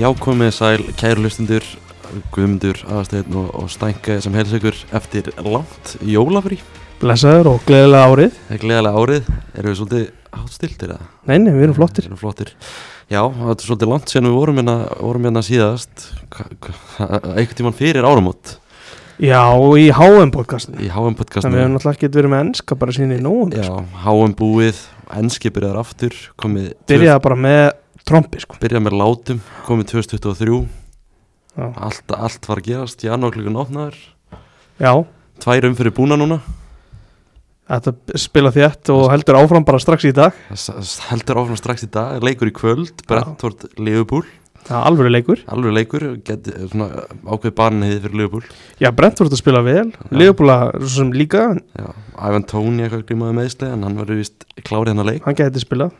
Já, komið sæl, kæru hlustundur, guðmundur, aðastegn og, og stænka sem helst ykkur eftir langt jólafrí. Blessaður og gleðilega árið Það er gleðilega árið, erum við svolítið hátstiltir eða? Nei, nei, við erum flottir Erum flottir. Já, það er svolítið langt síðan við vorum hérna, vorum hérna síðast, hva- hva- einhvern tíman fyrir áramót Já, og í HM podcastinu í HM Þannig við hefum podcastinu. náttúrulega ekki verið með ennska bara síðan í sko. nóum Já, HM búið, enski byrjar aftur, komið, Byrjaði bara með trompi sko byrjað með látum, komið 2023, Já, allt, allt var að gerast, janúar klukkan átnaður, já tvær umfyrir búna núna. þetta spila þétt og heldur áfram bara strax í dag S- s- heldur áfram strax í dag, leikur í kvöld Brentford, Liverpool, Það er alvöru leikur alveg leikur get, svona, ákveð barnið fyrir Liverpool Já, Brent voru að spila vel Leifbúla svo sem líka, Já, Ivan Tóni eitthvað glímaði meðsli en hann verður vist klárið hennar leik hann gæti spilað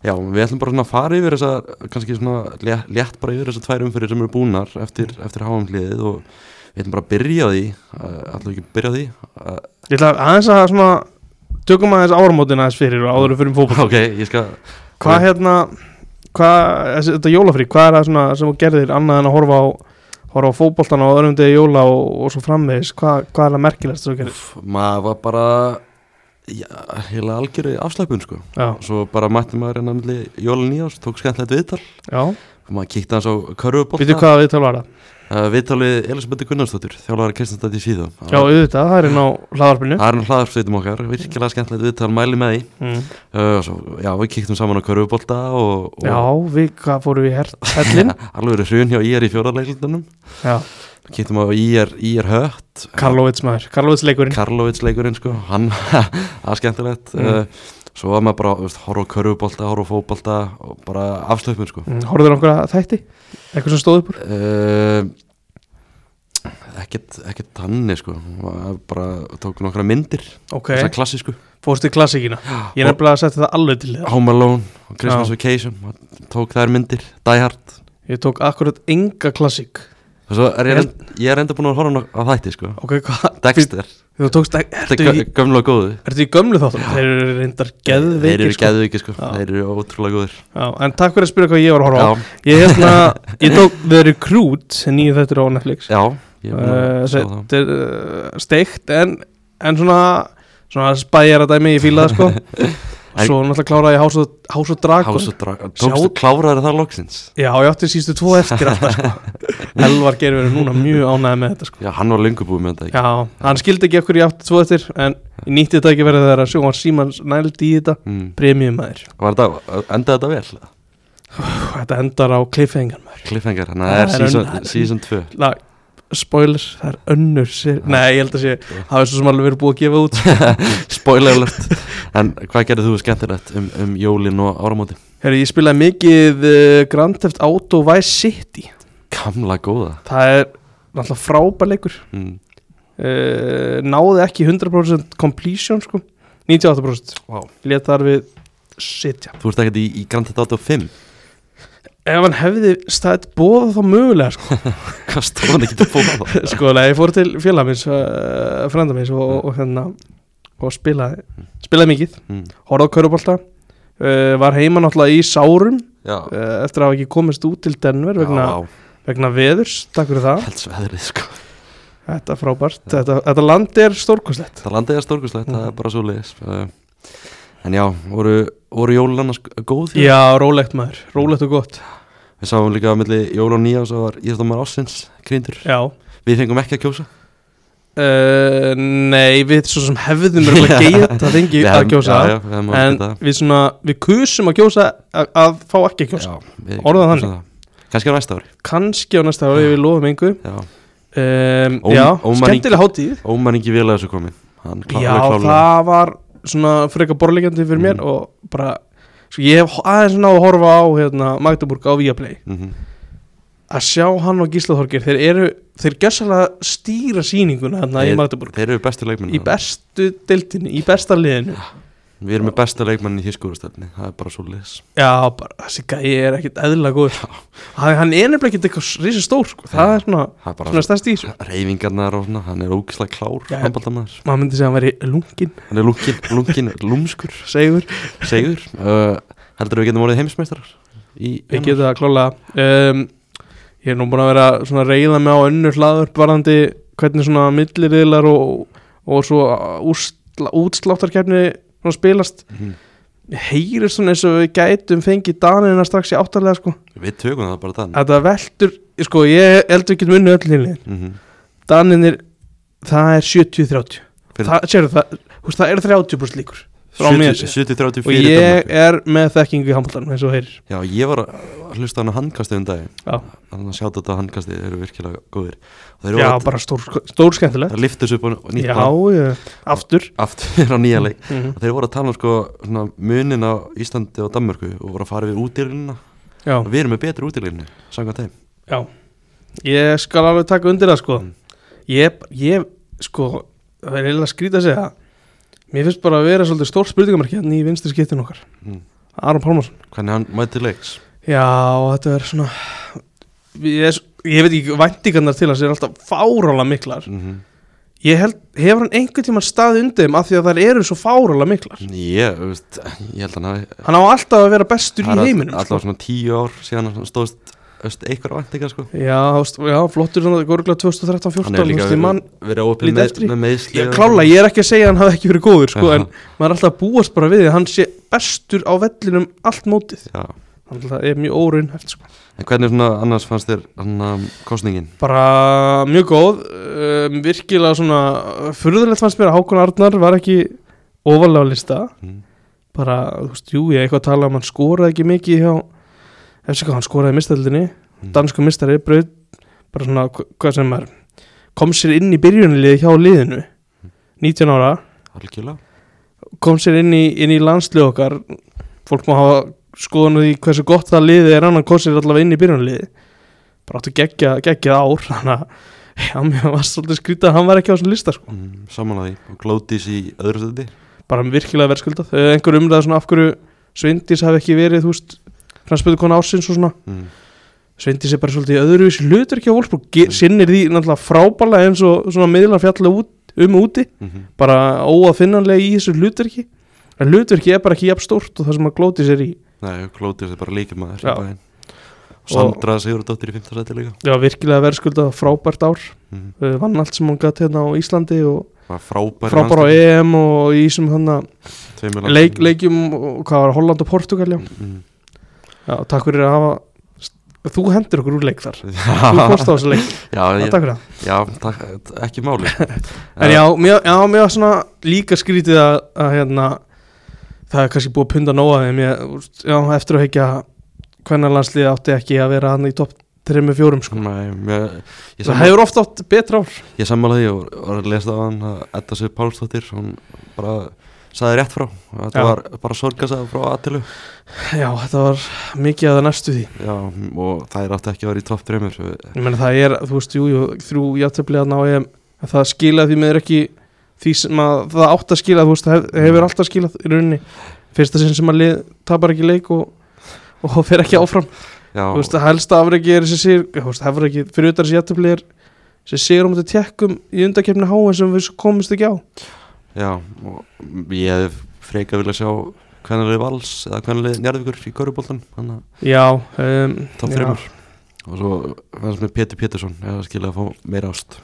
Já, við ætlum bara svona að fara yfir þessar kannski svona lé- létt bara yfir þessar tvær umfyrir sem eru búnar eftir, eftir háamliðið og við ætlum bara að byrja á því allaveg ekki að byrja á því uh, Ég ætla aðeins að svona Tökum aðeins áramótin aðeins fyrir og áður en fyrir um fótboll Ok, ég skal Hvað hérna, hvað, þessi- þetta jólafrí, hvað er það svona sem þú gerðir annað en að horfa á, horfa á fótboltana á öðrum degi jóla og, og svo framvegis, hvað, hvað er það merkilegst þú gerir? Úff, Maður var bara já, heila algjörði afslæpun sko Já, Svo bara mætti maður hérna milli jólun í ás, tók skemmtilegt viðtal já, og maður kíkti hans á körfubólta býtu hvaða viðtal var það? uh, Viðtalið Elisabeth Gunnarsdóttir, þjálfara Kristjánstætt í síðu Já, auðvitað, það er inn á hlaðarpinu Eh, Það er nú hlaðarsveitum okkar, virkilega skemmtilegt viðtal mæli með því mm. uh, svo, Já, við kíktum saman á körfubólta og, og Já, við, hvað fórum við í her- hellin? alveg eru hrun hjá IR í fjóðarleikildunum já, Kíktum á IR, IR hött Karlovits maður, Karlovits leikurinn Karlovits leikurinn sko, hann, það er skemmtilegt Mm. uh, Svo var maður bara, þú veist, horfa á körfubólta, horfa á fótbolta og bara afslöpun sko mm, Horður einhverja þætti? Eitthvað sem stóð upp úr? uh, ekkert, ekkert tanni sko Maður bara tók nokkra myndir Ok, þessar klassísku fórstu í klassikina Ég Og- nefnilega að setja það alveg til það Home Alone og Christmas Já. Vacation maður tók þær myndir, Die Hard Ég tók akkurat enga klassik og svo er Ég ég, reynd, ég er enda búin að horfa nok- á þætti sko Ok, hvað? Dexter, Þú tókst ekki, þetta er ertu í gö- gömlu og góðu Ertu í gömlu þáttum? Þeir eru reyndar Þeir geðveikir eru geðveikir sko, Já. þeir eru ótrúlega góðir Já, en takk fyrir að spyrja hvað ég var að horfa á Já, Ég hérna, ég tók The Recruit sem nýju þetta á Netflix uh, já, ég er búin Eh, að sjá það Þetta er uh, steikt en, en svona svona spæjar að dæmi ég fílaði sko Svo náttúrulega kláraði ég House of, House of Dragon House of Dragon, tókstu kláraðar það loksins Já, ég átti sístu tvo eftir alltaf sko Elvar gerir verið núna mjög ánæði með þetta sko Já, hann var löngu búið með þetta ekki Já, hann skildi ekki okkur ég átti tvo eftir en ég nýtti þetta ekki verið þegar að sjóma Simons nældi í þetta mm. premium maður Var þetta, endaði þetta vel? Þetta endar á cliffhanger maður Cliffhanger, þannig að það er Það er season- önnur- season 2 La, spoiler, það er önnur sér Nei, ég held að sé, það er svo sem alveg verið búið að gefa út Spoiler alert En hvað gerðið þú skemmtilegt um, um jólin og áramóti? Herri, ég spilaði mikið uh, Grand Theft Auto Vice City Gamla góða Það er náttúrulega frábær leikur mm. uh, Náði ekki 100% completion sko 98% Vá. Lét þar við sitja Þú ert ekkert í, í Grand Theft Auto 5 Ef hann hefði stætt bóða þá mögulega sko Hvað stóðan ekki til bóða þá? Sko, nei, ég fór til félag minns, uh, frenda minns og, og, og hérna og spilaði, spilaði mikið Mm. horfði á körubólta uh, var heima náttúrulega í sárum Já, uh, eftir að hafa ekki komist út til Denver vegna, já, vegna veðurs, takk fyrir það helst veðrið sko þetta er frábært, þetta, þetta land er stórkostlegt Það landið er stórkustlegt, það er Mhm. bara svo leiðis En já, voru, voru jólana góð? hjá þér? já, rólegt maður, rólegt og gott Við sáum líka að milli jól og nýja og svo var Írstamar Ássins krýndur já, Við fengum ekki að kjósa uh, nei við svo sem hefðum mjög að geta þengi Við að hefðum- kjósa Já, já, við hefum en átt þetta. við svona, við kusum að kjósa að, að fá ekki að kjósa, Já, við Orðað kjósum það. Kannski á næsta ári kannski á næsta ári við lofum engu Já, um, Óm- já, ómar- skemmtilega hátíð Ómar Ingi Vila þessu komin hann klá, Já, alveg klárlega. það var svona frekar borlegjandi fyrir mér Mhm. og bara, sko ég hef aðeins ná að horfa á hérna, Magdeburg á Viaplay Mhm. að sjá hann og Gísla Þorgir, þeir eru þeir gjössalega stýra sýninguna hérna í Þeir- Magdeburg, Þeir eru bestu leikmenn í bestu deildinni, í besta liðinu Við erum með bestu leikmenn í þýskúrastöfni Það er bara svo liðs Já, bara, þessi gæi er ekkit eðlilega góður hann, hann er nefnilega ekkit eitthvað risa stór, sko, það er svona, Það er bara svona stærst í þessu reyfingarnar og svona Hann er ógislega klár Já. handboltamaður. maður myndi segja að hann væri lungin, Hann er lungin, lungin, lúmskur segur Segur uh, Heldur við getum orðið heimsmeistarar? Í Við getum það klálega um, Ég er nú búin að vera svona að reyða mig á önnur hlaður varðandi hvernig svona milliriðlar og, og svo úsla, útsláttarkerni svona spilast Mhm. Mér heyrir svona eins og við gætum fengið danina strax í áttalega sko Við tökum það bara þann Þetta veltur, sko ég heldur ekki munni öll hýlið mm -hmm. Daninir, það er 70-30 Fyrir- Það, sérðu það, húst, það er 30 brúst líkur Frá mér séð. 70-30 Og fyrir ég Danmörku. er með þekkingu í handbóltanum eins og þú heyrir Já, ég var að hlusta á hann á handkastið um daginn Já. Þannig að sjáta þetta handkastið, þeir eru virkilega góðir Og þeir Já, eru bara stór, stór skemmtilegt að lifta þessu upp og nýtt Já, plan já, aftur Aftur á nýja leik mm -hmm. Þeir voru að tala um sko, svona, munin á Íslandi og Danmörku og voru að fara yfir útýrlinna Já, og við erum með betri útýrlinni, samkvæmt þeim já Ég skal alveg taka undir það sko Mm. Ég, ég sko Það er eiginlega skrýta að segja það. Mér finnst bara að vera svolítið stór spurningamarki Þannig í vinstri skiptin okkar mm. Aron Pálmarsson Hvernig hann mæti leiks Já, og þetta er svona Ég, er s- ég veit ekki væntingarnar til hans er alltaf fárála miklar mm Ég held, hefur hann einhvern tímann staðið undir þeim af því að þær eru svo fárála miklar Ég, þú veist, ég held að hann hafi Hann á alltaf að vera bestur það er í all- heiminum sko. Allavega svona tíu ár síðan hann stóðst þú veist, eitthvað væntingar sko Já, þú veist, já, flottur svona Gorgla 2013-14 Hann hefur líka verið, man, verið ópil lítið með, eftir í. með meðsli ég, Klála, ég er ekki að segja að hann hafi ekki verið góður sko, Já. En maður er alltaf að búast bara við því að Hann sé bestur á vellinum allt mótið Já. Þannig að það er mjög órun sko. En hvernig svona annars fannst þér hann um, kostningin? Bara mjög góð um, Virkilega svona uh, Furðulegt fannst mér að Hákon Arnar var ekki Óvalega á lista Mm. Bara, þú veist, jú, ég er eitthvað að tala um Hann skoraði ekki mikið hjá Eftir hvað hann skoraði mistöldinni Mm. Dansku mistari, braut Bara svona, hva- hvað sem er Kom sér inn í byrjunliði hjá liðinu Mm. 19 ára Algjörlega kom sér inn í, inn í landslið okkar fólk má hafa skoðan á því hversu gott það liði er annan kom sér allavega inn í byrjunliði bara áttu geggja, geggjað ár þannig að já, mér var svolítið skrítið að hann var ekki á þessum lista sko. mm, Saman að því og glótis í öðru stöndi bara virkilega verðskuldað Eh, einhver umræða svona af hverju Svindís hafi ekki verið þú veist knarspöðu konu ársins og svona mm. Svindís er bara svolítið öðruvísi hlutur ekki á Wolfsburg Ge- sinnir því náttúrulega frábælega eins og svona miðlar fjalla út, um og úti Mm -hmm. bara óafinnanlega í þessu hlutverki en hlutverki er bara ekki jafn stórt og það sem að glóti sér í Nei, glótis er bara líkamaður Já. í bæinn Og Sandra Sigurðardóttir í 15 seti líka Já, virkilega verðskuldað frábært ár mm. uh, vann allt sem hún gætt hérna á Íslandi og Var frábær í frábær á landsleiknum, EM og í þessum hana tveimur leik, landsleikjum. leikjum og hvað var Holland og Portugal já. Mm. já, takk fyrir að hafa þú hendur okkur úr leik þar þú Já, fórst á þessu leik, já, já, takk fyrir það já takk, ekki máli en já, mér, já, mér var svona líka skrítið að, að hérna það er kannski búið að punda nóga þeim ég, úst, já, eftir að hekja hvernig landsliði átti ekki að vera hann í topp 3-4 sko. Nei, mér, ég, það sammála, hefur oft átt betra ár ég sammála því og var að lesa á hann að Edda Sif Pálsdóttir hún bara saði rétt frá þetta Já. var bara sorgasað frá aðtilu já, þetta var mikið að það næstu því já, og það er átti ekki að vera í topp drömmur Ég meina það er, þú veist, jú, jú þrjú játtöflið að ná EM en það skilaði því miður ekki því sem að það átt að skila, þú veist, það hef, hefur alltaf skilað í rauninni, fyrsta sinn sem að lið tapar ekki leik og og fer ekki áfram, já, þú veist, helsta afreiki er þessi sigur, þú veist, hefur ekki fyrir utan þessi játtöflið er þessi sigur á mútið tekkum í undakefni háa sem við svo komumst ekki á já og ég hef freka vilja sjá hvernig leið vals eða hvernig leið njárðvíkur í Köruboltan þannig að Já, um, topp já. drömmur og svo fannst mér Pétur Pétursson eða skilja að fá meira ást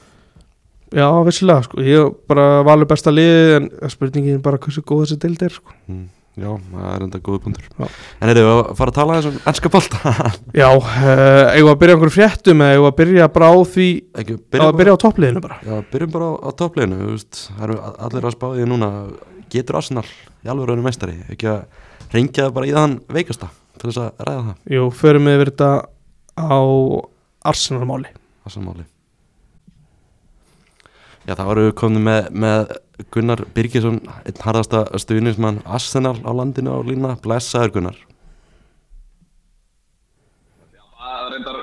Já, vissilega, sko, ég bara valur besta lið en spurningin er bara hversu góð þessi deild er, sko. mm, já, það er enda góðu punktur Já. en erum við að fara að tala þessum ennska bolta Já, uh, eigum við að byrja á einhverjum fréttum eða eigum við að byrja bara á því ekki, Byrjum að byrja á toppliðinu bara Já, byrjum bara á, á toppleginu, þú veist, það eru a- allir að spá því núna, getur Arsenal í alveg raunum meistari, ekki að reyngja það bara í þann veikasta til þess að ræða það, Jú, förum við yfir þetta á Arsenal-máli það sammáli. Já, það varum við komin með, með Gunnar Birgisson, einn harðasta stuðnismann Arsenal á landinu á lína, blessaður Gunnar. Það reyndar,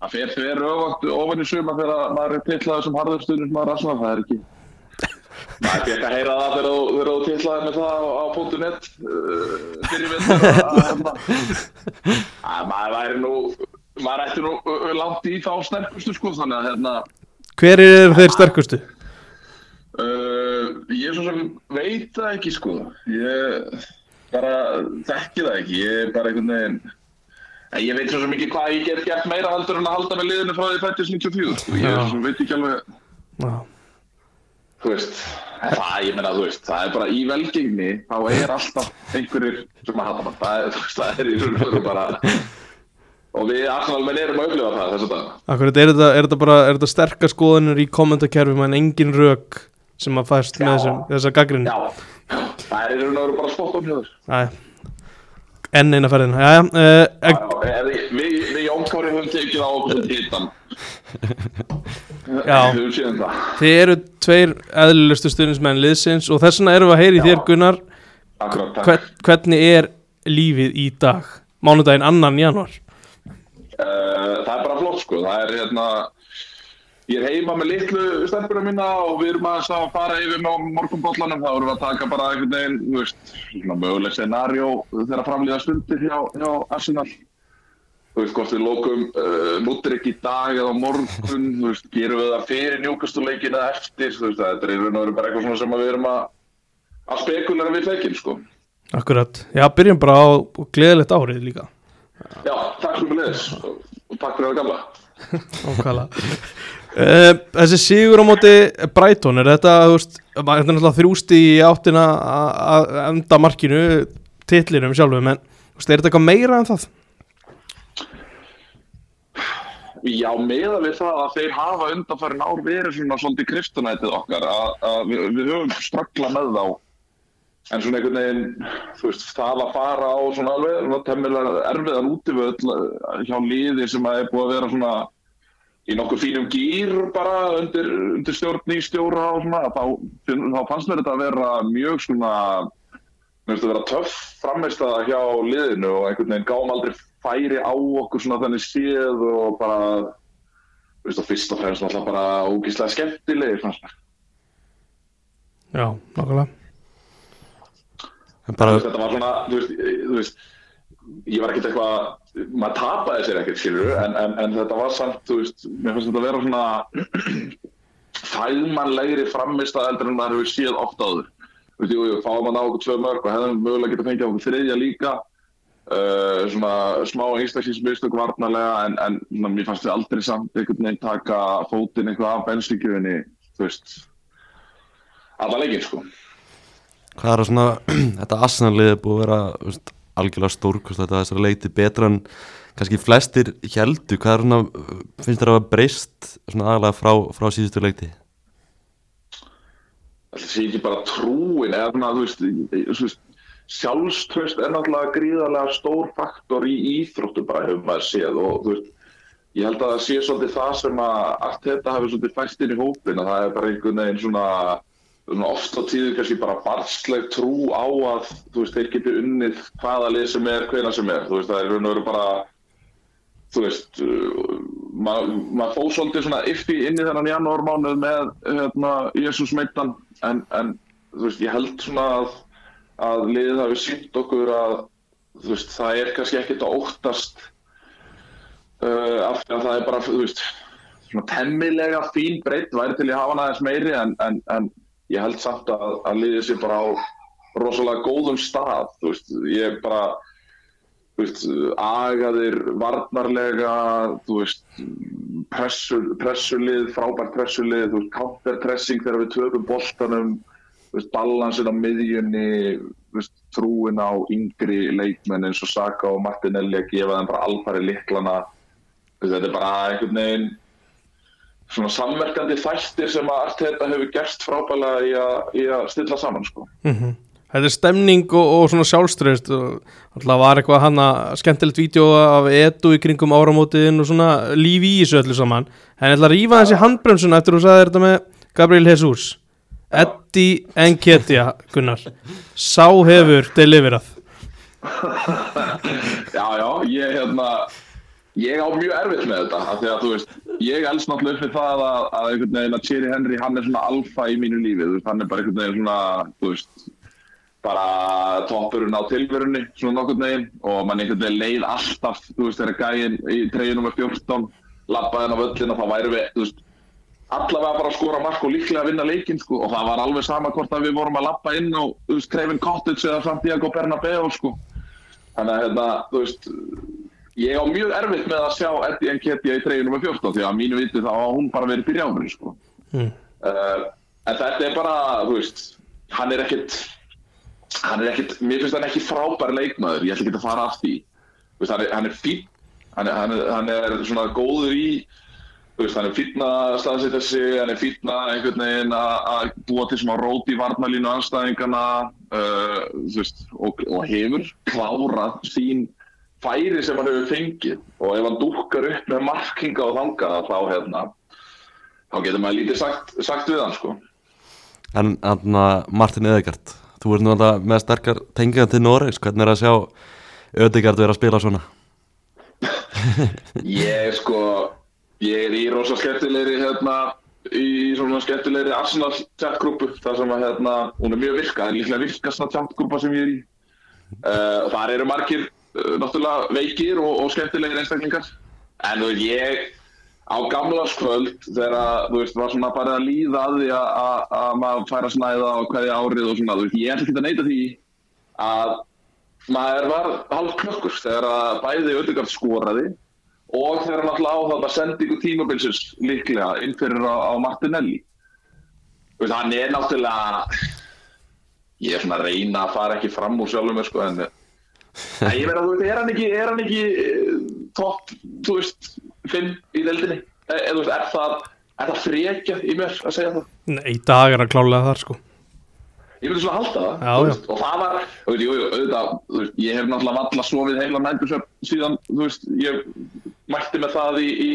það fer þver öfugt ofan í suma þegar maður er tillaður sem harður stundum maður rasnar, það er ekki. Maður fekk að heyra það þegar þú- þegar þú tillaður með það á, á .net uh, fyrir vettur að að- hérna. Að maður væri nú, maður ætti nú uh, langt í þá sterkustu sko þannig að hérna Hver eru þeir sterkustu? Uh, ég svo sem veit það ekki sko ég bara þekki það ekki ég er bara einhvern veginn En ég veit svo sem ekki hvað ég get gert meira heldur en að halda með liðinu frá því fættis 94. Sko. Ég Já. er svo sem veit ekki alveg, Já, þú veist, en það, ég meina, þú veist, það er bara í velgengni, þá er alltaf einhverjir sem að hata mann. Það er, þú veist, það er í raun og veru bara, og við Arsenalmenn erum að upplifa það þess að dag. akkurat er þetta, er þetta bara er þetta sterkar skoðanir í kommentakerfum en engin rök sem að fæst með Já. þessum, þessa gaggrinni Já, það er í raun og veru bara spott omhjóður. Æ. enn eina ferðin Jæja, uh, ek, Við, við Jónkári höfum tekið á okkur hittan. Já. Við höfum síðan það. þið eru tveir eðlilustu stuðnismenn liðsins og þess vegna erum við að heyri Já. þér Gunnar Akkurat, takk. Hvern, hvernig er lífið í dag mánudaginn annan januar Eh, það er bara flott sko, það er hérna ég er heima með litlu stelpunum mína og við erum aðeins að fara yfir með morgunbollanum, þá erum við að taka bara einhvern veginn, þú veist, svona möguleg scenarjó þegar framlýða stundir hjá, hjá Arsenal þú veist, hvort við lókum uh, múttir ekki í dag eða á morgun, þú veist, gerum við það fyrir njúkastuleikin eða eftir, þú veist, þetta er í raun og veru bara eitthvað svona sem að við erum að að spekulera við leikin, sko akkurat, já byrjum bara á gleðilegt árið líka Já, takk sem við leðis og takk fyrir að gamla Nákvæmlega uh, Þessi sigur á móti Brighton er þetta, þú veist, þetta er náttúrulega þrjústi í áttina að- að enda markinu titlinum sjálfum en þú veist, er þetta eitthvað meira en það? Já, meða við það að þeir hafa undanfærin ár verið svona svolítið kristunætið okkar að, að við, við höfum straggla með þá en svona einhvern veginn þú veist, það að fara á svona alveg temmilega erfiðan útivöll eh, hjá liði sem að er búið að vera svona í nokkuð fínum gýr bara undir, undir stjórn í stjóra og svona þá, þá fannst mér þetta að vera mjög svona mér finnst að vera töff framist að hjá liðinu og einhvern veginn gáum aldrei færi á okkur svona þannig séð og bara þú veist, og fyrst og fremst alltaf bara ógíslega skemmtilegir svona. Já, nákvæmlega En Þú bara, veist, þetta var svona þú veist, þú veist, ég var ekkert eitthvað maður tapaði sér ekkert skilur en, en, en þetta var samt þú veist, mér finnst þetta að vera svona fæðmannlegri framist að eldur en maður hefur séð oft áður Þú veist, jú, jú, fáum að ná okkur tvö mörg og hefðum mögulega getað fengið okkur þriðja líka uh, svona smá einstaklingsmistök varnarlega en, en svona, mér fannst þið aldrei samt einhvern veginn taka fótinn eitthvað af benslíkjöfinni þú veist alla leikinn sko hvað er að svona þetta Arsenal-lið er búið að vera þú veist, algjörlega stórkost þetta þessari leiti betra en kannski flestir heldu hvað er svona, finnst þér að hafa breyst svona aðalega frá, frá síðustu leiti Það sé ekki bara trúin eða svona, þú veist, í- í- þú veist sjálfströst er náttúrulega gríðarlega stór faktor í íþróttu bara hefur maður séð og þú veist ég held að það sé svolítið það sem að allt þetta hefur svolítið fæst inn í hópin að það er bara einhvern veginn svona, svona oft á tíðu kannski bara barsleg trú á að þú veist þeir geti unnið hvaða lið sem er, hvena sem er þú veist það er í raun og veru bara þú veist uh, maður ma fóð svolítið svona yfti inn í þennan janúarmánuð með hérna, Jésús meittan en, en þú veist, ég held svona að, að liðið hafi sínt okkur að þú veist, það er kannski ekkert að óttast uh, af því að það er bara þú veist, svona temmilega fín breytt væri til ég hafa hana aðeins meiri en, en, en ég held samt að, að liðið sé bara á rosalega góðum stað þú veist, ég er bara þú veist, agaðir, varnarlega, þú veist, pressur, pressulið, frábært pressulið, þú veist, counterpressing þegar við töfum boltanum, þú veist, balansin á miðjunni, þú veist, trúin á yngri leikmenn eins og Saka og Martinelli að gefa þeim bara alfari liklana, þú veist, þetta er bara einhvern veginn, svona samverkandi þættir sem að allt þetta hefur gert frábælega í að, í að stilla saman, sko. Þetta er stemning og, og svona sjálfströðist og alltaf var eitthvað hann að skemmtilegt vídeo af edu í kringum áramótiðin og svona lífi í þessu öllu saman en ég ætla að rífa þessi handbremsuna eftir þú sagði þetta með Gabriel Jesus Eddie Nketiah Gunnar Sá hefur deliverað Já, já, ég hérna ég á mjög erfitt með þetta af því að þú veist, ég els náttúrulega upp við það að, að einhvern veginn að Thierry Henry hann er svona alfa í mínu lífi, þú veist, hann er bara einhvern veginn svona, þú veist bara toppurinn á tilverunni svona nokkurn veginn og mann einhvern veginn leið alltaf, þú veist, þegar gæinn í treyjunum með 14, labbaðin á völlin og það væri við, þú veist allavega bara að skora mark og líklega að vinna leikinn sko, og það var alveg sama hvort að við vorum að labba inn á, þú veist, Craven Cottage eða Santiago Bernabeu sko. Þannig að hérna, þú veist, ég á mjög erfitt með að sjá Eddie Nketiah í treyju nr. 14 því að mínu viti þá að hún bara verið byrjáður sko. Mm. uh, en þetta er bara þú veist, hann er ekkit hann er ekkit, mér finnst hann ekki frábær leikmaður, ég ætla ekki að fara af því Þú veist, hann er, hann er fín hann er, hann, er, hann er svona góður í þú veist, hann er fínn að staðsetja sig hann er fínn að einhvern veginn að að búa til svona rót í varnalínu anstæðingana uh, þú veist, og, og hefur klárað sín færi sem hann hefur fengið og ef hann dúkkar upp með markinga og þangað þá hérna þá getur maður lítið sagt, sagt við hann sko. En anna, Martin Eðegard, þú ert nú alltaf með sterkar tengingar til Noregs, hvernig er að sjá Ödegard vera að spila svona? Ég sko, ég er í rosa skemmtilegri hérna í svona skemmtilegri Arsenal chatgrúpu þar sem að hérna, hún er mjög virka það er líklega virkast að chatgrúpa sem ég er í uh, þar eru margir uh, náttúrulega veikir og, og skemmtilegir einstaklingar en þú veist, ég á gamlaskvöld þegar að, þú veist, var svona bara að líða að því að- að að maður færa snæða og hverja árið og svona, þú veist, ég ætla ekki að neyta því að maður var halv klökkur þegar að bæði Ödegard skoraði og þegar hann alltaf á þarna sendingu tímabilsins líklega inn fyrir á, á Martinelli Þú veist, hann er náttúrulega ég er svona að reyna að fara ekki fram úr sjálfum mér sko en Nei, ég meina þú veist, er hann ekki, er hann ekki eh, topp, þú veist fimm í deildinni, e, e, þú veist, er það er það frekja í mér að segja það Nei, í dag er hann klálega þar sko Ég myndi svona halda það Já, þú já. veist, og það var, þú veist, jú, jú, auðvitað, þú veist, ég hef náttúrulega valla sofið heila nættusöp síðan, þú veist, ég mætti með það í, í,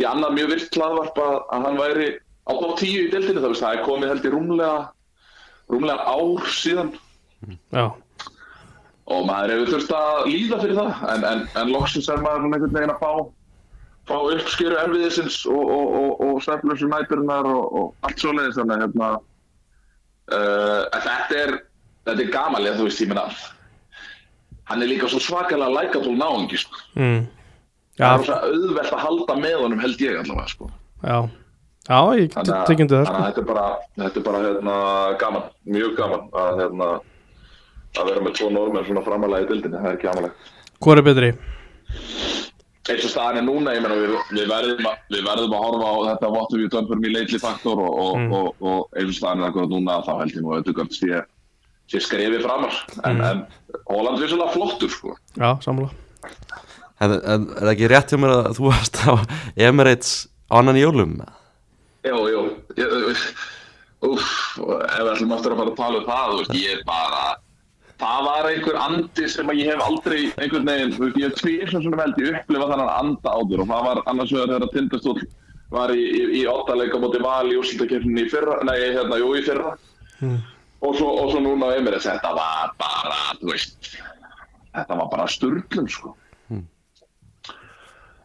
í annað mjög virt hlaðvarp að, að hann væri á top 10 í deltinu, þú veist, það er komið held í rúmlega, rúmlega ár síðan Já, og maður hefur þurft að líða fyrir það en, en, en loksins er maður svona einhvern veginn að fá fá uppskeru erfiðisins og, og, og, og svefnlösu næturinnar og, og allt svoleiðis þannig að hérna, uh, en þetta er þetta er gamalið þú veist ég meina hann er líka svo svakalega lækatól náungi sko. mm. já, það er svo auðvelt að halda með honum held ég allavega sko. já Já, ég Þannig að- tekjum þetta þannig sko að þetta er bara, þetta er bara hérna, gaman, mjög gaman að, hérna, að vera með tvo normenn svona framalega í dildinni, það er ekki amalegt Hvor er betri? eins og staðan er núna, ég meina við, við, verðum, að, við verðum að horfa á þetta vottum við dömpum í leitli faktor og, og, Mm. og, og eins og staðan er akkurat núna þá held ég nú að Ödugard sé, sé skrefið framar en, en Holland er svolítið flottur sko. Já, sammála En, en er það ekki rétt hjá mér að þú varst á Emirates á annan jólum? Jó, jó ég, Úff, ef við ætlum aftur að fara að tala um það þú veist, ég er bara það var einhver andi sem að ég hef aldrei einhvern veginn, þú veist, ég hef tvíslega svona veld ég upplifa þannig anda áður og það var annars vegar þegar að tindastól var í, í, í ottaleika móti val í úrslutakefninni í fyrra, nei, hérna, jú, í fyrra og, svo, og svo núna á Emirates þetta var bara, þú veist þetta var bara sturglum, sko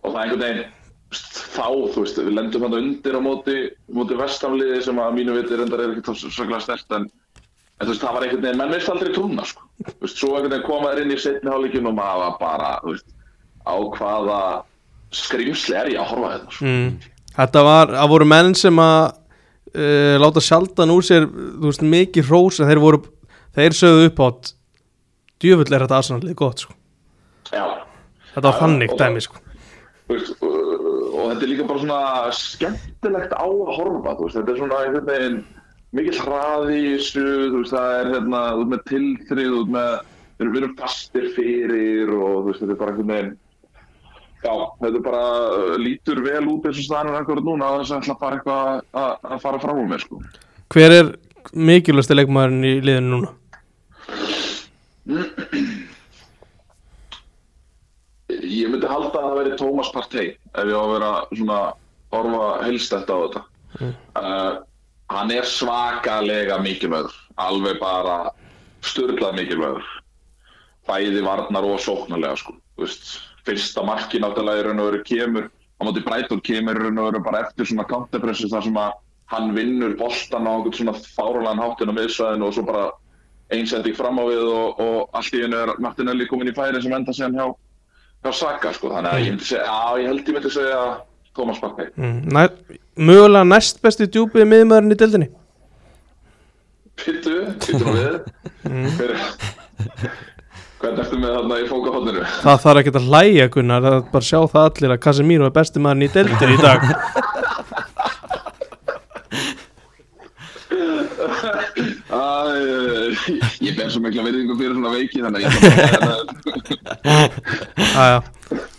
og það er einhvern veginn þá, þú veist, við lendum hann undir á móti, móti vestamliði sem að mínu viti reyndar er ekki svaklega stert en, en þú veist, það var einhvern veginn, menn veist aldrei trúna sko. þú veist, svo einhvern veginn koma þær inn í setni hálíkinu og maður var bara, þú veist á hvaða skrimsli er ég að horfa þetta, sko. mm. Þetta var, það voru menn sem að uh, láta sjaldan úr sér þú veist, mikið hrós en þeir voru, þeir sögðu upp átt djöfull er þetta aðsannlega gott sko. já þetta var Já, þannig og- dæmi sko. Þú veist, og og þetta er líka bara svona skemmtilegt á að horfa þú veist, þetta er svona einhvern veginn mikill hraði í þessu, þú veist, það er hérna, út með tilþrið, út með við erum, við erum fastir fyrir og þú veist, þetta er bara einhvern veginn já, þetta er bara uh, lítur vel út eins og staðan er akkurat núna að þess að ætla að fara eitthvað að- að að fara fram úr mér, sko hver er mikilvægsti leikmaðurinn í liðinu núna ég myndi halda að það veri Thomas Partey ef ég á að vera svona orfa helstætt á þetta uh, hann er svakalega mikilvægur alveg bara sturglað mikilvægur bæði varnar og sóknarlega sko. Þú veist, fyrsta marki náttúrulega í raun og veru kemur á móti Breitón kemur í raun og veru bara eftir svona kantapressu þar sem að hann vinnur boltan á einhvern svona fárulegan háttinn á miðsvæðinu og svo bara einsending fram á við og, og allt í einu er Martinelli komin í færi sem enda síðan hjá hjá Saka sko, þannig að ég myndi segja, já, ég held ég myndi segja Thomas Partey. mm. Nær, mögulega næst besti djúpið miðmaðurinn í deildinni Pittu, pittu nú við, hver, Hvernig ertu með þarna í fókahotninu? Það þarf ekkert að hlæja Gunnar, það er bara að sjá það allir að Casemiro er besti maðurinn í deildin í dag Æ, ég ber svo mikla virðingu fyrir svona veiki þannig að ég Æja,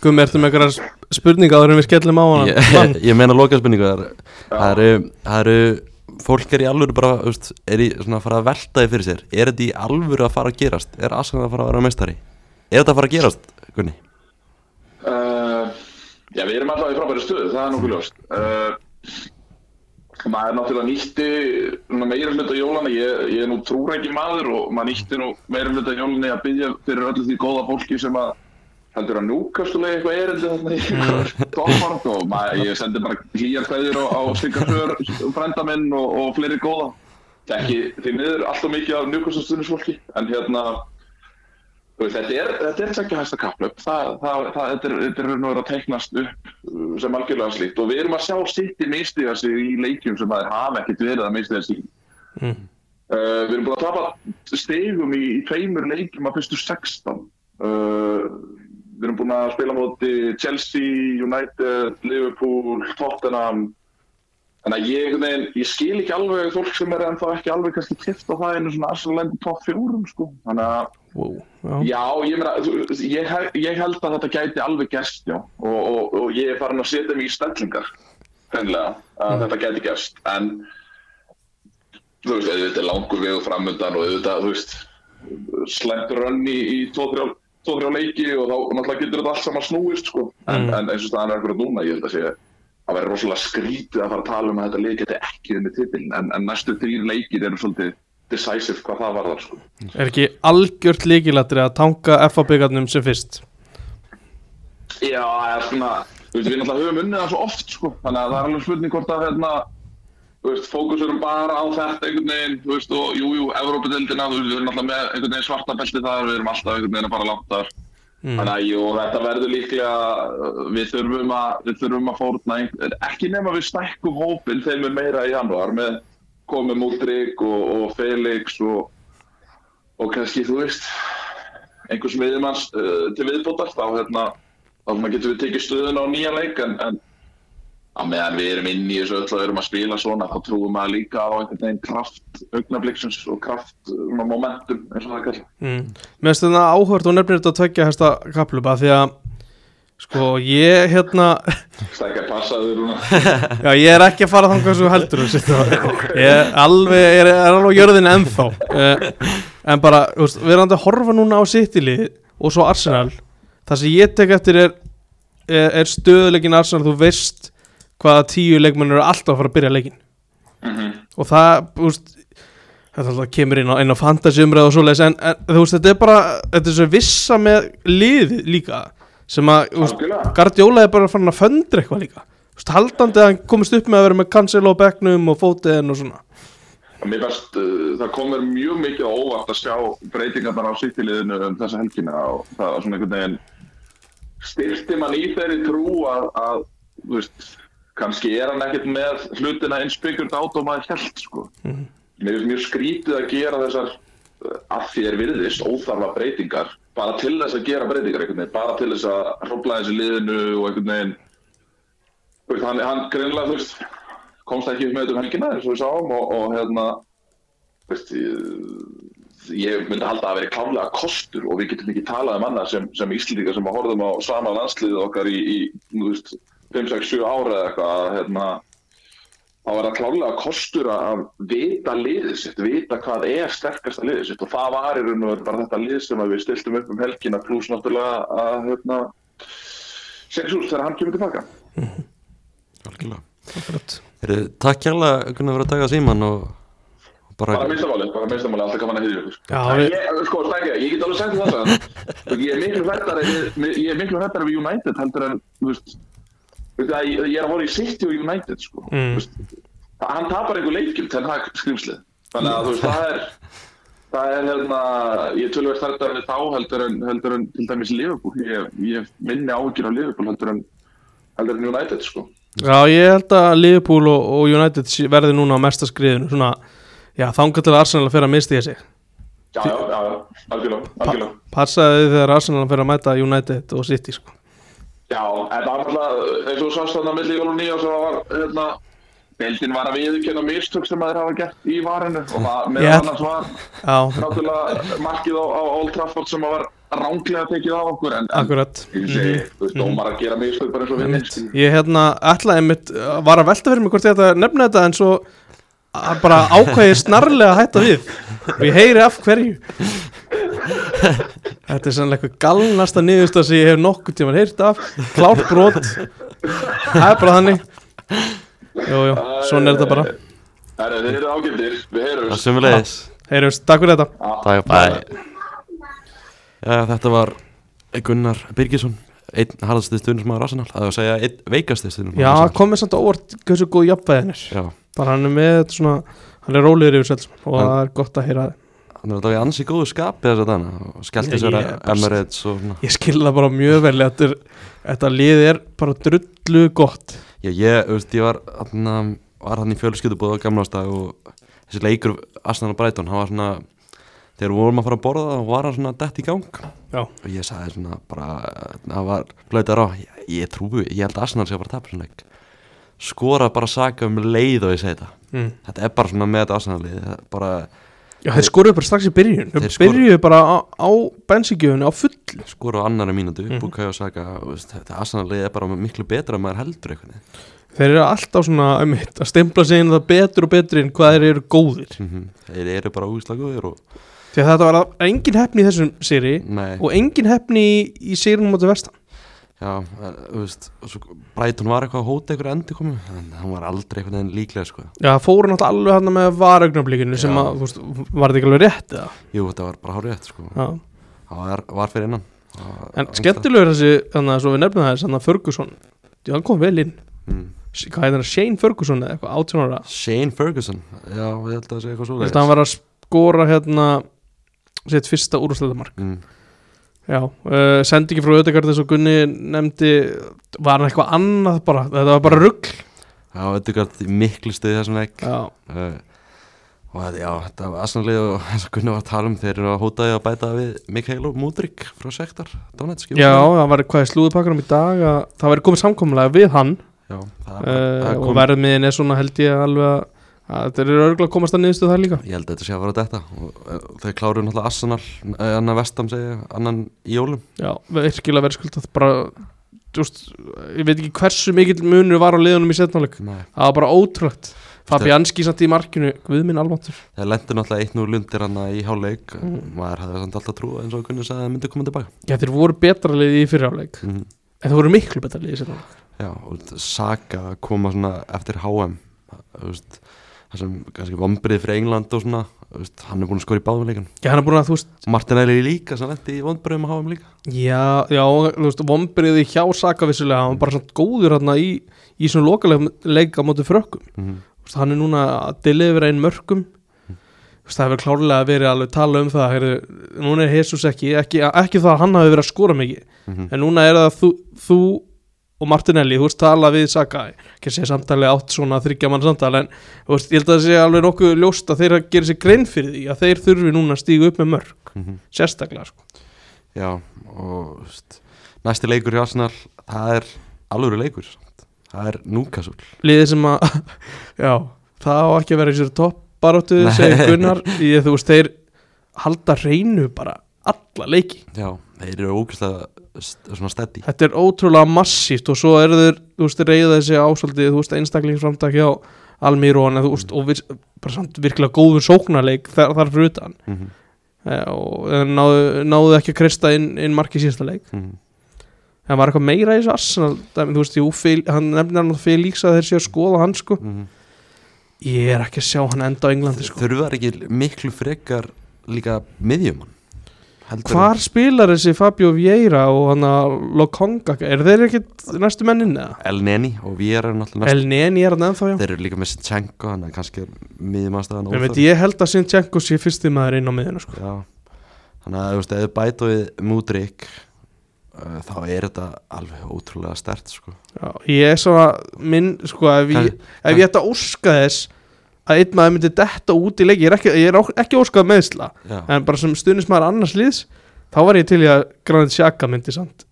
Gummi, ertu með einhverjar spurninga áður en við skellum á hana? ég, ég meina lokaspurningu það eru- það eru, það eru fólk er í alvöru bara þú veist, er í svona að fara að velta því fyrir sér er þetta í alvöru að fara að gerast er Arsenal að fara að vera meistari er þetta að fara að gerast Gunni uh, Já, við erum alltaf í frábæri stöðu, það er nokkuð ljóst uh, Maður náttúrulega nýtti svona meira hluta jólana ég, ég er nú trúrækki maður og maður nýtti nú meira hluta jólana að byggja fyrir öllu því góða fólki sem að heldur að núkastulega eitthvað erindi þarna í einhverjum toppart og maður, ég sendi bara hlýjar kveðir á, á Singapur frenda minn og, og fleiri góða Þekki, því miður alltaf mikið af núkastustunisfólki en hérna Þú veist, Þetta er, þetta er ekki hægsta kapplöp, það, það, það, þetta er, þetta er nú að teiknast upp uh, sem algjörlega slíkt og við erum að sjá sitt í meistiða sig í leikjum sem það hafa ekkert verið að meistiða sig í. Uh, við erum búin að tapa stegum í, í tveimur leikjum að fyrstu 16. Uh, við erum búin að spila á móti Chelsea, United, Liverpool, Tottenham. Þannig að ég, nein, ég skil ekki alveg fólk sem er ennþá ekki alveg kannski kipt á það einu svona Arsenal-lendi top 4 sko. Þannig að Wow, já. Já, ég, meina, þú- ég, he- ég held að þetta gæti alveg gerst, já, og, og, og ég er farin að setja mig í stellingar, hennilega, að þetta gæti gerst, en þú veist, auðvitað er langur vegu framöndan og auðvitað, þú veist, slemt rönn í, í tvo-þrjá tvo, þrjá leiki og þá náttúrulega getur þetta allt saman snúist, sko, en, Mm. en eins og staðan er akkurat núna, ég held að sé að vera rosalega skrítið að fara að tala um að þetta leik geti ekki unni titilin, en, en næstu þrýr leikir eru svolítið decisive hvað það varðar, sko. Er ekki algjört líkilatri að tanka FA-byggarnum sem fyrst? Já, það er svona, þú veist, við náttúrulega höfum unnið það svo oft, sko, þannig að það er alveg spurning hvort að, hérna, þú veist, fókusurum bara á þetta einhvern veginn, þú veist, og jú, jú, Evrópadeildina, þú veist, við erum náttúrulega með einhvern veginn svarta belti þar, við erum alltaf einhvern veginn að fara langt þar, Mm. þannig að, jú, þetta verður líklega, uh, við þurfum að, við þurfum að fórna, ein- ekki nema við stækkum hópin þeim er meira í januar með komið Múldrik og, og Felix og, og kannski, þú veist, einhvers miðjumanns uh, til viðbótar þá hérna, þá svona getum við tekið stöðun á nýja leik en, en að meðan við erum inn í þessu öll og erum að spila svona þá trúum maður líka á einhvern veginn kraft augnabliksins og kraft um, momentum eins og það kallar Mm. Mér finnst þetta áhört og nefnir þetta að tvekja hæsta kaplupa því að sko ég hérna stækja passaður og já ég er ekki að fara þangað sem þú heldur þú veist. ég er alveg er, er alveg á jörðin ennþá uh, en bara þú veist, við erum að horfa núna á sittili og svo Arsenal það sem ég tek eftir er er, er stöðuleikin Arsenal þú veist hvaða tíu leikmenn eru alltaf að fara að byrja leikin Mhm. og það þú veist, þetta alltaf kemur inn á, inn á fantasy umræð og svoleiðis en, en þú veist þetta er bara þetta er svo vissa með lið líka sem að þú veist, algjörlega Guardiola er bara farin að föndra eitthvað líka Þú veist, haldandi að hann komist upp með að vera með Cancelo á bekknum og fótiðin og svona og mér best, uh, það komur mjög mikið á óvart að sjá breytingar bara á sittiliðinu um þessa helgina og það var svona einhvern veginn styrti mann í þeirri trú að, að þú veist, kannski er hann ekkert með hlutina eins byggjur dát og maður held sko. mér finnst mjög skrítið að gera þessar uh, að því er virðist óþarfa breytingar bara til þess að gera breytingar einhvern veginn, bara til þess að hrópla þessi liðinu og einhvern veginn þú veist, hann, hann greinlega þú veist, komst ekki upp með þetta um helgina eins og við sáum og, og hérna þú veist, ég, ég myndi halda að vera klálega kostur og við getum ekki talað um annað sem, sem Íslendingar sem að horfum á sama landsliðið okkar í, í þú veist, 5, 6, 7 ára eða eitthvað að hérna, þá er það klálega kostur að vita liðið sitt, vita hvað er sterkasta liðið sitt og það var í raun og veru bara þetta lið sem að við stiltum upp um helgina pluss náttúrulega að hérna, Sexúl þegar hann kemur tilbaka. algjörlega Akkurat. Heru, takk kjærlega Gunnar fyrir að taka síman og, og bara, Bara minnstamáli, bara minnstamáli, alltaf gaman að hýðja ykkur. Já, En við- ég, sko, stækja, ég get alveg sagt þér það það. Ég er miklu hrættari, við- ég er miklu hrættari við United heldur en, þú veist, þú veist, að ég ég er að voru í City og United, sko. Mm. Þú veist, það- hann tapar einhver leikjum til hann skrýmslið. Þannig að, þú veist, það er, það er, hérna, ég er tölvöld hrættari við þá heldur en, heldur en, til dæmis Liverpool. Ég, ég minni áhyggjur á Liverpool heldur en, heldur en United, sko. Já, ég held að Liverpool og, og United sé- verði núna á mesta skriðinu svona, já, þangar til að Arsenal að fyrir að misti þessi Já, já, já, já, algjörlega, algjörlega. Passaði þið þegar Arsenal fyrir að mæta United og City sko. Já, en það var alltaf, eins og þú sást þarna milli jól og nýjás og það var, hérna, deildin var að viðurkenna mistök sem að þeir hafa gert í varinu og það meðal Já. annars var Já, náttúrulega markið á, á Old Trafford sem að var ránglega tekið af okkur en, en akkurat Mhm. eins og segi, þú veist, dómar að gera mistök bara eins og við Einmitt. minnst. Ég hérna ætlaði einmitt uh, var að velta fyrir mig hvort ég ætlaði að nefna þetta en svo uh, bara ákvæði snarlega að hætta við og ég heyri af hverju Þetta er sannlega eitthvað galnasta niðursta sem ég hef nokkuð tíma heyrt af klárt brot Það er bara þannig Jú, jú, svona er þetta bara Það eru, þið eru ágæftir, við Það er heyrumst. sömulegis Heyrjumst, takk fyrir þetta Takk, bæ Já, þetta var Gunnar Birgisson einn harðasti stundismæður Arsenal það er að segja einn veikasti stundismæður Já, komið samt á óvart hversu góð jafnvæðin er Já, bara hann er með þetta svona hann er rólegur yfir sér og Hann- það er gott að heyra það hann er alltaf í ansi góðu skapi þess að dana og skellti Ég- sér ég- að Emirates og svona Ég skil það bara mjög vel þetta, er, þetta lið er bara drullu gott Já, ég, þú veist, ég var hann, var hann í fjölskyldubúð á gamlástag og þessi leikur Arsenal og Brighton, hann var svona þegar við vorum að fara að borða og var hann svona dett í gang Já. og ég sagði svona bara, það var blöytar á ég, ég trúi, ég held að Arsenal sé að fara að tapa svona leik skora bara saka um leið og ég segi þetta mm. þetta er bara svona með þetta Arsenal lið það er bara, Já, þeir skoruðu bara strax í byrjun Þeir Þeir skoruðu- byrjuðu bara á, á bensíkjöfunni á fullu skora á annari mínútu mm -hmm. Mhm. búkaði og saka, þú veist, þetta Arsenal lið er bara miklu betra en maður heldur einhvern veginn Þeir eru alltaf svona um að stempla sig inn það betur og betur en hvað þeir eru góðir mm þeir eru bara úgislagúðir og Því að þetta var að- engin hefni í þessum séri nei og engin hefni í, í sérunum á vestan Já, en, þú veist, og svo Brighton var eitthvað að hóta einhverju endi komu en hann var aldrei einhvern veginn líklega sko. Já, það fóru náttúrulega alveg hann með varaugnablikinu sem Já. að, þú veist, var þetta ekki alveg rétt eða? Jú, þetta var bara hárið eftir sko. Já. hann var, var fyrir innan Það var- En skemmtilegur þessi, þannig að svo við nefnum það þess, þannig að Ferguson, já, hann kom vel inn Mm. hvað heitir hann, Shane Ferguson eða eitthvað, 18 ára Shane Ferguson, já, ég held að það sé eitthvað Þú svo veist, hann var að skora hérna sitt fyrsta úrúsleitamark mm. Já, uh, sendi ekki frá Ödegard þess og Gunni nefndi, var hann eitthvað annað bara, þetta var bara rugg Já, þetta er miklu stuði þessum leik Já, uh, og þetta- já, þetta var aðsannlega og eins og Gunnar var að tala um þeir eru að hóta því að bæta við Mikael Múdrik frá Sektar, Donetsk já, það var hvað í slúðupakkanum í dag að það væri komið samkomlega við hann já það, uh, það og kom, verðmiðin er svona held ég alveg að, að þetta eru örgulega að komast að niðurstu það líka ég held að þetta sé að fara að detta og uh, þau kláruðu náttúrulega Arsenal, uh, annar vestam segja, annan í jólum Já, virkilega verðskuldað bara, þú veist, ég veit ekki hversu mikill munur var á liðunum í setnáleik Nei, Það var bara ótrúlegt Fabianski samt í markinu Guð minn alváttur það lendur náttúrulega eitt nú lundir hann í háleik Mm. maður hefði samt alltaf trúið eins og Gunnar sagði að það myndi koma tilbaka Já þeir voru betra liði í fyrirháleik mm. En þeir voru miklu betra liði í seinni hálfleik. Já, og þetta Saka að koma svona eftir HM þú veist, það sem kannski vombrið fyrir England og svona þú veist, hann er búin að skora í báðum leikan Já hann er búin að þú veist Martinelli líka, sem lendi í vombriðum á HM líka Já, já þú veist Vombriði hjá Saka vissulega Hann var bara svona góður hann í Í svona lokalega á móti frökkum mm. Þú veist, Hann er núna að delivera einn mörkum Þú veist, Það hefur klárlega verið alveg tala um það heyrðu, Núna er Jesus ekki Ekki, ekki það að hann hafi verið að skora mikið Mm en núna er það þú, þú og Martinelli, þú veist, tala við Saka ekki að segja samtali átt svona þryggja mann samtali en þú veist, ég held að það sé alveg nokkuð ljóst að þeir að gera sér grein fyrir því að þeir þurfi núna að stíga upp með mörg -hmm. sérstaklega, sko. Já, og þú veist, næsti leikur hjá Arsenal það er alvöru leikur samt. það er Núkasúl liðið sem að, já það á ekki að vera í sér topp baróttu Nei. segir Gunnar, ég, þú veist, þeir halda reynu bara alla leiki Já, þeir eru ógæslega svona steddi þetta er ótrúlega massíft og svo eru þeir, þú veist, reyða þessi ásaldið, þú veist, einstaklingsframtak hjá Almirón, en þú veist, og vir, bara samt virkilega góður sóknarleik þar, þar fyrir utan mm -hmm. Eh, og eh, náðu, náðu ekki að krista inn, inn marki síðasta leik en var eitthvað meira í þessu Arsenal dæmi, þú veist, jú, Fel, hann nefnir hann Felix að þeir séu að skoða hann sko Mm -hmm. ég er ekki að sjá hann enda á Englandi sko Þurfa þær ekki miklu frekar líka miðjumann Heldur hvar spilar þessi Fabio Vieira og hann að Lokonga er þeir ekkit næstu mennin eða? en El Neni og við erum náttúrulega El Neni er hann ennþá já næst Þeir eru líka með Sinchenko þannig að kannski er miðjumannstæðan ég, veit, ég held að Sinchenko sé fyrsti maður inn á miðinu sko Já Þannig að þú veist, ef þau bæta við Múdrik uh, þá er þetta alveg ótrúlega stert sko. já, ég er svona minn sko ef ég, Kann- ef ég ætta að óska þess að einn maður myndi detta út í leiki ég er ekki, ég er ó- ekki óskað meðsla Já. en bara sem stuðnismæður annars liðs þá var ég til í að Granit Xhaka myndi samt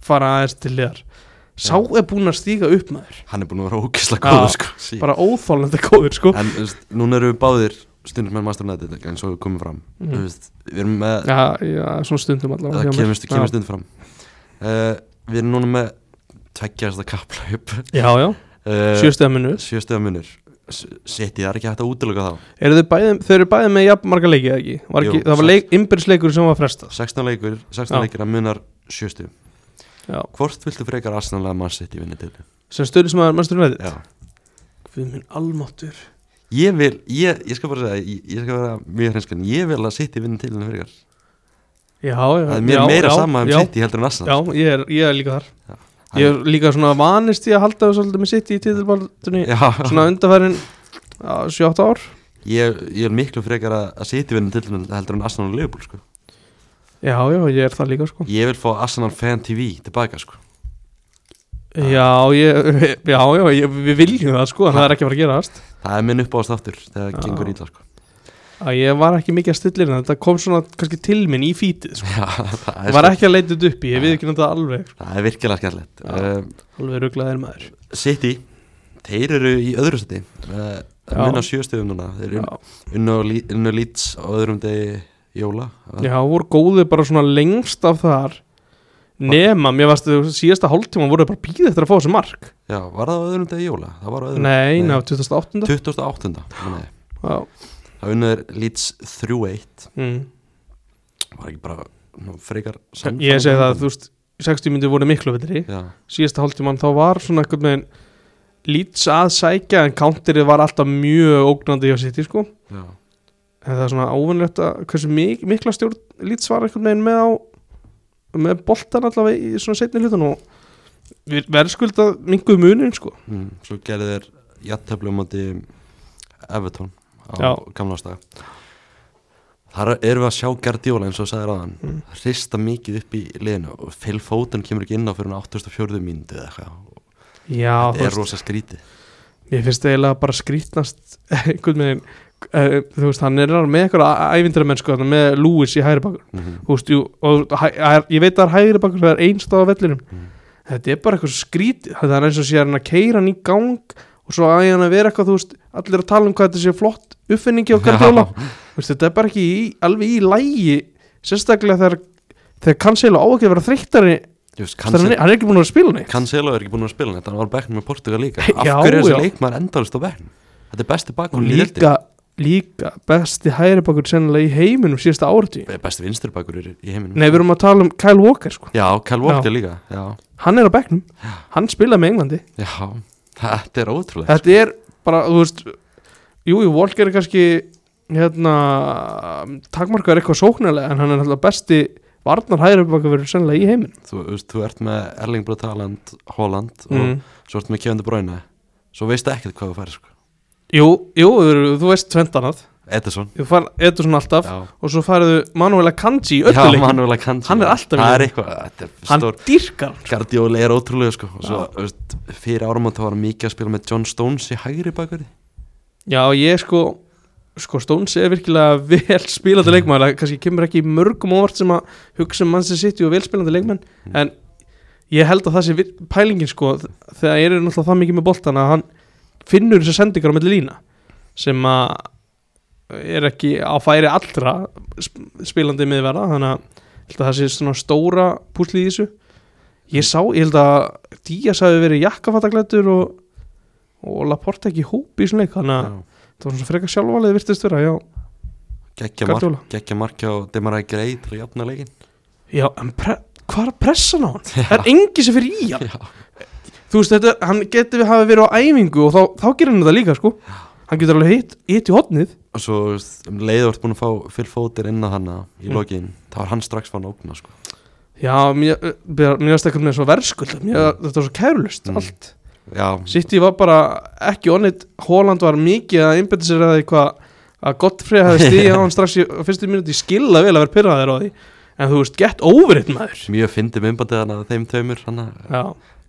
fara aðeins til liðar sá er búin að stíga upp maður hann er búin að vera ókislega Já, góður sko sí. bara óþólandi góður sko en þú veist, núna eru við báðir stundum með Master United eins og við komum fram Mhm. mm. veist, við erum með, já, já, svona stundum allavega hjá það mér. kemur, stu- kemur já. stund fram uh, við erum núna með tveggjast að kapplaup já, já, uh, sjöstuða minnu sjöstuða munur setið það er ekki hægt að útlöka þá eru þau bæði, þau eru bæði með jafn marga leiki eða ekki, var ekki Jú, það var leik, innbyrðsleikur sem var frestað 16 leikur, 16 Já. leikir að munar sjöstu já. hvort viltu frekar Arsenal að mann setið vinna til sem stuðnismæður mannstur næðið Já. við minn almáttur ég vil, ég, ég skal bara segja ég, ég skal vera mjög hreinskan, ég vil að setið vinna til henni frekar, já, já, það er mér já, meira já, sama um já, setið heldur en já, Arsenal ég er, ég er líka þar Já. ég er líka svona vanist í að halda þau svolítið með sitt í títilbaldunni já. svona undarfærin 7-8 ár Ég, ég er miklu frekar að, að sitja vinna til en- heldur en Arsenal og Liverpool sko. já, já, ég er það líka sko Ég vil fá Arsenal Fan TV tilbaka sko. já, ég, já, já, ég, við viljum það sko en það er ekki að fara að gera það Það er minn uppáðast aftur þegar Já. það gengur ítla sko. að ég var ekki mikið að stilla hérna þetta kom svona kannski til minn í fítið sko. Já, það, er var sko ekki að leita þetta upp í, ég við ekki náttúrulega alveg sko. það er virkilega skemmtilegt Já. uh, alveg rugglaðir maður City, þeir eru í öðru seti uh, Já. Minna sjöstöðum núna Þeir já, eru unnu á Lí- unnu Leeds á öðrum degi jóla já voru góðið bara svona lengst af þar nema, mér varst þau síðasta hálftíma voru þeir bara býðið eftir að fá þessu mark Já, var það á öðrum degi jóla? Það var á öðrum nei, nei. ná, 2008 28. meina ég. já, Það unnuður Leeds 3-1 mm. Var ekki bara nú, frekar sannfærandi? ég segi það að þú veist 60 myndi voru miklu betri Já, síðasta hálftíman þá var svona eitthvað með lýts að sækja en counterið var alltaf mjög ógnandi hjá City sko já en það er svona óvinnlegt að hversu mik mikla stjórn lít svara einhvern veginn með á með boltan allavega í svona setni hlutun og við verðskulda minguð munin sko mm, Svo gerði þeir jættöflu á móti Everton á Já. gamla staga Þar erum við að sjá Gardiola eins og sagði ráðan mm. Rista mikið upp í liðinu og Phil Foden kemur ekki inn á fyrir hann 84. mínútu eða eitthvað já, Það þú er veist, rosa skrítið mér finnst það eiginlega bara skrítnast einhvern veginn uh, þú veist, hann er með eitthvað ævindra menn sko með Lewis í hægri bakur mm -hmm. þú veist, jú, og hæ, hæ, ég veit að það er hægri bakur það er einstað á vellinum Mm. þetta er bara eitthvað svo skrítið það er eins og sé hann að keira hann í gang og svo að hann að vera eitthvað, þú veist, allir að tala um hvað þetta sé flott uppfinningi á Gardiola Veist, þetta er bara ekki í, alveg í lægi sérstaklega þegar þegar Cancelo á ekki að vera þreyttari Just, hann Cancelo, er- hann er ekki búin að vera að spila neitt Cancelo er ekki búin að spila neitt hann var á bekknum með Portugal líka Af Já, hverju er já. þessi leikmaður endalist á bekknum? Þetta er besti bakgrunn í líka, líka besti hægri bakur sennilega í heiminum síðasta áratí deildinni. Besti vinstri bakgrunn í í heiminum Nei, við erum að tala um Kyle Walker sko. Já, Kyle Walker líka Já, hann er á bekknum, hann spilaði með Englandi já. þetta er ótrúlega þetta er bara, þú veist jú, jú, Walker er kannski hérna, takmarkaður eitthvað sóknarlega en hann er alltaf besti varnar hægri bakur verið sennilega í heiminum þú, veist, þú ert með Erling Brot Haaland Holland og mm. svo ert með Kevin De Bruyne svo veistu ekkert hvað þú færi sko. Jú, jú, þú veist tventanað Edison þú far Edurson alltaf já, og svo fariðu Manuela Kanji í já ölluleikum Manuel Akanji Hann er alltaf það í- er eitthvað þetta er hann stór dýrkar hann. Gardiola er ótrúlega sko. og svo, þú veist, fyrir árum þá var hann mikið að spila með John Stones í hægri bakverði já ég sko sko Stones er virkilega vel spilandi leikmaður það kannski kemur ekki í mörgum óvart sem að hugsa um mann sem sitt og vel spilandi leikmenn en ég held að það sé vir- pælingin sko þ- þegar ég er náttúrulega það mikið með boltan að hann finnur þessar sendingar á milli lína sem að er ekki á færi allra sp- spilandi miðverða þannig að, ég held að það sé svona stóra púsli í þessu ég sá, ég held að Díaz hafi verið jakkafattaklættur og, og Laporta ekki í hópi í svona leik þannig að það var svona frekar sjálfvalið virtist vera já, geggja mark, Guardiola. geggja mark á Demarai Grey til að jafna leikin já en pre, hvað er að pressa hann á hann? það er engi sem fyrir í hann þú veist þetta, hann getur við hafa verið á æfingu og þá, þá gerir hann þetta líka sko hann getur alveg hitt, hitt í hotnið og svo þú veist, um leiður ert búin að fá Phil Foden inn á hanna í Mm. lokin þá var hann strax fann að ógna sko. já, mér eh, mér mér varst eitthvað með svo verðskuld mér, þetta var svo kærlust Mm. allt já, City var bara ekki onnit Holland var mikið að einbetta sér að eitthvað að Gottfried hefði stíði á hann strax í á fyrstu mínúti ég skilla vel að vera pyrraðir á því en þú veist, get over it maður mjög fyndi myndbandið hann að þeim tveimur hann já,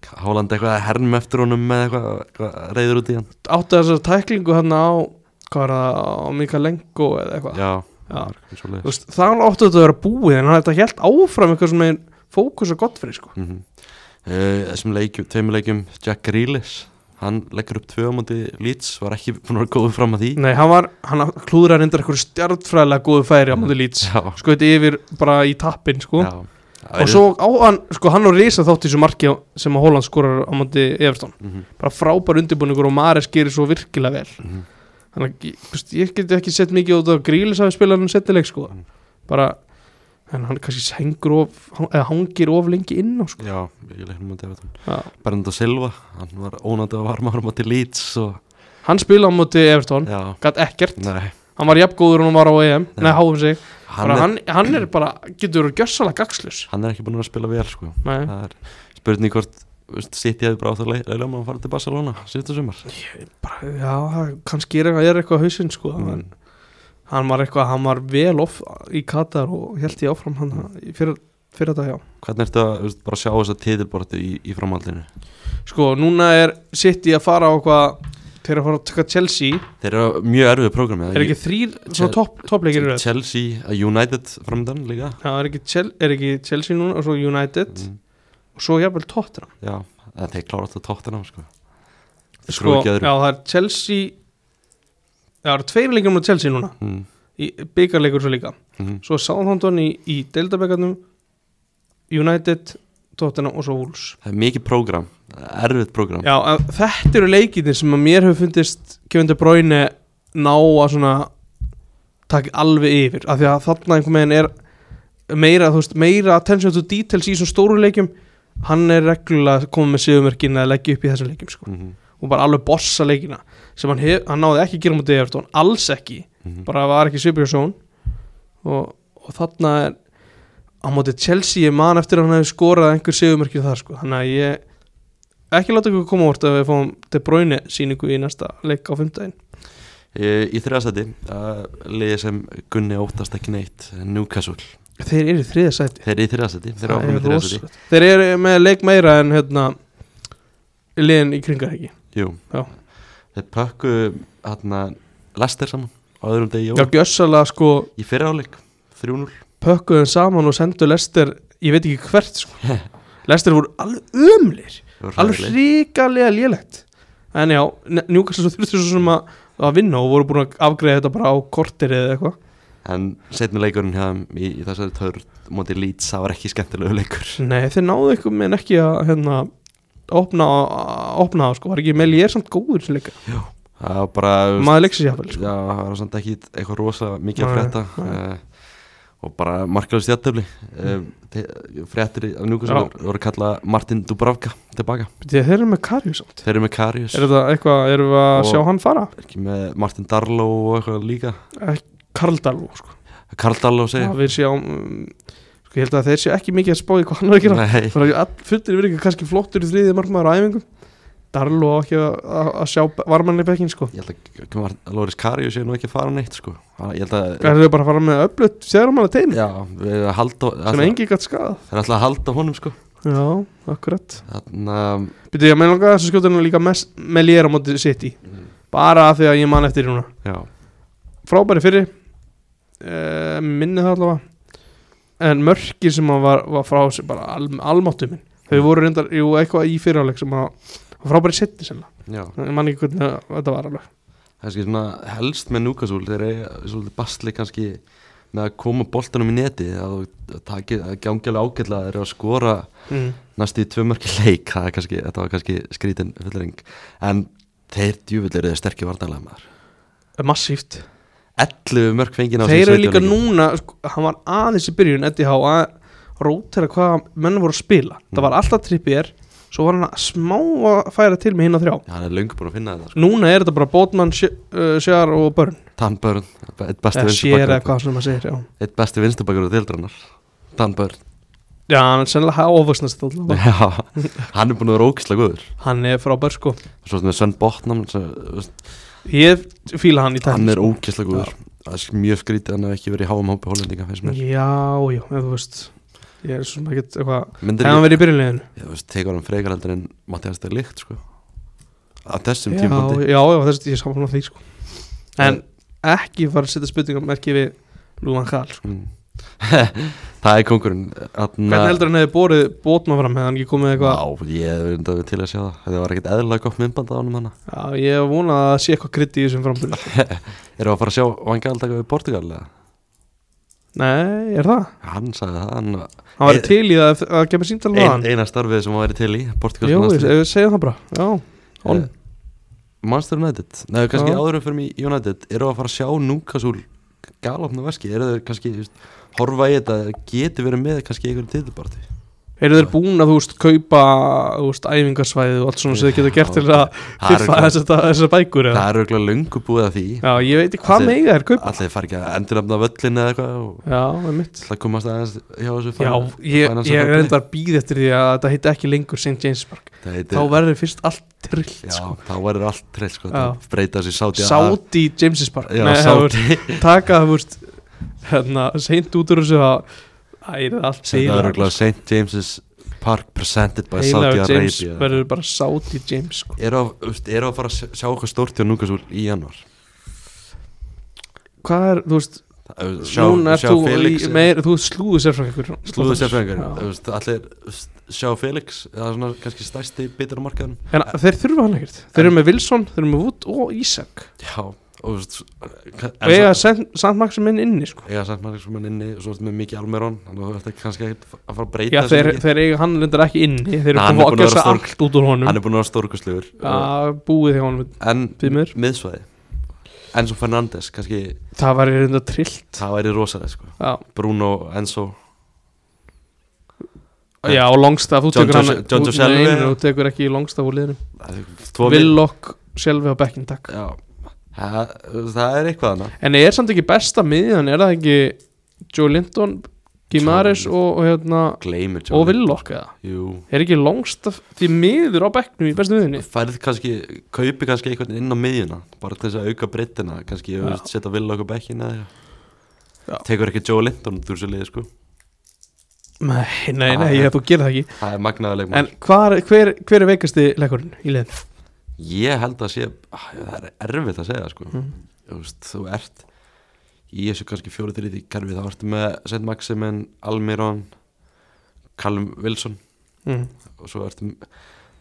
Haaland eitthvað að herm eftir honum með eitthvað, eitthvað reyður út í hann átti þessar tæklingu hann á hvað var það, Mikalenko eða eitthvað já, Já. það er eitthvað svoleiðis. Þú veist, það var áttu þetta að vera búið en hann þetta held áfram eitthvað svona með fókus og gott fyrir sko mm Eh, þessum leikjum, tveimur leikjum Jack Grealish, hann leggur upp tvö á móti Leeds, var ekki búin að vera góður fram að því Nei, hann var, hann klúðra reyndar eitthvað stjartfræðilega góðu færi á múti lýts já, sko þetta yfir bara í tappin sko Mm. já. og svo á hann, sko hann og Risa þátt í þessu marki á- sem að Holland skorar á múti Evertón Mhm. bara frábær undirbúningur og Mares gerir svo virkilega vel Mhm. þannig að ég- þú veist, ég get ekki sett mikið út af grílis að spila hann settileg sko Mhm. bara, en hann kannski hengur of, hang- eða hangir of lengi inn á sko Já, ég leiknum að defa það Já. Bernardo Silva, hann var ónandi að varma árum á til Leeds og hann spila á múti Evertón, já, gætt ekkert nei, hann var jafngóður og hann var á EM, Já. nei háum sig hann, hann, er, hann, hann er bara, getur verið gjössalega gagslus hann er ekki búin að spila vel sko. nei, það er spurning hvort veist, sitt ég hefði bara á það leila um að fara til Barcelona síðustu sumar bara, já, það kannski er eitthvað, er eitthvað á hausinn sko, Mm. en hann var eitthvað, hann var vel off í Katar og held ég áfram hann Mm. í fyrir, fyrir þetta, já Hvernig ertu að veist, bara sjá þessa titilbortu í, í framhaldinu? sko, núna er City að fara á eitthvað þeir eru að fara að taka Chelsea Þeir eru á mjög erfið programmi er ekki þrýr, Chel- svona topp, toppleikir í röð? Chelsea, eh, United framöndan líka já, er ekki, Chel, er ekki Chelsea núna og svo United mm, og svo jafnvel Tottenham Já, en þeir klára alltaf tóttina sko. Þeir sko, trúa ekki já, öðru það er Chelsea já, það eru tveir leikir með Chelsea núna mm, í byggarleikur svo líka mm, svo er Southampton í, í deildabekkarnum United, Tottenham og svo Wolves Það er mikið program, erfið program Já, en þetta eru leikinir sem að mér hefur fundist Kevin De Bruyne ná að svona takk alveg yfir, af því að þarna einhvern veginn er meira, þú veist, meira attention to details í þessum stóru leikjum hann er reglulega komið með sigurmerkin að leggja upp í þessum leikjum, sko, Mhm, og bara alveg bossa leikina, sem hann, hef, hann náði ekki að gera mútið Evertón, alls ekki, mhm. bara var ekki svipið á sjón og, og þarna er á móti Chelsea, ég man eftir að hann hefði skorað einhver sigurmerkir þar sko þannig að ég ekki láta ykkur koma úr að við fáum De Bruyne síningu í næsta leik á fimmtæðin Eh, Í þriðastæti, uh, liðið sem Gunni óttast ekki neitt, Newcastle þeir eru í þriða sæti Þeir eru í þriðastæti, þeir eru Það áfram í er þriðastæti rosalegt. þeir eru með leik meira en hérna liðin í kringar ekki Jú, Já. þeir pökku hérna Lester saman á öðrum degi já, jól gjössalega sko Í fyrra áleik, 3-0 pökkuðum saman og sendu Lester ég veit ekki hvert sko Lester voru alveg ömlir Það var alveg hræðilegt. hrikalega lélegt en já, Newcastle þurftu svo sem að, að vinna og voru búin að afgreða þetta bara á kortir eða eitthvað En setni leikurinn hjá þeim í, í þessari törn móti Leeds, það var ekki skemmtilegu leikur nei, þeir náðu eitthvað með ekki að hérna, opna, opna það, sko, var ekki Meli er samt góður sem leika, Það var bara þú veist, maður leiksa sér jáfnvel sko. Já, það var samt ekki eitthvað rosa mikið að Nei, frétta nei. uh, og bara markalist jættöfli Mm. uh, fréttir af Newcastle voru kallað Martin Dubravka tilbaka Bíddu, þeir eru með Karius samt Þeir eru með Karius, er þetta eitthvað, erum við að Og- sjá hann fara Eh, ekki með Martin Darlow og eitthvað líka Karl Dalú, sko, Karl Darlow segja að við sjáum um, sko, ég held að þeir séu ekki mikið að spáði hvað hann er að gera Nei, Það er fullir yfir ykkur kannski flottur í þriðið margmaður á æfingu Darlu á ekki að, að að sjá varmann í bekkin sko ég held að- að Mar- Loris Karius er nú ekki að fara neitt sko Hann- Ég held að Það er þau bara að fara með öflut fjármála teimi Já, við erum að halda sem ætla- engi gætt skadað Þeir ætla að halda honum sko Já, akkurat Þannig að Býtu ég að meina langaði þess að skjóta hennar líka með lýra á móti City bara af því að ég man eftir hérna Já, Frábæri fyrir uh, minni það allavega en mörkir sem hann var, var frá sig bara al, almáttu minn þau voru reyndar, jú, eitthvað í fyriráleik sem að var frábæri setni sem já það ég man ekki hvernig þetta var alveg Það er kannski svona helst með Núkasúl þeir eiga svolítið bastli kannski með að koma boltanum í neti að þú takir, það gangi alveg ágætlega að þeir eru að skora mm. næstu í tvö mörki leik það er kannski, þetta var kannski skrítin fullering en þeir djúvill eru þeir sterkir vartalega maður massíft 11 mörk fengið á þeir þessum eru líka 17 leikjum. núna sko, hann var aðeins í byrjun Eddie Howe að rótera hvað menn voru að spila það Mm. var alltaf trippir svo var hann að smá að færa til með hinn á þrjá hann er löngu búin að finna þetta sko. núna er þetta bara Bótmann, Sjar og Börn Dan Börn, eitt besti eða Sjar eða vinstubakur hvað sem maður segir já, eitt besti vinstubakur og dildranar Dan Börn, já hann er sennilega hafa ofvarsnast alltaf. já, hann er búin að vera ókislega góður hann er frábær sko svo sem er Sven Botnam sem, þú veist, ég fíla hann í hann tækni er ókesslega góður það er sk- mjög skrítið að hann hef ekki verið í háum hópi hollendinga finnst mér já, sko. já, ef þú veist ég er svona ekkert eitthvað myndir hefði hann ég, verið í byrjunleginu ég þú veist, tegur hann frekar heldur en Mattias de Ligt sko á þessum já, tímapunkti já, já, þess, ég er saman á því sko en ekki fara að setja spurningamerki við Lúan Karl sko. Mm. það er kongurinn Þarna- hvernig heldur hann hefði borið bótma fram hefði hann ekki komið eitthvað Já, ég er undað til að sjá það Það var ekkert eðlilega gott myndband á honum hana Já, ég hef vonað að það sé eitthvað krydd í þessum framburði Erum við að fara að sjá vangal taka við Portugal eða? Nei, er það? Hann sagði það hann, Hann væri Ein- til í að, að gefa síntal með ein, hann Eina starfið sem hann væri til í Portugal Jú, næstu. ég segja það bara Já, on Eh, Manchester United Nei, kannski Já. áðurum fyrir mig United Erum við að fara að sjá Núkasúl galopna veski Eru þau kannski, þú veist, horfa í þetta Geti verið með kannski einhverju titibartu Eru þeir búin að, þú veist, kaupa, þú veist, æfingarsvæði og allt svona sem þeir geta gert til að Það fyrfa er þessar bækur eða? auðvitað löngu búið að því Já, ég veit ekki hvað Allir- meiga þeir kaupa Allir fari ekki að endurnafna völlin eða eitthvað og Já, með mitt Það komast aðeins hjá þessu Já, fan- ég, finance ég er company. reyndar býð eftir því að þetta heiti ekki lengur St. James Park Það heitir- Þá verður fyrst allt trillt, Já, sko þá verður allt trill sko, Já. það breyta þessi sáti Sáti James's Park Já, Nei, það voru- sáti taka þú veist hérna, seint út úr þessu að það er allt Þetta verður gláð St. James's Park presented by Saudi heila James Arabia verður bara Saudi James sko. Eru að, þú veist, eru að fara að sjá- sjá eitthvað stórt hjá Núkasúl í januar hvað er, þú veist, Það- Sjá, núna er sjá þú Felix í, meir, þú slúðu sér frá einhver Slúðu sérfræðingar Já. þú veist, Allir þú veist, sjá Felix Það er svona kannski stærsti bitur á markaðan en þeir þurfa hann ekkert, þeir eru með Wilson þeir eru með Wood og Isaac Já og, þú veist, og eiga samt maksum inn inni sko. Ega samt maður sem hann inni og Svo ertu með mikið Almeron Þannig að þetta er kannski ekkert að fara að Já, breyta þessu þeir, mikið. þeir eiga hann lindar ekki inni þeir eru Nei, hann er komið að búinn að gjösa vera allt út úr honum Hann er búin að vera stórkustlegur að búið hjá honum En Því miður. miðsvæði Enzo Fernandes kannski það væri reynda trill Það væri rosalega sko já, Bruno, Enzo já og Longstaff, þú John tekur hann Jose- John út- Jose nei, Almeida. nei, þú tekur ekki Longstaff úr liðinu tvo vil- Villok sjálfi á bekkin takk Já Það, það er eitthvað hana En er samt ekki besta miðjan Er það ekki Joe Linton Gimaris Joe og, og hérna Gleimur Og Villok eða Jú Er ekki longstaff því miður á bekknum í bestu miðjunni Færið kannski, kaupi kannski eitthvað inn á miðjuna Bara til þess að auka breytina Kannski Já. ja. setja vill okkur bekkin eða Já. eitthvað. Tekur ekki Joe Linton út úr þessu liði sko Nei, nei, nei, Ah, ég, þú gerir það ekki Það er magnaðarleik En hvar, hver, hver er veikasti leikurinn í liðin? Ég held að sé ah, Það er erfitt að segja sko Mhm. þú, veist, þú ert í þessu kannski fjóri þriði kerfi Þá ertu með Seth Maximin, Almiron Callum Wilson Mm. og svo ertu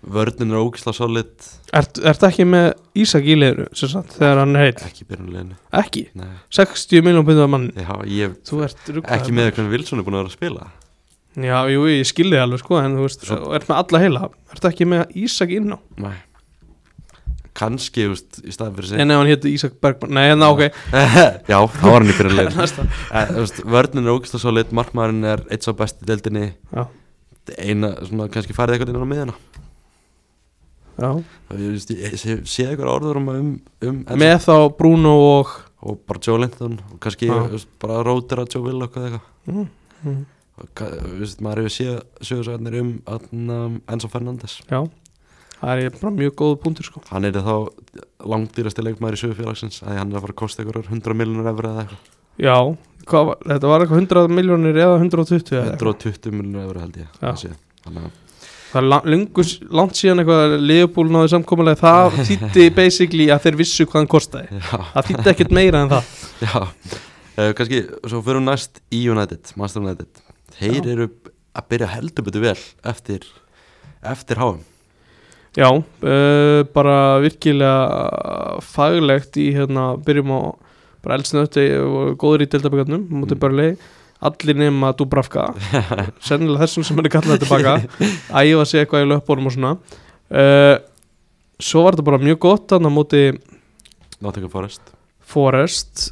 vörnin er ógisla solid Ert, ert ekki með Ísak í liðinu sem sagt, þegar hann er heill? ekki í byrjunarliðinu Ekki, Nei, 60 miljón pundar mann ég hafa, ég Þú ert rugglaður ekki með hvernig Wilson er búin að vera að spila Já, jú, ég skilði alveg sko En þú veist, Svo- þú ert með alla heila Ert ekki með Ísak inn á? Nei kannski, þú veist, í staðan fyrir sig En ef hann hétti Ísak Bergman Nei, en ok já, þá var hann í byrjunarliðinu Næsta. En, þú veist, vörnin er ógisla solid, markmaðurinn er eitt sá besti deildinni Já. eina, svona, kannski farið eitthvað inn á miðjana Já. og ég, veist, ég sé, sé eitthvað orður um, um, um Með þá Bruno og og bara Joe Linton og kannski, Já. þú veist, bara rótir að Joe Will og eitthvað mm, mm, Og ka- þú veist, maður hefur séð sögursögarnir um þarna, Enzo Fernandes Já Það er bara mjög góð punktur sko hann er þá langdýrasti leikmaður í sögurfélagsins að hann er að fara að kosta ykkur 100 miljonur efra eða eitthvað Já hvað, var- Þetta var eitthvað 100 miljónir eða 120 eða eitthvað. 120 miljonur efra held ég Já. að sé. þannig að Það er la- löngu s- langt síðan eitthvað Leopold náði samkomulega Það þýtti basically að þeir vissu hvað hann kostaði já, Það þýtti ekkert meira en það já. Uh, kannski, svo förum næst í United Master United, þeir Já. eru að byrja heldur betur vel eftir eftir háum Já uh, Bara virkilega faglegt í hérna Byrjum á bara eldsnötti og góður í deltaböggarnum Mútið Mm. börlegi Allir nema Dubravka sennilega þessum sem hann er kallað tilbaka æfa sig eitthvað í löpunum og svona uh, svo var þetta bara mjög gott þannig að móti Nottingham Forest Forrest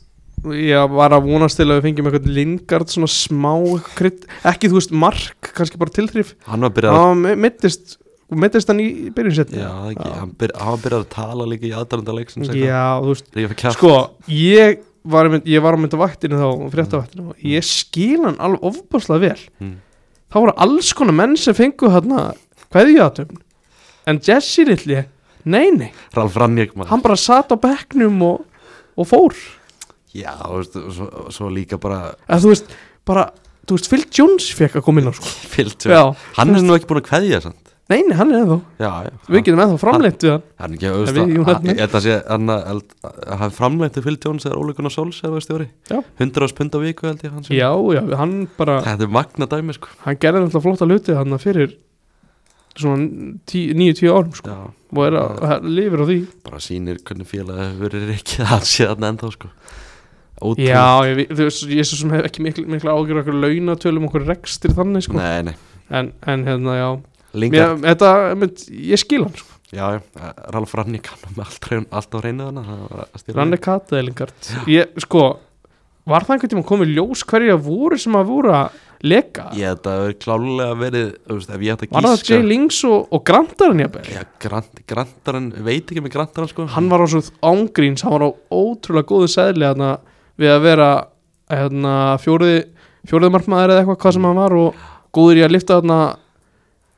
ég var að vonast til að við fengjum eitthvað lingard svona smá krydd ekki þú veist mark, kannski bara tilþrif hann var byrjað að hann mittist mittist hann í byrjunsetni Já, það ekki, hann, byrja, hann var byrjað að tala líka í aðdæranda leiksins eitthvað. já þú veist Líka fyrir kjafti. sko, ég var, að mynd, ég var að mynda vaktinu þá, fréttavaktinu og ég skil hann alveg ofbáslega vel Mm. þá voru alls konar menn sem fengu hérna kveðjuatöfn en Jesse Rilli, nei nei Ralf Rannjökk maður hann bara satt á bekknum og, og fór Já, þú veist, og svo, og svo líka bara en þú veist, bara þú veist, Phil Jones fekk að koma inn á sko fyllt já, Hann er nú ekki búin að kveðja samt Nei, nei, hann er ennþá já, já Við getum ennþá framleitt við hann hann ekki, En við, Jón Arnar. auðvitað þetta sé, hann hafi framlengt til Phil Jones eða Ole Gunnar Solskjaer eða veist þjóri Já. 100 ást pund á viku held ég hans Já, já, hann bara þetta er magna dæmi sko Hann gerði náttúrulega flotta hluti hann fyrir Svona 9-10 árum sko já, Og er að, að lifir á því bara sýnir hvernig félagi hefur verið ekki að hann sé þarna ennþá sko Ótrúlegt. Já, ég, vi- þú veist, ég er svo sem hef ekki mikla, mikla ágjör okkur launatölum okkur rekstir þannig sko. nei, nei, en, en hérna, já Lingard Mér, þetta, mynd, ég skil hann sko. já, já, Ralf Rannik hann með allt, hrein- allt á reynu þannig að það var að stila Ranni Kata Elingard ég, sko, var það einhvern tíma komið ljós hverja voru sem að voru að leka ég þetta hefur klálega verið þú veist, ef ég ætti var að það Jay Lings og, og Grandarinn jafnvel Já, grant, grantarinn, veit ekki með grantarinn sko hann var á svo ángríns hann var á ótrúlega góðu sæðli hérna, við að vera hérna, fjóriði, fjóriði markmaður eða eitthvað hvað sem hann var og góður í að lifta hérna,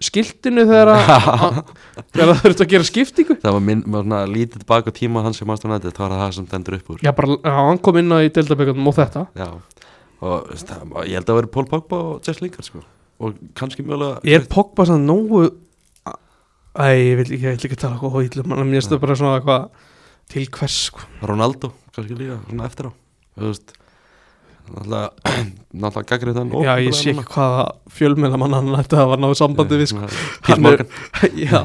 skiltinu þegar að- að- þegar það þurfti að gera skiptingu Það var minn, maður svona lítið bak á tíma hans sem maður nættið, það var það sem dendur upp úr já bara, já, hann kom inn á í deildabökunum og þetta Já. og veist, það, ég held að það verið Pól Pogba og Jess Lingard sko og kannski mögulega er Pogba sann nógu Æ, ég vil ekki, ég vil ekki tala eitthvað hóðillum um en mér stöð bara svona eitthvað til hvers sko. Ronaldo, kannski líka, svona eftir á þú veist náttúrulega, náttúrulega gagrið þann Já, ég sé ekki hvaða fjölmennar mann hann ætti að var náðu sambandi við sko. Pís Hann er- Morgan, Já,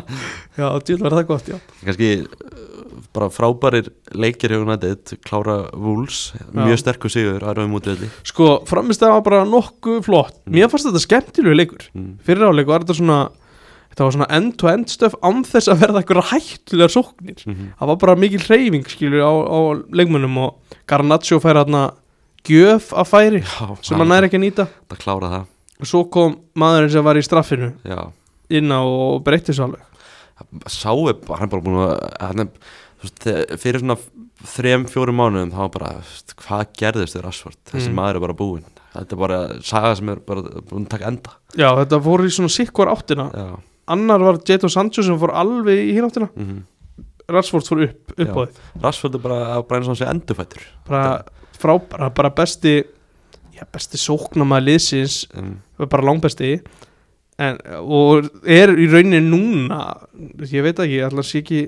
já, djúl var það gott, já kannski uh, bara frábærir leikir hjá United, klára Wolves, mjög sterkur sigur um aðraðum út við þetta Sko, framist það var bara nokkuð flott Mér fannst þetta skemmtilegu leikur Mm. Fyrir áleiku var þetta svona Þetta var svona end-to-end stöf án þess að verða eitthvað hættulegar sóknir Mhm. Það var bara mikil hreyfing skilur á, á leikmönnum og Garnaccio fær þarna gjöf að færi sem hann er ekki að nýta að klára það, og svo kom maðurinn sem var í straffinu já inn á og breytti svo alveg sá er bara, hann er bara búin að hann er, þú veist, þe- fyrir svona þrem, fjórum mánuðum þá var bara þú veist, hvað gerðist þér Asford, þessi Mm. maður er bara búinn þetta er bara saga sem er bara búin að taka enda Já, þetta fór í svona sikkvar áttina já, Annar var Jadon Sancho sem fór alveg í hinn áttina mm Rashford fór upp, upp Já. á því Rashford er bara að bræna svona sér endurfættur bara frábæra, bara besti já, besti sóknamaður liðsins um, bara langbesti en, og er í rauninni núna ég veit ekki, allar sé ekki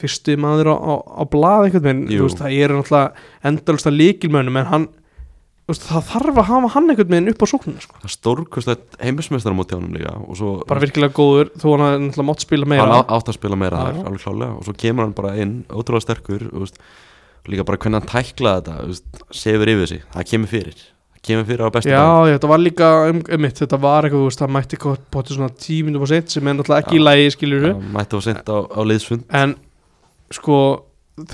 fyrstu maður á, á, á blað einhvern veginn, Jú. þú veist, það er náttúrulega endalust að líkilmönum en hann þú veist, það þarf að hafa hann einhvern veginn upp á sóknuna sko. það er stórkostlegt heimismestara móti honum líka og svo bara virkilega góður, þó hann hafi náttúrulega mátt spila meira hann á- átt að spila meira Já, þar, já. alveg klálega og svo kemur hann bara inn, ótrúlega sterkur þú veist, og líka bara hvernig hann tæklaði þetta þú veist, sefur yfir sig, það kemur fyrir það kemur fyrir á bestu dag Já, já, þetta var líka um, um mitt, þetta var eitthvað, þú veist, það mætti eitthvað potið svona tíminu og set sem er náttúrulega ekki Já. í lægi, skilur Það mætti á sent á, á liðsfund en sko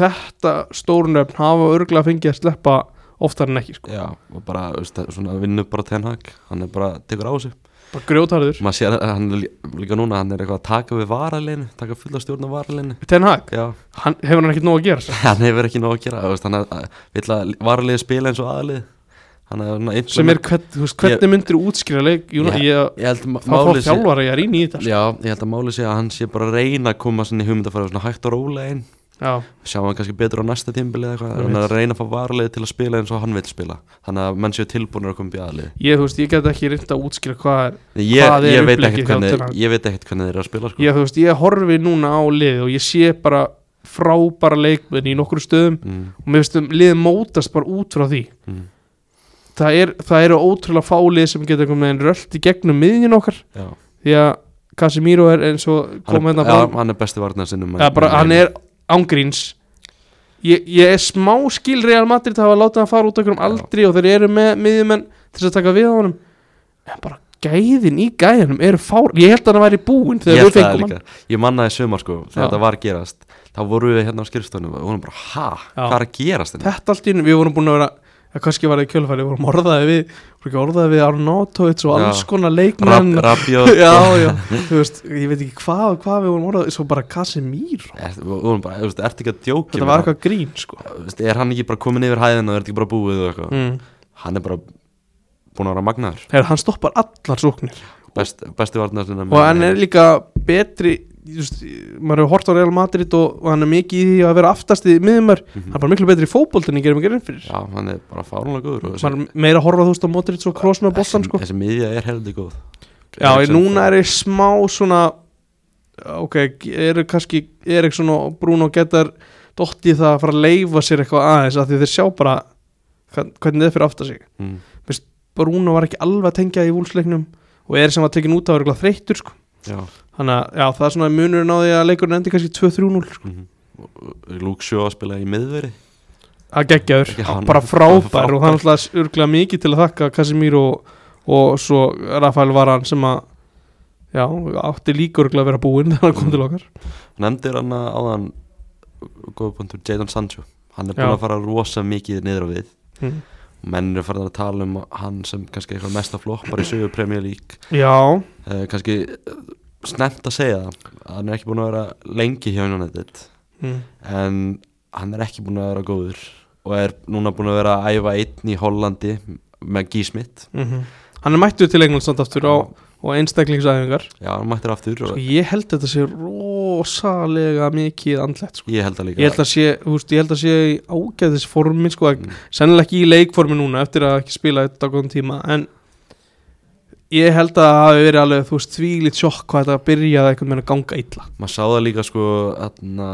þetta stórnöfn hafa örgulega fengið að sleppa oftar en ekki sko. Já, og bara, veist, það- svona vinnur bara Ten Hag hann er bara, tekur á sig bara grjótarður, maður sér að hann er lí- líka núna, hann er eitthvað að taka við varaleginu, taka fulla stjórn af varaleginu Ten Hag já, hann, hefur hann ekkert nóg að gera sko. hann hefur ekki nóg að gera þú veist, hann er- vill að varalegi spila eins og aðalið hann er svona sem er hvern, þú veist, hvernig myndir útskýra leik Júna, ég, ég held ma- þá fór málið sé- þjálfara ég er inn í þetta sko. já, ég held að máli sé að hann sé bara að reyna að koma sinni hugmynd að fara svona hægt og rólega inn já, sjá hann kannski betur á næsta tímbili eða eitthvað, Einmitt. hann er að reyna að fá varalegi til að spila eins og hann vil spila þannig að menn séu tilbúinur að koma upp í aðalið ég, þú veist, ég get ekki reynda að útskýra hvað er ég, Hvað er ég, veit uppleggið ekkert hjá Ten Hag? hvernig- ég veit ekkert hvernig þeir eru að spila sko. ég, þú veist, ég horfi núna á lið og ég sé bara frábæra leikmenn í nokkru stöðum mm. og mér veist um liðið mótast bara út frá því Mm. það, er, það eru ótrúlega fálið sem geta einhvern veginn rölt í gegnum miðin okkar Já, því að Casemiro er eins og kom hann, hérna er, bara, já, hann er besti varnar sinnum ja, bara hann er ángríns ég, ég er smá skil Real Madrid að hafa látið hann fara út okkur um Já. aldri og þeir eru með miðjumenn til þess að taka við á honum en bara gæðin í gæðinum eru fár ég held að hann væri búinn Ég þegar held við það fengum hann líka, ég manna það í sumar sko Þegar Já. þetta var að gerast Þá vorum við hérna á skrifstofunum og vorum bara Ha, Já. hvað er að gerast hérna?" þetta? þetta allt í einu, við vorum búin að vera eða kannski var það í kjölfæri, við vorum orðaði við vorum ekki orðaði við Arnautovits og Já. alls konar Rab, leikmenn rabjó já, já, þú veist, ég veit ekki hvað hvað við vorum orðaði, svo bara Casemiro Við vorum bara, þú veist, ertu ekki að djókja þetta var eitthvað grín, sko eitthvað Er hann ekki bara komin yfir hæðina og er þetta ekki bara búið og eitthvað mm. Hann er bara búin að vera magnaður Heru, hann stoppar allar sóknir Best, Besti varnar sinnum og hann er líka betri just, maður hefur hort á Real Madrid og, og hann er mikið í því að vera aftast í miðumar hann er bara miklu betri í fótbolt en ég gerum ekki reynd fyrir Mhm. Já, hann er bara fárunlega góður og þessi- maður er meira að horfa þú veist á Modric og Kroos með sko. boltan þessi- sko. Þessi miðja er heldig góð já, ég, núna er ég smá svona ok, eru kannski Eriksson og Bruno getar dotti það að fara að leifa sér eitthvað aðeins af því þeir sjá bara hvern- hvernig þeir fyrir aftar sig mm. Vist, Bruno var ekki alveg að tengja í vúlsleiknum og er sem var tekin út af að vera þreyttur sko. Já þannig að já, það er svona munurinn á því að leikurinn endi kannski 2-3-0 sko. Luke Shaw að spila í miðveri að geggjaður, Já, hann- bara frábær frábær. og það er náttúrulega örglega mikið til að þakka Casimiro og, og svo Rafael Varan sem að já, átti líka örglega að vera búinn þegar hann kom til okkar Nefndir hann að áðan góða punktur, Jadon Sancho Hann er Já. búin að fara rosa mikið niður á við Mm. Menn eru farin að tala um hann sem kannski eitthvað mesta floppar í sögu Premier League já, uh, Kannski eh, snemmt að segja það Hann er ekki búin að vera lengi hjá United mm. En hann er ekki búin að vera góður Og er núna búin að vera að æfa einn í Hollandi með Gísmitt Mhm. Hann er mættur til England samt aftur á, og einstaklingsæðingar Já, hann mættir aftur Sko og ég held þetta sé rosalega mikið andlegt sko. ég held það líka Ég held að sé, þú veist, ég held að sé í ágæðis formi sko, Mm. mm. sennilega ekki í leikformi núna eftir að ekki spila þetta á góðum tíma en ég held að það hafi verið alveg, þú veist, þvílít sjokk hvað þetta byrjaði einhvern veginn að ganga illa maður sá það líka sko aðna,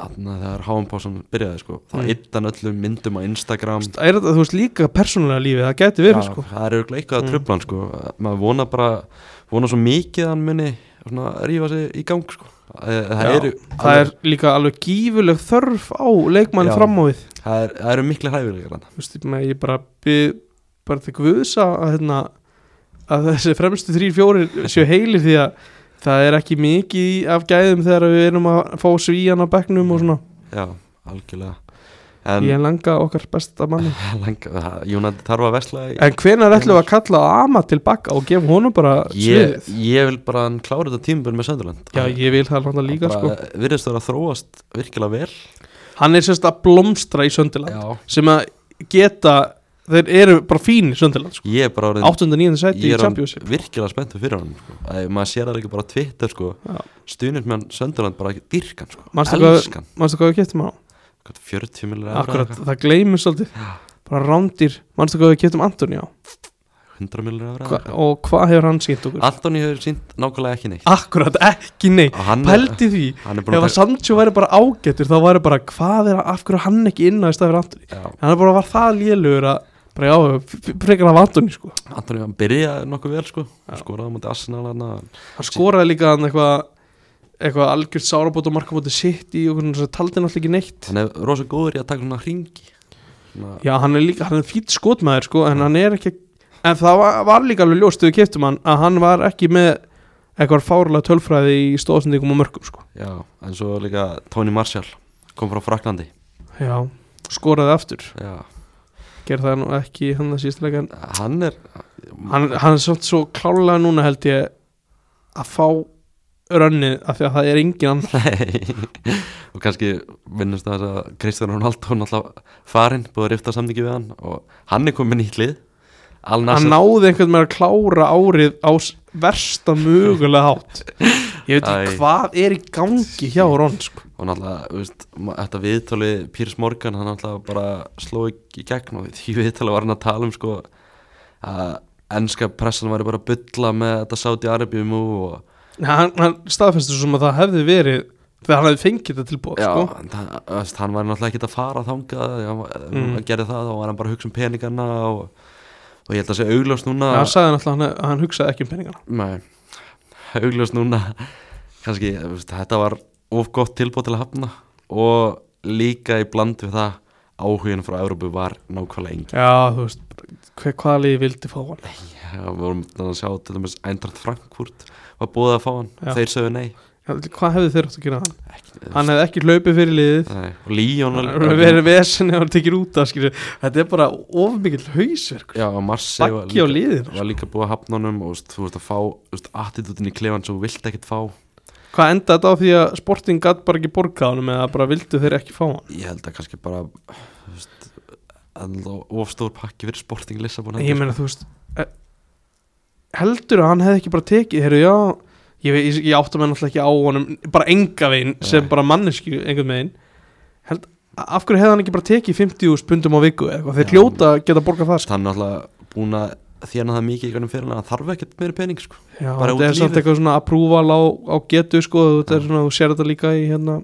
aðna þegar Háanpásan byrjaði sko þá Mm. mm. hann öllum myndum á Instagram Það er þetta, þú veist, líka persónulega lífið, það gæti verið Já, sko það er auðvitað eitthvað Mm. að tröfla hann sko maður vona bara, vona svo mikið að hann muni svona rífa sig í gang sko það, það, Já, eru, Það er líka alveg gífuleg þörf á leikmann Já. fram á við það, er, það eru miklu hæfilegar hann þú veist, ég meina, ég bara byrð bara til guðs að, að, hérna, að þessi fremstu þrýr fjórir séu heilir því að það er ekki mikið í- af gæðum þegar við erum að fá svíjan á bekknum og svona já, algjörlega en ég langa okkar besta manni langa, það- United þarf að vesla í- en hvenær ætlum við að kalla á Ama tilbaka og gefa honum bara ég, sviðið ég vil bara að hann klára þetta tímabönd með Sönderland já ég vil það náttúrulega líka sko virðist vera að þróast virkilega vel hann er sérst að blómstra í Söndiland sem að geta þeir eru bara fín í Söndiland sko. ég er bara orðin 8.9. sæti ég í er hann Championship virkilega spenntur fyrir hann sko. að maður sér það ekki bara á Twitter sko. Já. stunismenn Sönderland bara ekki dyrkan sko. Manstu hvað- elskan, mannstu hvað við getum hann á? hvað, 40 millir Akkurat, það gleymur svolítið bara rándir, mannstu hvað við getum Antoni á 100 millir Hva, ára og hvað hefur hann sínt okkur? Antoni hefur sínt nákvæmlega ekki neitt Akkurat, ekki nei, Og hann, pældi því hann er búin ef að að Sancho væri bara ágættur þá væri bara hvað er, af hverju er hann ekki inn á í staðið fyrir Antoni taka- já, hann er bara var það lélugur að bara já, f- f- frekar af Antoni sko Antoni hann byrjaði nokkuð vel sko. skoraði á mútið Arsenal hann hann skoraði líka hann eitthvað eitthvað algjörð sárabót og markabóti sitt í og hvernig þess að taldi náttúrulega ekki neitt hann er rosa góður í að taka svona hringi svona, já, hann er líka, hann er fýtt skotmaður sko en hann er ekki, en það var, var líka alveg ljóst þegar við keftum hann að hann var ekki með eitthvað fárlega tölfræði í stóðsendingum og mörgum sko já, en svo líka Tony Marshall kom frá Fraklandi Já, skoraði aftur já, Gerði það nú ekki í hann það sístilega en hann er hann, hann er svolítið svo klálega núna held ég að fá rönnið af því að það er engin annar Nei, og kannski vinnast það að Kristján Ronaldo er náttúrulega farinn, búið að rifta samningi við hann og hann er komið nýtt lið Al Hann Nassr, náði einhvern með að klára árið á s- versta mögulega hátt Ég veit Æ. ekki hvað er í gangi hjá Ron sko. og náttúrulega, þú veist, ma- þetta viðtalið Pírs Morgan, hann náttúrulega bara sló í í gegn og því viðtalið var hann að tala um sko að ennska pressan væri bara að bulla með þetta Saudi Arabia mú og Hann, hann staðfestur sem að það hefði verið þegar hann hefði fengið þetta tilbúið Já, sko. en það, þú veist, hann var náttúrulega ekkert að fara þangað, ef hann- ef Mm. hann gerði það þá var hann bara að hugsa um peningana og, og ég held að sé augljóst núna Já, Hann sagði náttúrulega að hann, hann hugsaði ekki um peningana Nei, augljóst núna kannski, þú veist, þetta var of gott tilbúið til að hafna og líka í bland við það áhugin frá Európu var nákvæmlega engin Já, þú veist, hve- hvaða liði vildi fá hann Já, við vorum að sjá til dæmis Eindrart Frankfurt var búið að fá hann Já. þeir sögðu nei, Já, Hvað hefði þeir átt að gera hann? Ekki- Hann hefði ekki hlaupið fyrir liðið nei. og Líón verið vesenni og hann tekir út af skilur. þetta er bara of mikill hausverk Já, og Marseille var baggi á sko. líka- liðin var líka búið að hafna honum og þú veist, þú veist að fá þú veist, attitútin í klefan sem þú vilt ekkert fá hvað enda þetta á því að sporting gatt bara ekki borgað honum eða bara vildu þeir ekki fá hann ég held að kannski bara þú veist, ofstór pakki fyrir Sporting Lissabon ég meina þú veist eh, heldur að hann hefði ekki bara tekið heyrðu já ég, veit- ég, ég átta mig náttúrulega ekki á honum bara enga veginn Nei. sem bara mannesku einhvern veginn Held, af hverju hefði hann ekki bara tekið 50 pundum á viku eða eitthvað þeir Já. hljóta að geta borgað það sko. hann er náttúrulega búin að þjána það mikið í hvernig fyrir hann þarf ekkert meiri pening sko. Já, Bara út þetta í er samt lífið. eitthvað svona approval á, á getu sko, þetta er svona, þú sér þetta líka í hérna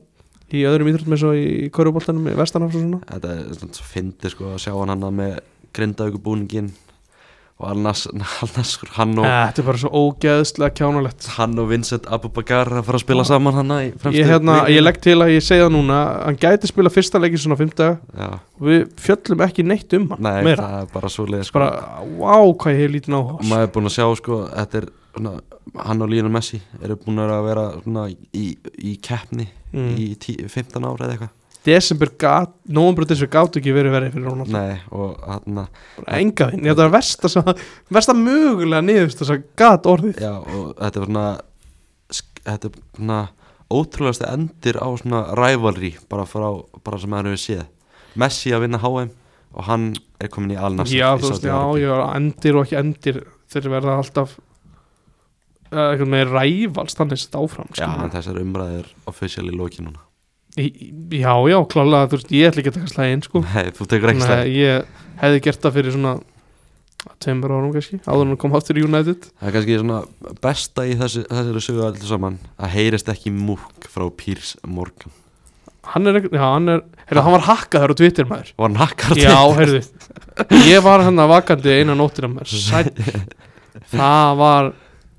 í öðrum íþróttum eins og í köruboltanum í vestanafs og svona þetta er svona svo fyndi sko að sjá hann hann með grindaugubúningin og Alnas, Alnas hann og Eh, Þetta er bara svo ógeðslega kjánulegt hann og Vincent Abubakar að fara að spila saman hann í fremstu ég, hérna, línu. ég legg til að ég segja núna hann gæti spila fyrsta leikið svona fymta Já, og við fjöllum ekki neitt um hann nei, meira, það er bara svo leið sko. bara, vá, hvað ég hef lítið Og náhuga maður er búin að sjá sko þetta er svona, hann og Lionel Messi eru búin að vera svona í, í keppni Mm. í tí, 15 ára eða eitthvað Desember gat, nóvembröð þessu gátt ekki verið verið fyrir Ronald nei og hann bara enga þinn, þetta er versta sem, versta mögulega niðurst þess að gat orðið já og þetta er svona sk- þetta er svona ótrúlegasti endir á svona rivalry bara frá, bara sem maður hefur séð Messi að vinna HM og hann er komin í Al Nassr já, þú veist, já, já, endir og ekki endir þeir verða alltaf uh, eitthvað með rævals þannig sett áfram já, skilur. en þessar umræðir official í loki núna Í- í- já, já, klálega, þú veist, ég ætla ekki að taka slæðin sko. nei, þú tekur ekki Nei, slæg ég hefði gert það fyrir svona tveimur árum kannski, áður en hann kom aftur í United það er kannski svona besta í þessu, þessari sögu allir saman að heyrist ekki múk frá Piers Morgan hann er, ekki- já, hann er, heyrðu, hann var hakkaður á Twitter maður var hann hakkar Já, heyrðu, ég var hann að vakandi eina nóttina maður, sæll það var,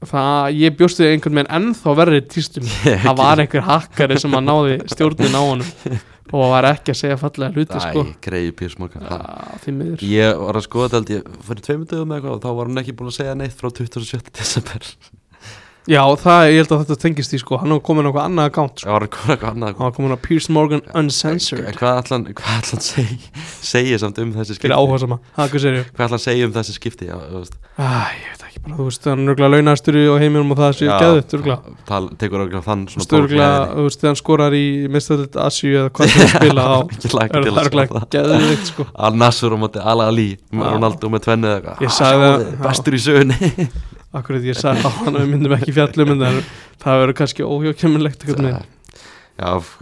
það, ég bjóst við einhvern veginn ennþá verri týstum, það var einhver hakkari sem að náði stjórnin á honum og var ekki að segja fallega hluti sko, Æ, greiði Piers Morgan það Já, því miður Ég var að skoða þetta held ég fyrir tveimur dögum eða eitthvað og þá var hann ekki búin að segja neitt frá 27. desember Já, það, ég held að þetta tengist því sko, hann var komin á eitthvað annað account sko, Það var að kora eitthvað annað hann var komin á Piers Morgan Uncensored En Hvað ætlan, hvað ætlan segi, segi samt um þessi skipti? fyrir áhásama, það hvað segir ég Hvað ætlan segi um þessi skipti? Já, þú veist, Æ, ég veit ekki bara, þú veist, hann er örgulega launastur á heiminum og það séu geðut, örgulega tal, Tekur örgulega þann svona Sturgla, þú veist, þegar hann skorar í mistöðlut Asju eða hvað það er að spila á Ég laki er til það að skoða örglega það geðvikt sko Al-Nassur á móti Al-Ali Já. Ronaldo með tvenni eða eitthvað Ég Ah, sagði sjáðu, það, já. Bestur í sögunni Akkurat ég sagði á hann að við myndum ekki fjallum en það er- það verður kannski óhjókjumilegt Já, f-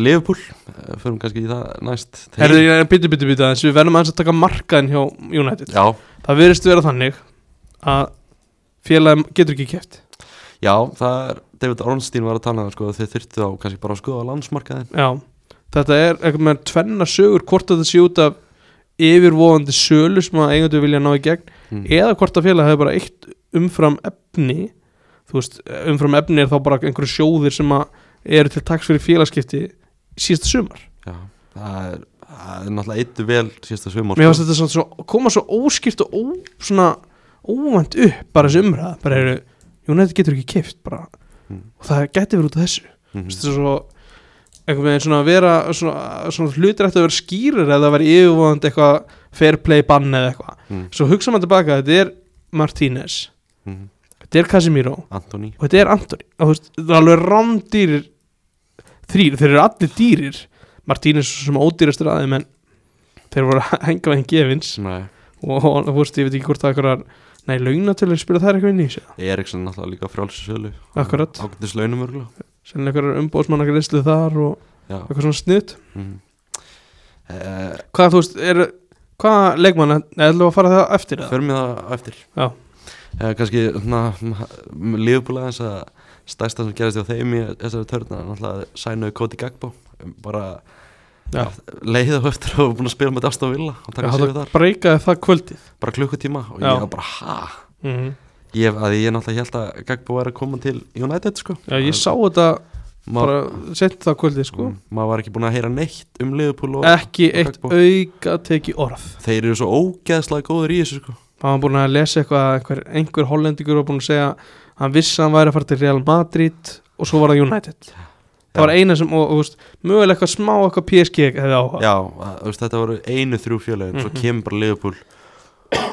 Liverpool eh, Förum kannski í það næst Herðu, ég er bitu, bitu, bitu aðeins Við verðum aðeins að taka markaðin hjá United Já, Það verðist vera þannig að félagum getur ekki keft já, það er David Ornstein var að tala um það, sko, þeir þyrftu á kannski bara að skoða landsmarkaðin Já, þetta er eitthvað með tvenna sögur hvort þetta sé út af yfirvóðandi sölu sem að eigendur vilja ná í gegn mm. eða hvort að félag hefur bara eitt umfram efni þú veist, umfram efni er þá bara einhverju sjóðir sem að eru til taks fyrir félagskipti síðasta sumar Já, það er, það er náttúrulega eittu vel síðasta sko. svimur mér finnst þetta svona, svo, koma svo óskipt og ó, svona óvænt upp bara þessi umræða, bara eru United getur ekki keift bara Mm. og það gæti verið út af þessu mm þetta er svo einhvern veginn svona að vera svona, svona hlutir ætti að vera skýrir eða að vera yfirvóðandi eitthvað fair play bann eða eitthvað Mm. svo hugsa maður tilbaka, þetta er Martínez -hmm. þetta er Casemiro Antoni og þetta er Antoni og þú veist, það er alveg rándýrir þrýr, þeir eru allir dýrir Martínez sem ódýrastur aðeim en þeir voru að henga veginn gefins Mm. og og þú veist, ég veit ekki hvort það er einhverjar nei, launatölu spila þær eitthvað inn í þessu Eriksson náttúrulega líka Hmm, frjálsinsölu Akkurat. Ágættis launum örgulega sennilega einhverjar umbóðsmannagreislu þar og Já eitthvað svona snutt mm. uh, hvað þú veist, er hvað leikmann, eða að fara það eftir það? Förum við það á eftir Já. uh, Kannski lífbúlega þess að stærsta sem gerist hjá þeim í þessari törna náttúrulega sænuðu Koti Gagbo bara Já. leiða á eftir og búin að spila með Dastan Villa og taka sig það þar breykaði það kvöldið bara klukkutíma og Já. ég var bara ha mm Ég, að ég náttúrulega held að Gagbo var að koma til United sko já, ég sá þetta Ma- bara sent það kvöldið sko Mm, maður var ekki búin að heyra neitt um Liverpool og ekki og eitt Gagbo. auka teki orð þeir eru svo ógeðslega góður í þessu sko hann var búin að lesa eitthvað einhver, einhver hollendingur var búin að segja hann vissi að hann væri að fara til Real Madrid og svo var það United það var eina sem, og, og þú veist, mögulega eitthvað smá eitthvað PSG hefði áhuga já, að, þú veist, þetta voru einu þrjú fjölegin Mhm. svo kemur bara Liverpool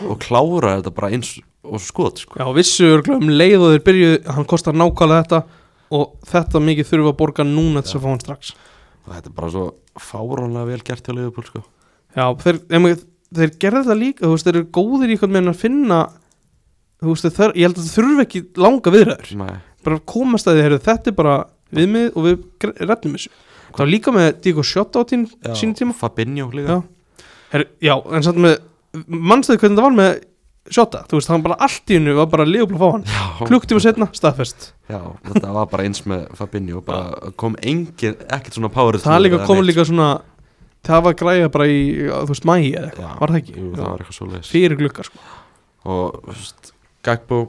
og klára þetta bara eins og skot sko. já, og vissu örgulega um leið og þeir byrjuð hann kostar nákvæmlega þetta og þetta mikið þurfa að borga núna til þess að fá hann strax og þetta er bara svo fáránlega vel gert hjá Liverpool sko. já, þeir, em, þeir gerðu þetta líka þú veist, þeir eru góðir í eitthvað með að finna þú veist, þeir, ég held að það þurfa ekki langa viðræður Nei, bara komast að þið, heyrðu, þetta er bara viðmið og við retnum þessu það var líka með Diego Shot á tín, já, sínu tíma Fabinho líka já. Heyrðu, já, en samt með mannstæði hvernig það var með sjóta, þú veist, hann bara allt í hennu var bara liðbúl að fá hann, Já. klukktíma setna staðfest, Já, þetta var bara eins með Fabinho bara kom engin, ekkert svona power það líka kom líka svona það var græða bara í, þú veist, mæi eða eitthvað, var það ekki, Jú, það var eitthvað svoleiðis fyrir glukka sko, og þú veist, Gagbo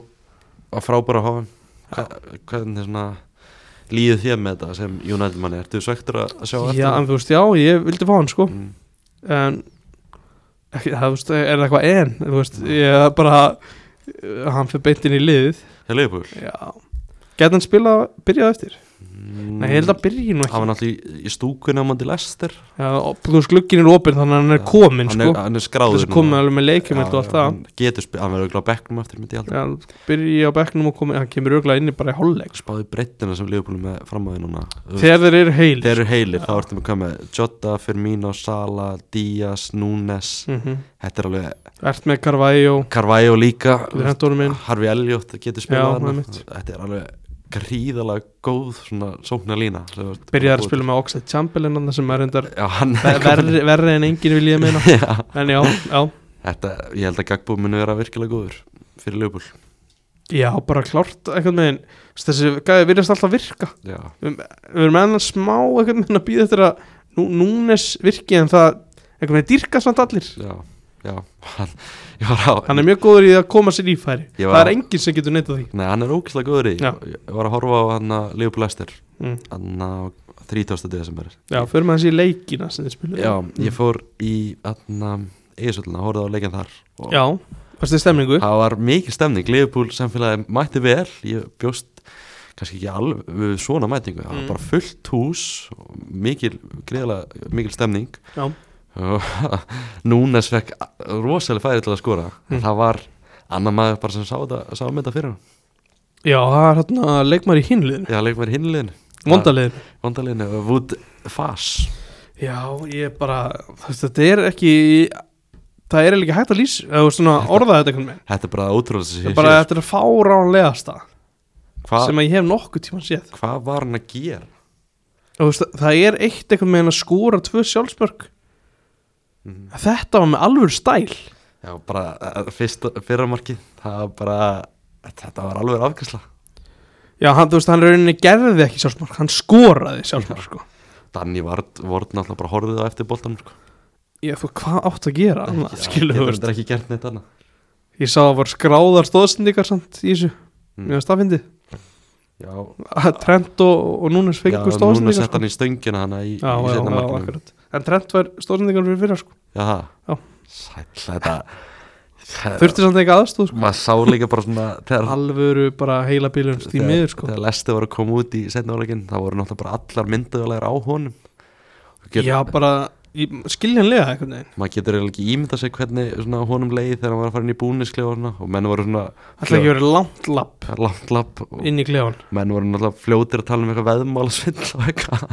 var frábæra á hann hvernig svona líðið þér með þetta sem United manni ertu svektur að sjá eftir já, en þú veist, já, ég vildi fá hann sko, Mm. en ekki, það, þú veist, er það eitthvað en, þú veist, ég bara eh, hann fyrir beintin í liðið Hjá Leifbúl já, gæti hann spila byrjað eftir, nei, ég held Mm. að byrji nú Hann var ekki, náttúrulega í- í stúkunni á mandi Lester já, og þú veist, glukkin er opinn þannig að hann er komin hann er, sko, hann er þess skráður að koma núna. alveg með leikjumeld og allt það hann getur spil, hann verður gláð bekknum eftir myndi ég alltaf Já, byrja á bekknum og komi, hann kemur auðvitað inni bara í hálfleik sko. spáði breyttina sem Leifbúl með fram á því núna Þú veist, Þegar þeir eru heil þeir eru heilir, þá ertum við að koma með Jota, Firmino, Sala, Díaz, Núnes mm -hmm. þetta er alveg Ert með Carvæjó, Carvajó líka þú veist, hendónum minn Harfi Elliot getur Já, spilað þarna einmitt. þetta er alveg gríðalega góð svona sókna lína Byrjaðar að spila með Oxlade Chamberlain þarna sem er reyndar já, hann ver- verri, verri en enginn vil ég meina já, En já, já, þetta, ég held að Gagbo muni vera virkilega góður fyrir Ljöfbúl já, bara klárt eitthvað megin Þessi gæði virðast alltaf virka já, Við erum enn smá eitthvað megin að býða eftir að nú, Núnes virki en það eitthvað megin dýrka samt allir já, já hann, ég var á Hann er mjög góður í að koma sér í færi Ég Það var- er enginn sem getur neytað því nei, hann er ógislega góður í Já. ég var að horfa á hann að Ljöfbúl Ester mm. hann á 30. desember Já, förum að þessi leikina sem þeir spilu já, ég fór í hann Eisölduna, horfði á leikinn þar og Já, varstu í stemningu? það var mikil stemning Liverpool samfélagi mætti vel ég bjóst kannski ekki alveg við svona mætingu, það var Mm. bara fullt hús og mikil, greiðlega mikil stemning Já. og Núnes fekk rosalega færi til að skora Mm. en það var annar maður bara sem sá þetta sá mynda fyrir hann, Já, það er hérna leikmar í hinliðinu já leikum er hinliðin Vondaliðinu vondaliðinu, Wood uh, Fass Já, ég bara, þú veist, þetta er ekki Það er ekki hægt að lýsa eða svona orða þetta einhvern veginn þetta er bara ótrúlega sem Það ég er bara, sé. þetta er að fá ránlegasta Hva- sem að ég hef nokkuð tíma séð hvað var hann að gera Þú veist, Það er eitt einhvern veginn að skora tvö sjálfsmörk Mhm. Þetta var með alvöru stæl já, bara eh, fyrsta, fyrra markið það var bara, þetta var alveg afkastla Já, hann, þú veist, hann rauninni gerði ekki sjálfsmörk Hann skoraði sjálfsmörk, sko Danni Vard voru náttúrulega bara horfið á eftir boltanum sko. Ég, þú, hvað átt að gera? annað, Skilur, þú Getur veist þetta ekki gert neitt annað Ég sá að það var skráðar stóðsendingar samt í þessu Mm. Mjög staðfindi Já, að Trent og, og Núnes já fengur núna stóðsendingar sett hann í stöngina hana í, sko? já, í já, setna já, markinu akkurat en Trent var stóðsendingar fyrir fyrra sko. Já, það Já. Sæll, þetta það- þurfti samt ekki aðstóð sko. Maður sá líka bara svona Þegar, alvöru bara heila bílum í miður sko. þegar Lesti var að koma út í setna áleikin Það voru náttúrulega bara allar myndaðulegar á honum Og get, já bara í, skiljanlega einhvern veginn Maður getur eiginlega ekki ímynda sig hvernig svona, honum leið Þegar hann var að fara inn í búnisklefa og, svona, og menn voru svona alltaf ekki verið langt lapp Langt lapp og inn í klefan menn voru náttúrulega fljótir að tala um eitthvað veðmálasvill og eitthvað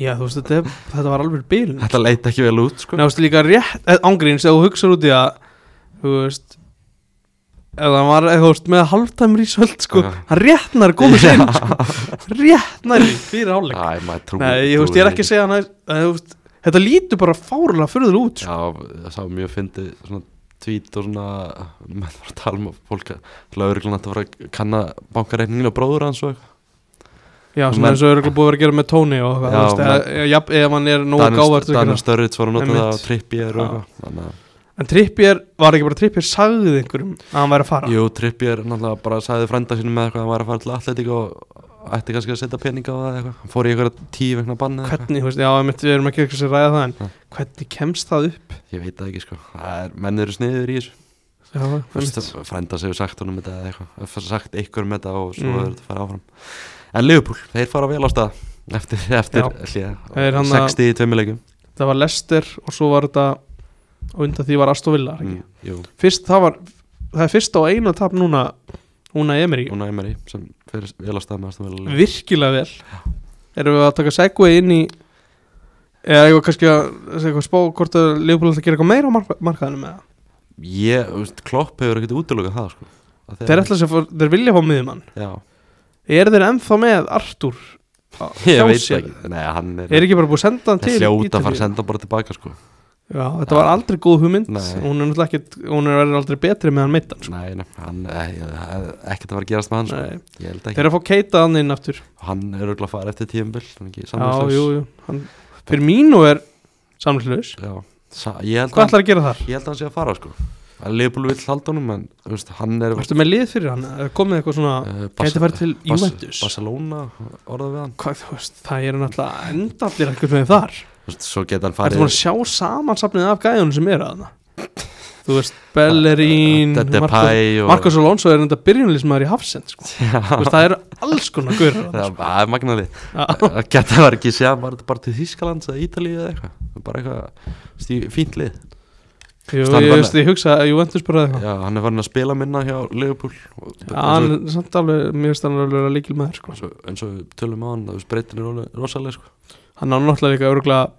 já þú veist þetta, er- þetta var alvöru bílum Þetta leit ekki vel út sko Nei, þú veist líka rétt eh, ángríns ef þú hugsaður út í að þú veist ef það var, ef þú veist, með halvtæmur í söld sko, Já. hann réttnar góður sinn sko, réttnar í fyrir áleik Æ, maður trúi Nei, ég, veist, ég er ekki að segja hann að, að þú veist, þetta lítur bara fárlega fyrir út sko. Já, það sá mjög fyndið svona tvít og svona menn var að tala um að fólk að lauruglan að það var að kanna bankareikningin og bróður hans og eitthvað Já, sem Men- eins og eru búið að vera að gera með Tony og Já, eitthvað, þú veist, eða- jafn- ef hann er nógu gávært Danir Störrits var að nota Einmitt. það á Trippier og Já. eitthvað Þannig að, En Trippier, var ekki bara Trippier sagðið einhverjum að hann væri að fara jú, Trippier náttúrulega bara sagði frænda sínum með eitthvað að hann var að fara til atletik og ætti kannski að setja peninga á það eitthvað Hann fór í eitthvað tíu vegna banni eitthvað Hvernig, þú veist, já, einmitt, við erum ekki eitthvað sem ræða það en Já. hvernig kemst það upp? Ég veit það ekki sko, það er, menn eru sniður í þessu Já, einmitt. Fyrst frændas hefur sagt honum þetta eða eitthvað F- sagt ykkur um þetta og svo Mm. mm. þetta fara áfram en Liverpool, þeir fara vel á stað eftir, eftir Þeir hlýða hann að- 60 í tveimilegum Það var Lester og svo var þetta og undan því var Aston Villa mm. mm, jú, Fyrst, það var, það er fyrst á einu tap núna, núna Emery og Næmeri sem fer vel á stað með aðstum vel virkilega vel erum við að taka segway inn í eða ég var kannski að segja eitthvað spá hvort að Leopold ætla að gera eitthvað meira á mark markaðinu með það ég, þú veist, Klopp hefur ekkert útlökað það sko Að þeir, ætla að segja, þeir vilja fá miðjumann já, er þeir ennþá með Artur ég hjá veit sér? ekki nei, hann er, er ekki bara búið að senda hann þeir hljóta til að fara Ítalíu? að senda bara tilbaka sko Já, þetta var aldrei góð hugmynd Nei. Hún er náttúrulega ekkert, hún er verið aldrei betri með hann meittan sko. Nei, nei, hann, eh, ég- ekkert að vera að gerast með hann sko. Nei. Ég held ekki Þeir eru að fá keita hann inn aftur Hann er auðvitað að fara eftir tíumbil Já, Já, jú, jú hann, Fyrir mínu er samlislaus Já, sa, ég held Hvað að ætlar að gera þar? Ég held að hann sé að fara sko að Leopold vill halda honum en þú veist, hann er Varstu með lið fyrir hann? Eða Komið eitthvað svona uh, Gæti farið til Bas- Juventus Barcelona orðað við hann Hvað, þú veist, það er náttúrulega enda allir eitthvað með þar Þú veist, Svo geta hann Ertu búin farið að sjá samansapnið af gæðunum sem eru að það? Þú veist, Bellerín Depay Marcos- og- Marcos Alonso er enda byrjunlýsmaður í Hafsend sko. Þú veist, Það eru alls konar gaurar þarna, Það það er magnaði Já. Það geta hann ekki sé að bara, bara til Þýskalands eða Ítalíu eða eitthvað bara eitthvað stíf, fínt lið sko. Jú, Stanley Ég Bernard. veist, ég hugsa að Juventus bara eitthvað Já, hann er farin að spila minna hjá Leopold Já, hann er samt alveg, mér finnst hann alveg að líkil maður sko. eins og, eins og við tölum á hann það spreytin er rosaleg- rosaleg sko. Hann á náttúrulega líka örgulega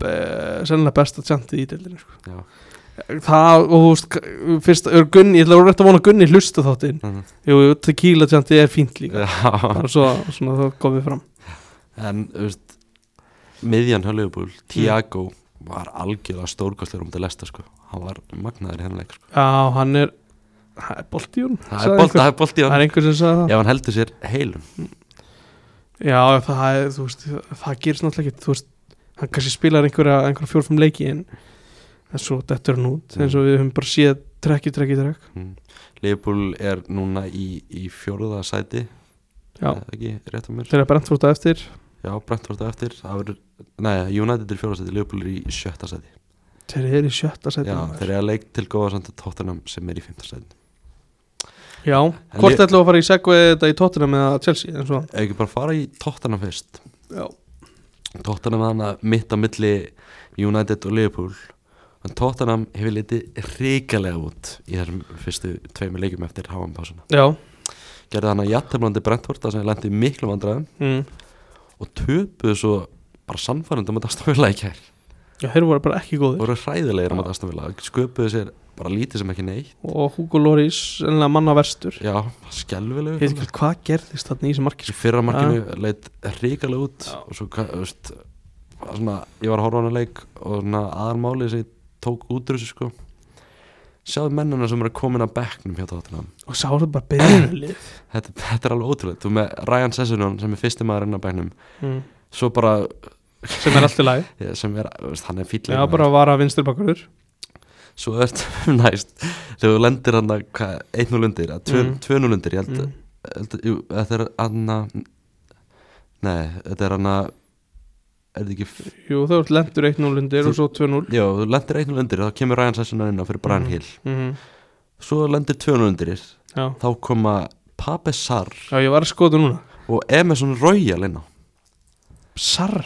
eh, sennilega besta tjantið í deildinni sko. Já. Það, og þú veist, k- fyrst er Gunni, ég ætla að rétt að vona að Gunni hlusta á þáttinn Mhm. Jú, jú, tequila tjantið er fínt líka Já. Bara svo, svona það komið fram en þú veist, miðjan hjá Leopold Mm. Tiago var algjörlega stórkostlegur um til lesta sko. hann var magnaður í henni leik sko. Já, hann er Það er bolt í hún það er bolt- það er bolt í Það er hann einhver sem sagði það ef hann heldur sér heilum Já, það er, þú veist Það gerist náttúrulega ekki, þú veist Hann kannski spilar einhverja, einhverja fjórfum leiki en, en svo dettur hann út Mm. eins og við höfum bara séð trekki, trekki, trekk Leopold Mm. er núna í, í fjóruða sæti Já, eða ekki rétt á mér þeir eru brent fórt að eftir já, Brentford á eftir það verður- nei, United er fjóruða sæti, Leopold er í sjötta sæti Þeir eru í sjötta sæti já, maður. þeir eru að leik til góða samt að Tottenham sem er í fymta sæti Já, En hvort ég- ætlum við að fara í segvið þetta í Tottenham eða Chelsea en svo ef ekki bara fara í Tottenham fyrst Já, Tottenham er hana mitt á milli United og Liverpool en Tottenham hefur litið ríkalega út í þessum fyrstu tveimur leikjum eftir háanpásuna. já Gerði hana jættemlandi Brentford þar sem lendi miklu vandræðum mm. og töpuðu svo bara sannfærandum að Astonvilla í kær Já, þeir voru bara ekki og góðir voru hræðilegir um að Astonvilla sköpuðu sér bara lítið sem ekki neitt og Hugo Lloris, ennilega manna verstur já, skelvilegu Ég veit ekki hvað gerðist þarna í þessu marki sko. í fyrra markinu leit ríkalega út og svo, ka- þú veist, var svona, ég var að horfa á hana leik og svona aðalmálið sem ég tók út úr þessu sko sjáðu mennina sem eru komin að bekknum hjá tóttunum og sá þetta bara byrjunlið þetta, þetta er alveg ótrúlega, þú með Ryan Sessunum sem er fyrsti maður inn á bekknum mm. svo bara, sem er alltaf læg ég- sem er, þú veist, hann er fýll Já, bara að vara vinstur bakurur svo ert næst þegar þú lendir hann að 1-0 undir að 2-0 Mm. mm. undir, ég held, Mm. held jú, þetta er hann að nei, þetta er hann að er þetta ekki Jú, þú ert lendur 1-0 undir og svo 2-0 Já, þú lendir 1-0 undir, þá kemur Ryan Sessunar inn á fyrir Brian Mhm. Hill mm. Svo lendir 2-0 undir, já. þá koma Pape Sarr já, ég var að skoða núna og Emerson Royal inn á Sarr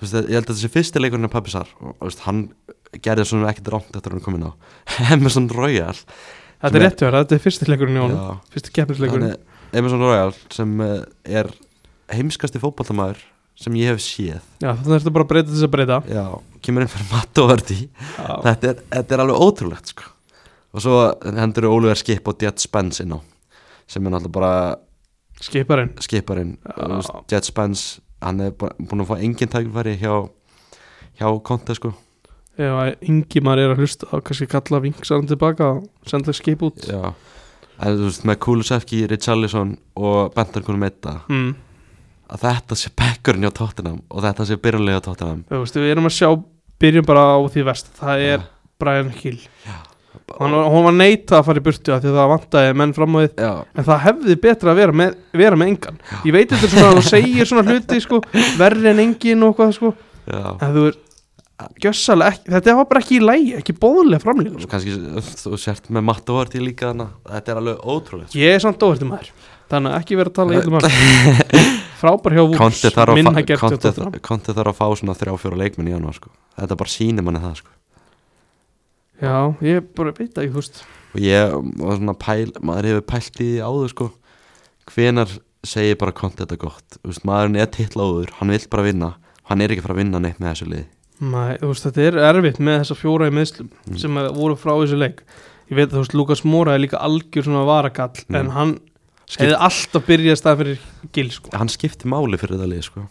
Þú veist, Ég held að þessi fyrsti leikurinn er Pape Sarr og þú veist, hann gerði svona ekkert rámt eftir að hann kom inn á Emerson Royal Þetta Sem er er- réttu verða, þetta er fyrsti leikurinn í honum Já, Fyrsti keppnisleikurinn hann er- Emerson Royal sem eh, er heimskasti fótballtamaður sem ég hef séð Já, þannig er þetta bara að breyta þess að breyta Já, kemur inn fyrir Matto Verdi Já, þetta er, þetta er alveg ótrúlegt sko. og svo hendur Óluver skip og Jet Spence inn á sem er náttúrulega bara skiparinn skiparinn Já. Þú veist, Jet Spence, hann er bara búin að fá engin tækifæri hjá hjá Conte sko Ef að Ingimar er að hlusta þá kannski kalla vingsarinn tilbaka og senda skip út Já. en þú veist með Kulusevki, Richarlison og Bentarkunum Eita mm. að þetta sé bekkurinn hjá Tottenham og þetta sé byrjanlega hjá Tottenham Þú veist, við erum að sjá Byrjum bara á því vest Það er Já. Brian Hill Hann, hún var neita að fara í burtu af Því að það vantaði menn fram á því Já, En það hefði betra að vera með, vera með engan Ég veit þetta er svona að þú segir svona hluti sko, Verri en engin og hvað sko, já En þú er gjössalega ekki Þetta var bara ekki í lægi, ekki bóðulega framlýn Svo sko. kannski þú sért með Matto Verdi líka hana þetta er alveg ótrúlegt sko. Ég er samt óverti maður Þannig að ekki vera að tala yllum maður Frábær hjá Vúls Konti þarf að, Minna fa gert hjá Conte- Tottenham. Conte þarf að fá svona þrjá fjóra leikmenn í janúar sko. þetta bara sýnir manni það sko. Já, ég bara veit ekki, þú veist og ég var svona pæl maður hefur pælt í því áður sko. hvenar segir bara Conte þetta gott Þú veist, maðurinn er titla áður, hann vill bara vinna hann er ekki að fara að vinna neitt með þessu lið Nei, þú veist, þetta er erfitt með þessa fjóra í meðslum Mm. sem að voru frá þessu leik Ég veit að þú veist, Lukas Móra er líka algjör svona varakall Mm. en hann Skipt- hefði alltaf byrjað stað fyrir gil sko. hann skipti máli fyrir þetta lið sko.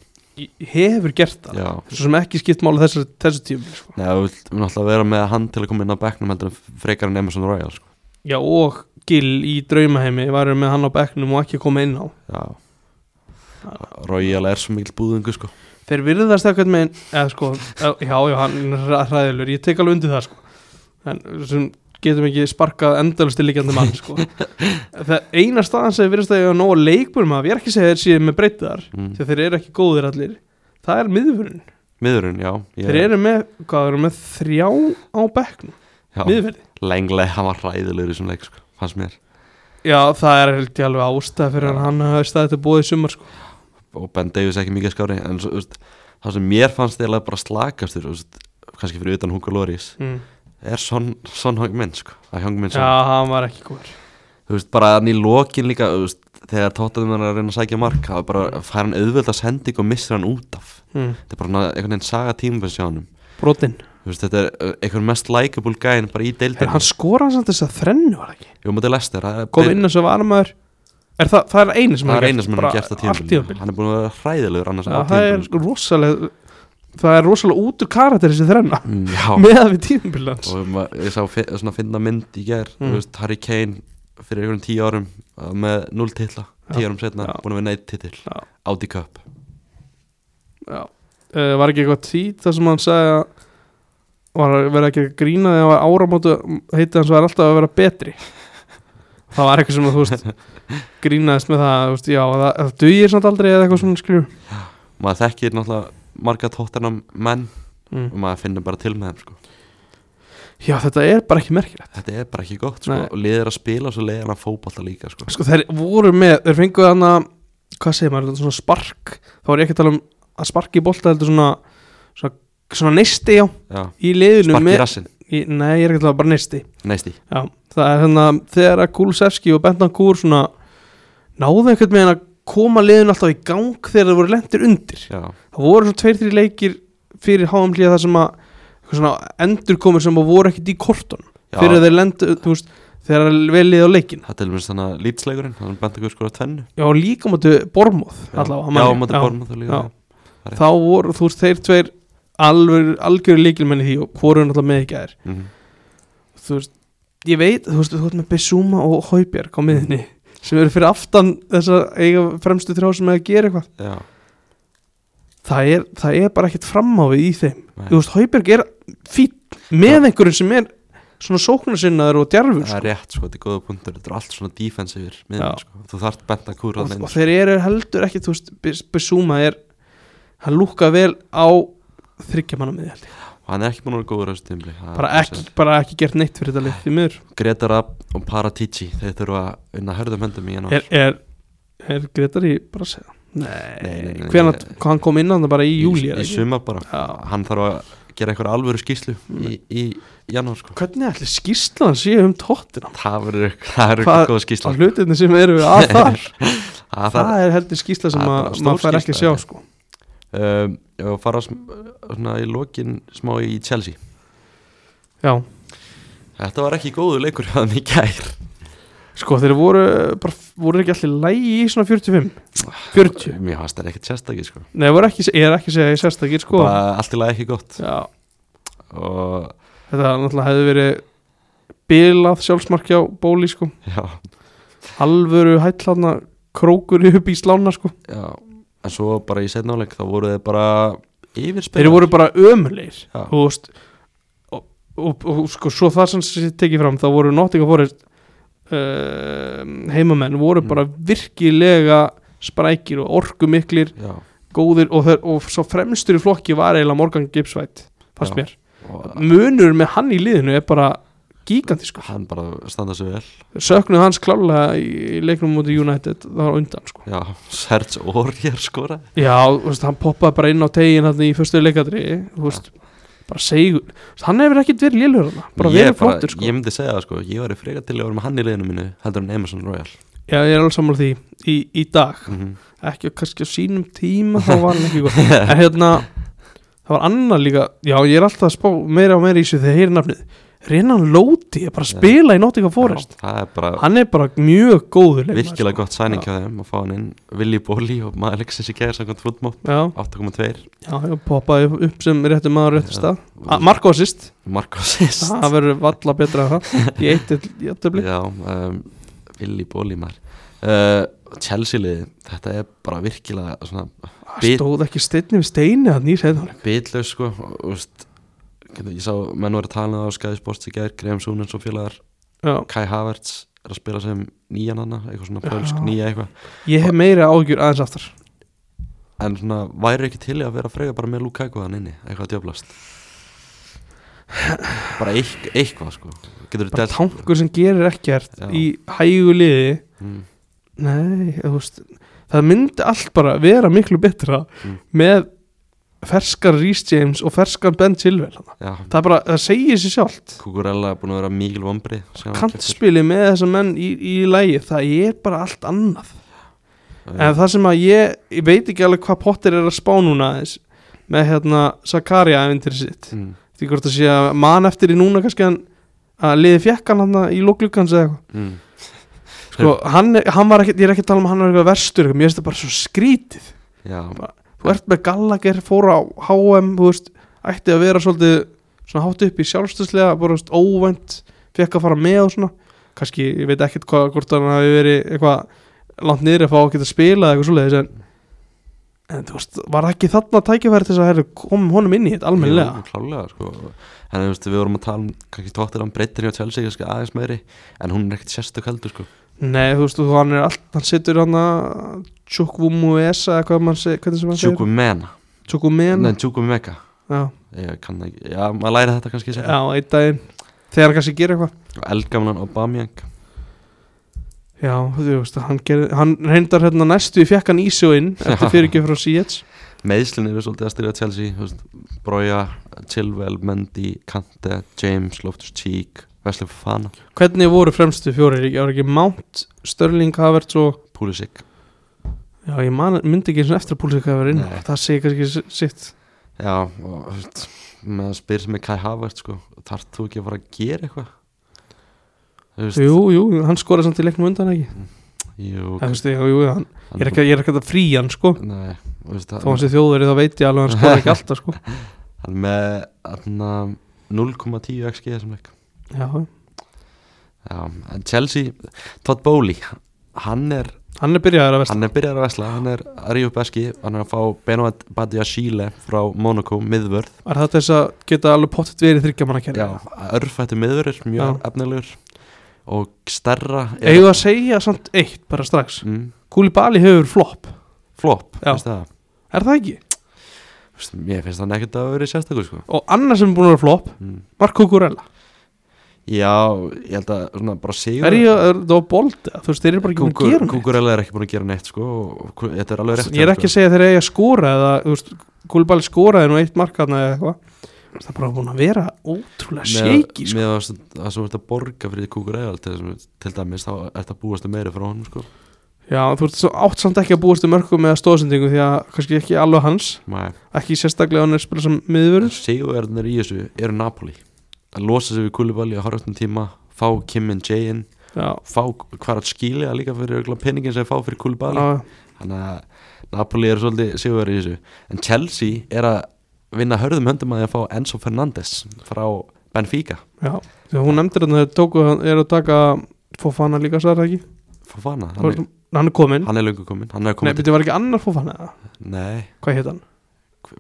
hefur gert það Já. Svo sem ekki skipt máli þessu, þessu tíma sko. Nei, við viljum alltaf vera með hann til að koma inn á bekknum heldur en frekar en Emerson Royal sko. Já og Gil í draumaheimi varum með hann á bekknum og ekki að koma inn á Já Royal er svo mikil búðingu sko. Þeir virðast ekkert með eða, sko, eða, Já, já, hann er hra- hræðilur Ég tek alveg undir það sko. En sem getum ekki sparkað endalust til líkjandi mann sko. Það eina staðan sem virðast að ég hafa nóg leikbúrum af Ég er ekki að segja þeir síðan með breytaðar mm. Þegar þeir eru ekki góðir allir Það er miðvörun Miðurinn, já ég- Þeir eru með, hvað, þeir eru með þrjá á bekknum já, Miðverði Lenglega, hann var hræðilegur í þessum leik sko, fannst mér Já, það er held ég alveg ástæð fyrir Já. hann hann hafa staðið til bóðið sumar sko. og Ben Davies ekki mikið skári en svo, þú veist, það sem mér fannst eða bara slakastur þú veist, kannski fyrir utan Hugo Loris mm. er son, son Hongmin sko, að Hongmin Já, ja. hann var ekki góður þú veist bara hann í lokin líka þú veist, þegar tóttanum er að reyna að sækja mark það er bara fær hann auðvöld að sending og missir hann út af mm. þetta er bara svona einhvern veginn saga tímafins hjá honum Brotinn Þú veist, þetta er uh, einhver mest likeable gæðin bara í deildinu Þegar hann skora hann samt þess að þrennu var það ekki Jú, maður til lester það er- Kom inn og svo var maður er það, það er einu sem það er hann eina sem hann bara hefur gert á allt tímafinu tímabil. hann er búin að vera hræðilegur annars Já, á Það er tímafinu sko. rosalega Það er rosalega út úr karakter þessi þrenna Mm, já Með að við tímabilans og ma- ég sá fi- svona finna mynd í ger Mm. mm. veist, Harry Kane fyrir einhvern tíu árum uh, með 0 titla, tíu Já. árum setna Já. búin að vinna eitt titill, Já. Audi Cup Já uh, Var ekki eitthvað tít þar sem hann sagði að var að vera ekki að grína þegar hann var áramótu heiti hans var alltaf að vera betri það var eitthvað sem að þú veist grínaðist með það, þú veist, já það, það dugir samt aldrei eða eitthvað svona skrifu maður þekkir náttúrulega marga tóttina menn mm. og maður finnir bara til með þeim sko. Já þetta er bara ekki merkilegt þetta er bara ekki gott sko. Nei. og liðir að spila og svo leiðir að fótballta líka sko. Sko þeir voru með, þeir fenguð hann að hvað segir maður, svona spark þá var ég ekki að tala um að sparki í bolta heldur svona, svona, svona neisti já Já. í liðinu sparki rassin, í, Nei, ég er ekki að tala um bara neisti næsti Já, það er hérna þegar að Kulusevski og Bentan Kúr svona náðu einhvern veginn að koma liðin alltaf í gang þegar það voru lendir undir já, það voru svona tveir, þrjir leikir fyrir háamlíða þar sem að eitthvað svona endurkomur sem að voru ekkert í kortun já. fyrir þeir lendu, þú veist þegar vel liðið á leikin það er til mér þannig að lýtsleikurinn þannig að benda ykkur skora tvennu já, og líka mútu Bormóð já, allavega, já, hann man ég. mátti borna það líka Já. þá voru, þú veist, þeir tveir alveg, algjöru leikilmenni því og hvoru náttúrulega með ekki að er Mhm. þú veist, ég veit, þú veist, þú veist með Bissúma og Hauberg á miðinni sem eru fyrir aftan þess að eiga fremstu þrjá sem er að gera eitthvað já, það er, það er bara ekkert framávið í þeim Nei. þú veist, Hauberg er fín með einhverjum sem er svona sóknarsinnaður og djarfur það sko. er rétt sko, þetta er góða punktur þetta er allt svona defensivir Já. miðan, sko. þú þarft benda kúr og, og þeir eru heldur ekki, þú veist, Bissúma er hann lúka vel á þryggjamanna miði held ég hann er ekki búin að vera góður á þessu tímli bara ekki, bara ekki gert neitt fyrir þetta lið því miður Gretar App og Paratici þeir þurfa að unna hörðum höndum í hann er, er, er Gretar í Brasil? Nei, nei, Nei, nei, nei, hvenær ég- hvað hann kom inn hann bara í júli í, í eða ekki? sumar bara Já. hann þarf að gera einhver alvöru skýslu Mm. í, í janúar sko Hvernig ætli skýrslan sé um tóttina? það verður það verður Hvað- eitthvað góð skýsla Það hlutinni sem eru að þar það Það þarf er heldur skýrsla sem það er að bara stór maður fær ekki að sjá skýrsla, sko. um, og fara sm- svona í lokin smá í Chelsea Já, þetta var ekki góðu leikur að mig gær sko þeir voru bara, voru ekki allir lægi í svona 45 40, mér fannst það ekkert sérstakir sko nei voru ekki ég er ekki að segja ég sérstakir sko bara allt í lagi ekki gott Já, og þetta náttúrulega hefði verið bilað sjálfsmarkja á bóli sko já alvöru hætlaðna krókur upp í slána sko Já, en svo bara í setnáleik þá voru þeir bara yfirspillar þeir voru bara ömulegir Já. þú veist og, og, og sko svo það sem sé tekið fram þá voru Nottingham Forest uh, heimamenn voru Mm. bara virkilega sprækir og orkumiklir Já, góðir og, þeir, og svo fremstur í flokki var eiginlega Morgan Gipsvætt fannst Já. mér og munur með hann í liðinu er bara gigantískur hann bara standa sig vel söknuð hans klálega í, í leiknum mútið United það var á undan sko Já, Serge Aurier skora Já, þú veist, hann poppaði bara inn á tegin hann í fyrstu leikadri, þú veist bara segur, Þú veist, hann hefur ekkert verið lélur hann, bara Ég verið flottur sko Ég myndi segja það sko, ég var í freka til að vera með hann í liðinu mínu heldur en Emerson Royal Já, ég er alveg sammála því, í, í dag mm -hmm. ekki kannski á sínum tíma þá var hann ekki góð, en hérna það var annar líka, já, ég er alltaf að spá meira og meira í þessu þegar ég heyri nafnið Renan Lóti er bara að spila í Nottingham Forest það er bara Hann er bara mjög góður leikmaður, virkilega sko. gott sæning hjá þeim að fá hann inn Willi Bóli og maður leiksins í gæðir samkvæmt fútmó Já, 8,2 já, já, poppaði upp sem réttum maður á réttum Já. stað A- Marko assist, Marko sýst það verður valla betra en það Í eitt í jafntöfli Já, um, Willi Bóli maður uh, Chelsea liði, þetta er bara virkilega svona bit- Stóð ekki steinni við steini að nýr heiðan bitlaus sko og, og, veist, ég sá menn voru að tala um það á Sky Sports í gær, Graham Súnens og félagar Já, Kai Havertz er að spila sem nýjan hana, eitthvað svona Já. pölsk nýja eitthvað ég hef meira ágjur aðeins aftar en svona væri ekki til í að vera að frega bara með Lukaku hann inni, eitthvað djöflast bara eitth- eitthvað sko getur Bara delt- tankur sem gerir ekkert Já. í hægu liði mm, Nei, þú veist Það myndi allt bara vera miklu betra Mm. með ferskar Rhys James og ferskar Ben Silvel já, Það er bara, það segir sér sjálft Kukurella er búin að vera mikil vombri Kantspilið með þessa menn í, í lægi það er bara allt annað en það sem að ég, ég veit ekki alveg hvað Potter er að spá núna aðeins með hérna Sakaria efintir sitt mm, því hvort að sé að man eftir í núna kannski hann að liði fjekkan hann þarna í loklukkans eða eitthvað mm. sko, hann, er- hann var ekkert, ég er ekki að tala um að hann var eitthvað verstur eitthvað, mér finnst það bara svo skrítið já, þú ert með Gallagher, fóra á HM þú veist, ætti að vera svolítið svona hátt upp í sjálfstöðslega, bara þú veist, óvænt fekk að fara með og svona kannski, ég veit ekkert hvað, hvort hann hafi verið eitthvað langt niður að fá að geta spila eða eitthvað svoleiðis en, en þú veist, var ekki þarna tækifæri til þess að herru, komum honum inn í þetta almennilega Jú, klálega sko en þú veist, við vorum að tala um kannski tóttir án breytin hjá Chelsea kannski aðeins meiri en hún er ekkert sérstök heldur sko nei, þú veist, og hann er allt, hann situr hann að Tjúkvumu Esa eða hvað mann segir, hvernig sem hann segir Tjúkumena Tjúkumen, Nei, Tjúkumeka já Ég kann það ekki Já, maður læri þetta kannski sér Já, einn daginn Þegar hann kannski gerir eitthvað Elgamlan Aubameyang Já, þú veist, hann, gerir, hann reyndar hérna næstu í fjekkan í sig og inn Eftir fyrirgjöf frá Sietz Meðslinn eru svolítið að styrja Chelsea þú veist, Broja, Chilwell, Mendy, Kante, James, Loftus-Cheek Wesley Fofana, Hvernig voru fremstu fjórir? Ég var ekki Mount, Störling, Havertz og Pulisic Já, ég man, myndi ekki eins og eftir að púlsið hvað var inn Nei. Það segir kannski s- sitt Já, og þú veist, maður spyr sem er Kai Havert sko Þarf þú ekki að fara að gera eitthvað? Þú veist, Jú, jú, hann skoraði samt í leiknum á undan ekki jú Það veist, jú, jú, hann, hann- ég er ekki, ég er ekki að frí hann, sko Nei, þú veist, Þó hann sé þjóðveri þá veit ég alveg að hann skoraði ekki alltaf, sko hann með hann, 0,10 XG sem leik Já, Já, en Chelsea, Todd Bowley hann er, hann er byrjaður að versta hann er byrjar að vesla hann er að ríða upp eski, hann er að fá Benoit Badiashile frá Monaco miðvörð, Er það til þess að geta alveg pottet verið þryggjamannakerfi? já, örfættu miðvörður mjög Já. efnilegur og stærra er- Eigum við að segja samt eitt, bara strax mm, Kúlibali hefur flop, flop, Já. finnst það er það ekki? Vist, mér finnst hann ekkert að hafa verið sérstakur sko. Og annar sem er búin að vera flop, mm. var Kukurella já, ég held að svona bara sigur Er ég, er það á bold, þú veist, þeir eru bara ekki búin að gera neitt Kúkurella er ekki búin að gera neitt sko, og og þetta er alveg rétt Ég er ekki að sko. segja að þeir eiga að skora eða, þú veist, Kúlibali skoraði nú eitt markaðna eða eitthvað Þú veist, Það er bara búin að vera ótrúlega shaky sko. með að það sem þú ert að borga fyrir Kukurella til, þess- til dæmis þá ert að búast meira frá honum sko. Já, þú veist, svo átt samt ekki að búast um örkum eða stóðsendingu því að kannski ekki alveg hans Nei. ekki sérstaklega hann er að spila sem miðvörður sigurverðinir í þessu eru Napoli að losa sig við Kulibali að horfastum tíma fá Kim and Jay inn Já, fá hvað að skilja líka fyrir örugglega peningin sem fá fyrir Kulibali já, þannig að Napoli eru svolítið sigurverði í þessu en Chelsea er að vinna hörðum höndum að því að fá Enzo Fernandes frá Benfica já Þegar hún nefndir hann að þeir tóku, er að taka Fofana líka, sagði það ekki? Fofana, hann er, Hann er komin hann er löngu kominn hann er Nei, komin betur var ekki annar Fofana eða? til Nei, Hvað heit hann?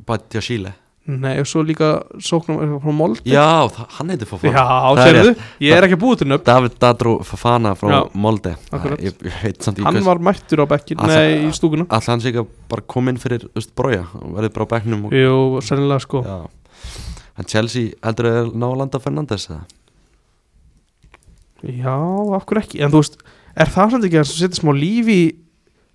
Batja Chile Nei, og svo líka sóknum er frá Molde Já, þa- hann heitir Fofana Já, Það er sérðu, ég er ekki búið til nöfn David Dadro Fofana frá Já, Molde akkurat. ég, ég veit samt í Hann var mættur á bekkin, Hann- nei, í stúkuna Alltaf hann sé ekki að bara koma inn fyrir þú veist, brója og verði bara á bekknum og, Jú, sennilega sko já. En Chelsea heldur að ná að landa Fernandes eða? Já, af hverju ekki, en þú veist Er það samt ekki að setja smá lífi í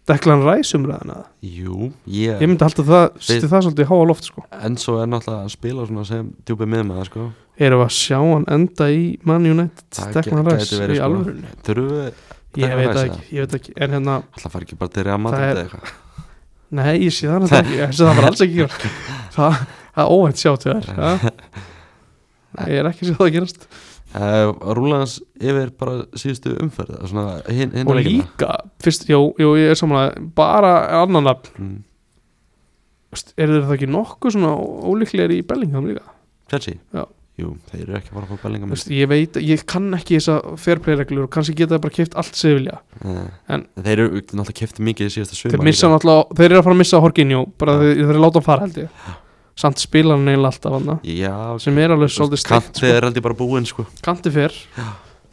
Deklan ræsumræðina? Jú, ég, Ég myndi halda það, setja það svolítið í háa loft sko en svo er náttúrulega að spila svona sem djúpi miðmaður sko Erum við að sjá hann enda í Man United Það Deklan gæ- ræs gæti verið, í sko. alvörunni Þurfum við Ég Declan veit það Rice, ekki, ég veit það ekki En hérna, alltaf fara ekki bara til Real Það Madrid er- eða eitthvað nei, ég sé það náttúrulega ekki Þessi það var alls ekki gert Það það er óvænt sjátt við þær Ég er ekki sér það að gerast uh, Rúlans yfir bara síðustu umferð eða svona, hin, hin og líka, fyrst, já, já, ég er samanlega bara annan nafn mm, Veist, eru þeir það ekki nokkuð svona ólíklegir í Bellingham líka Chelsea? Já. Jú, þeir eru ekki að fara að fá bellinga Veist, ég veit, ég kann ekki þessa fairplay-reglur og kannski geta það bara keift allt sem þeir vilja En- Eh, Þeir eru náttúrulega kefti mikið í síðasta suma þeir, missa náttúrulega, þeir eru að fara að missa Horkinjó bara Já. þeir, þeir eru að láta hann fara held ég samt spila hann eiginlega alltaf hann Já, sem er alveg svolítið steikt Kanti er aldrei bara búinn sko sko. kanti fyrr,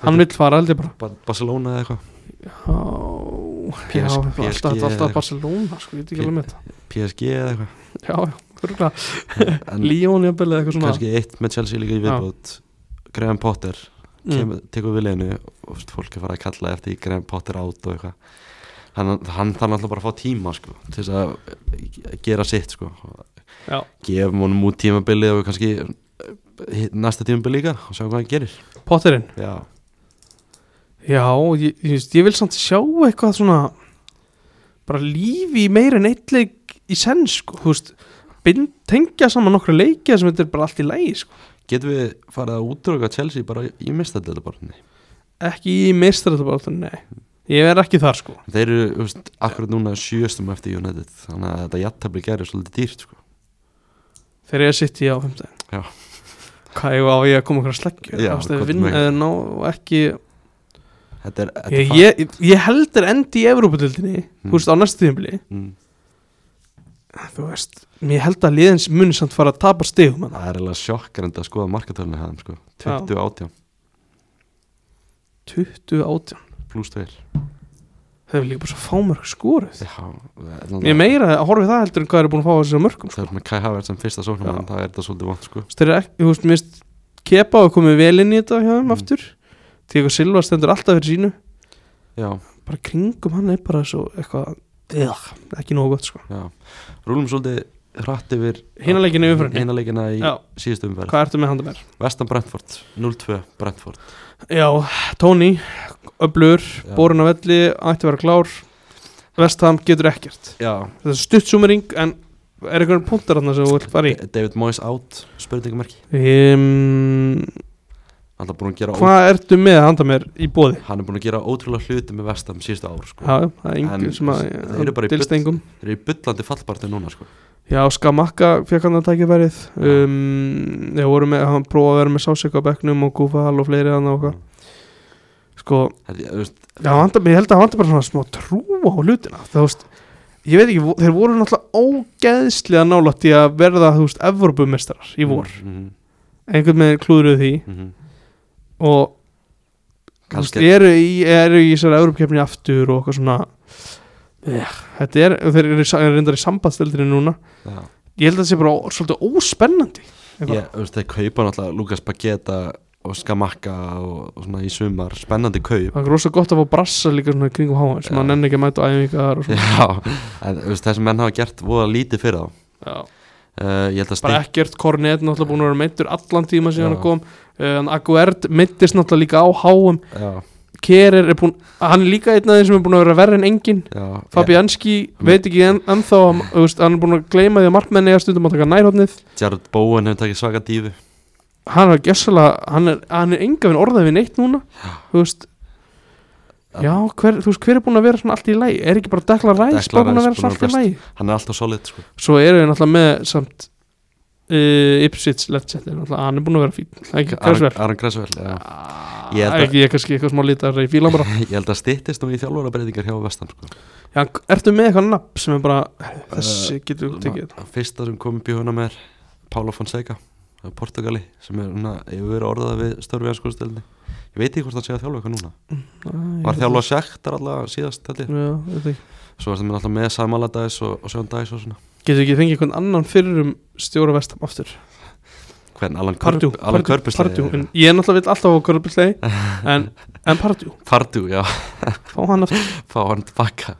hann vill fara held ég bara Ba- Barcelona eða eitthvað já, já, PSG alltaf, þetta er eða- alltaf Barcelona sko, ég veit ekki alveg með það PSG eða eitthvað já, já, örugglega. En Líón jafnvel eða eitthvað svona kannski eitt með Chelsea líka í Já. viðbót Graham Potter mm. kemur, tekur við leginu og veist, fólk er farið að kalla eftir því Graham Potter átt og eitthvað hann, hann þarf náttúrulega bara að fá tíma sko, til þess að eh, gera sitt sko. Já. gefum honum út tímabilið og kannski eh, hitt- næsta tímabilið líka og sjá hvað hann gerir Potterinn, já, já, ég, ég, veist, ég vil samt sjá eitthvað svona bara lífi í meira en eitt leik í senn sko, þú veist bind, tengja saman nokkra leikja sem þetta er bara allt í lægi sko getum við farið að útröka Chelsea bara í mistadildabarni ekki í meistaratabáttunni, nei ég er ekki þar sko þeir eru þú veist, akkurat núna sjöstum eftir United þannig að þetta jattabli gerir svolítið dýrt sko. þegar ég sitt í á 15 Já. hvað ég á ég að koma okkur að sleggju Já, það er hvað vinn með- eða ná ekki þetta er, þetta ég, er ég, ég heldur endi í Evrópudildinni Mm. þú veist á næstu tíðumli Mm, þú veist, mér held að liðins muni samt fara að tapa stigum hana. það er eiginlega sjokkrandi að skoða markatölunni hann sko. 20 átján 20 átján, pluss 2 það er líka bara svo fámörk skoruð ég ég meira að horfi það heldur en hvað eru búin að fá þessi mörgum sko. Það er með Kai Havertz sem fyrsta sóknarmann, það er þetta svolítið vant sko. Þú veist, þeir eru ekki, þú veist, mist kepa og komið vel inn í þetta hjá þeim Mm. aftur Tíko Silva stendur alltaf fyrir sínu Já, bara kringum hann er bara svo eitthvað Ugh, ekki nógu gott sko já. Rúlum svolítið hratt yfir Hinaleginu umfyrinni, Hinalegina í Já. síðustu umferð. hvað ertu með handa mér? Vestan Brentford, 0-2 Brentford. Já, Tony, öblur, Já. borin á velli, ætti að vera klár Vestham getur ekkert Já. Þetta er stuttsúmering en er einhvern punktar þarna sem þú vilt fara í? David Moyes out, spurningamarki. Um, Hann er búin að gera, hvað ertu með handa mér í bóði? ó- hann er búin að gera ótrúlega hluti með Vestam síðustu ár sko. Já, já, það er En engin sem að þeir eru bara í dylst bull. engum. Þeir eru í byllandi fallbartu núna sko. Já, Skamakka fekk hann að tækja verið um, Ég voru með, hann prófaði að vera með sásöka á bekknum og Gúfahal og fleiri hann og hvað Sko, Þetta, þú veist, já, handa, ég held að hann bara svona smá trú á hlutina Það veist, ég veit ekki, vo- þeir voru náttúrulega ógeðslega nálætt í að verða, þú veist, Evrópumestrar í vor Mhm, Einhvern með klúðruð því mhm. og þú veist, Kannski- eru í, eru í þessari Evrópukefni aftur og eitthvað svona eh, Þetta er, og þeir eru, sa- eru reyndar í sambandstöldinni núna Já. Ég held að það sé bara ó- svolítið óspennandi eitthvað. Ég, þú veist, þeir kaupa náttúrulega Lucas Bageta og Skamakka og, og svona í sumar, spennandi kaup Það er rosa gott að fá brassa líka svona í kringum háan sem Já. að nenni ekki að mæta á æfingar og svona Já, en þú veist, þessi menn hafa gert voða lítið fyrir þá Já. uh, Ég held að Bara Steint ekkert Kornet náttúrulega búin að vera meittur allan tíma síðan Já. hann kom um, Aguerd meittist náttúrulega líka á háum já, Kerer er búin, hann er líka einn af þeim sem er búin að vera verri en engin já, Fabianski veit ekki en, ennþá að- þú veist, hann er búin að gleyma því að markmenni eða stundum að taka nærhóttnið ég- Jared Bowen hefur takið svaka dífu hann er gessalega, hann er, hann er enga við orðað við neitt núna þú veist Já, hver, þú veist, hver er búin að vera svona allt í lægi? Er ekki bara Dekla Ræs Declan bara búin að Rice vera búinn að svona allt í lægi? Hann er alltaf solid sko. svo eru við náttúrulega með samt uh, Ipswich left set náttúrulega, hann er búinn að vera fín Það er ekki hversu Aron vel Aron Kressvel já. Ég held að- ekki ég er kannski eitthvað smá lítar í fílan bara Ég held að styttist nú í þjálfarabreitingar hjá Vestam sko. Já, ertu með eitthvað nafn sem er bara "Herru, þessi getur við tekið þetta?" Fyrsta sem kom upp í huna með er Paulo Fonseca af Portugali sem er svona, hefur verið orðað við störfi hans skurstelni Ég veit ekki hvort hann sé að þjálfa eitthvað núna Æ, ég Var veit Mm. þjálfa sektar alltaf síðast held það. ég. Já, ég veit ekki. Svo var það alltaf með Samaladæs og, og Sjóndæs og svona getur við ekki fengið eitthvað annan fyrir um stjóra vestam aftur Hvern, Alan Pardjú, Körp- Alan Pardjú, Körpusleið, Pardjú eða? En ég er náttúrulega vill alltaf á Körpislegi en, en Pardjú, Pardjú, já, fá hann aftur fá hann tilbaka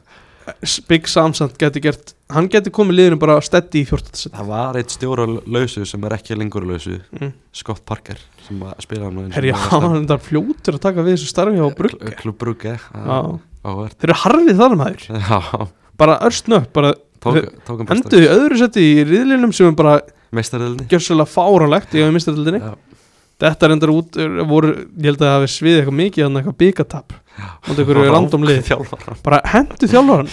Big Samsand getur gert hann getur komið liðinu bara steddi í 14. set Það var eitt stjóra lausu sem er ekki lengur lausu Mm. Scott Parker sem að spila hann Herri, já, hann er fljótur að taka við þessu starfi á brugge Klub Brugge Já. Ávert Þeir eru harfið þar maður Já, Bara örstnöpp, bara tók, tók hann besta enduðu í öðru seti í riðlinum sem er bara Meistaröldinni gjössalega fáránlegt í að mista tildinni Já. Þetta reyndar út, voru, ég held að það hafi sviðið eitthvað mikið þannig eitthvað byggatap og það eru random lið Þjálfara bara hendu þjálfaran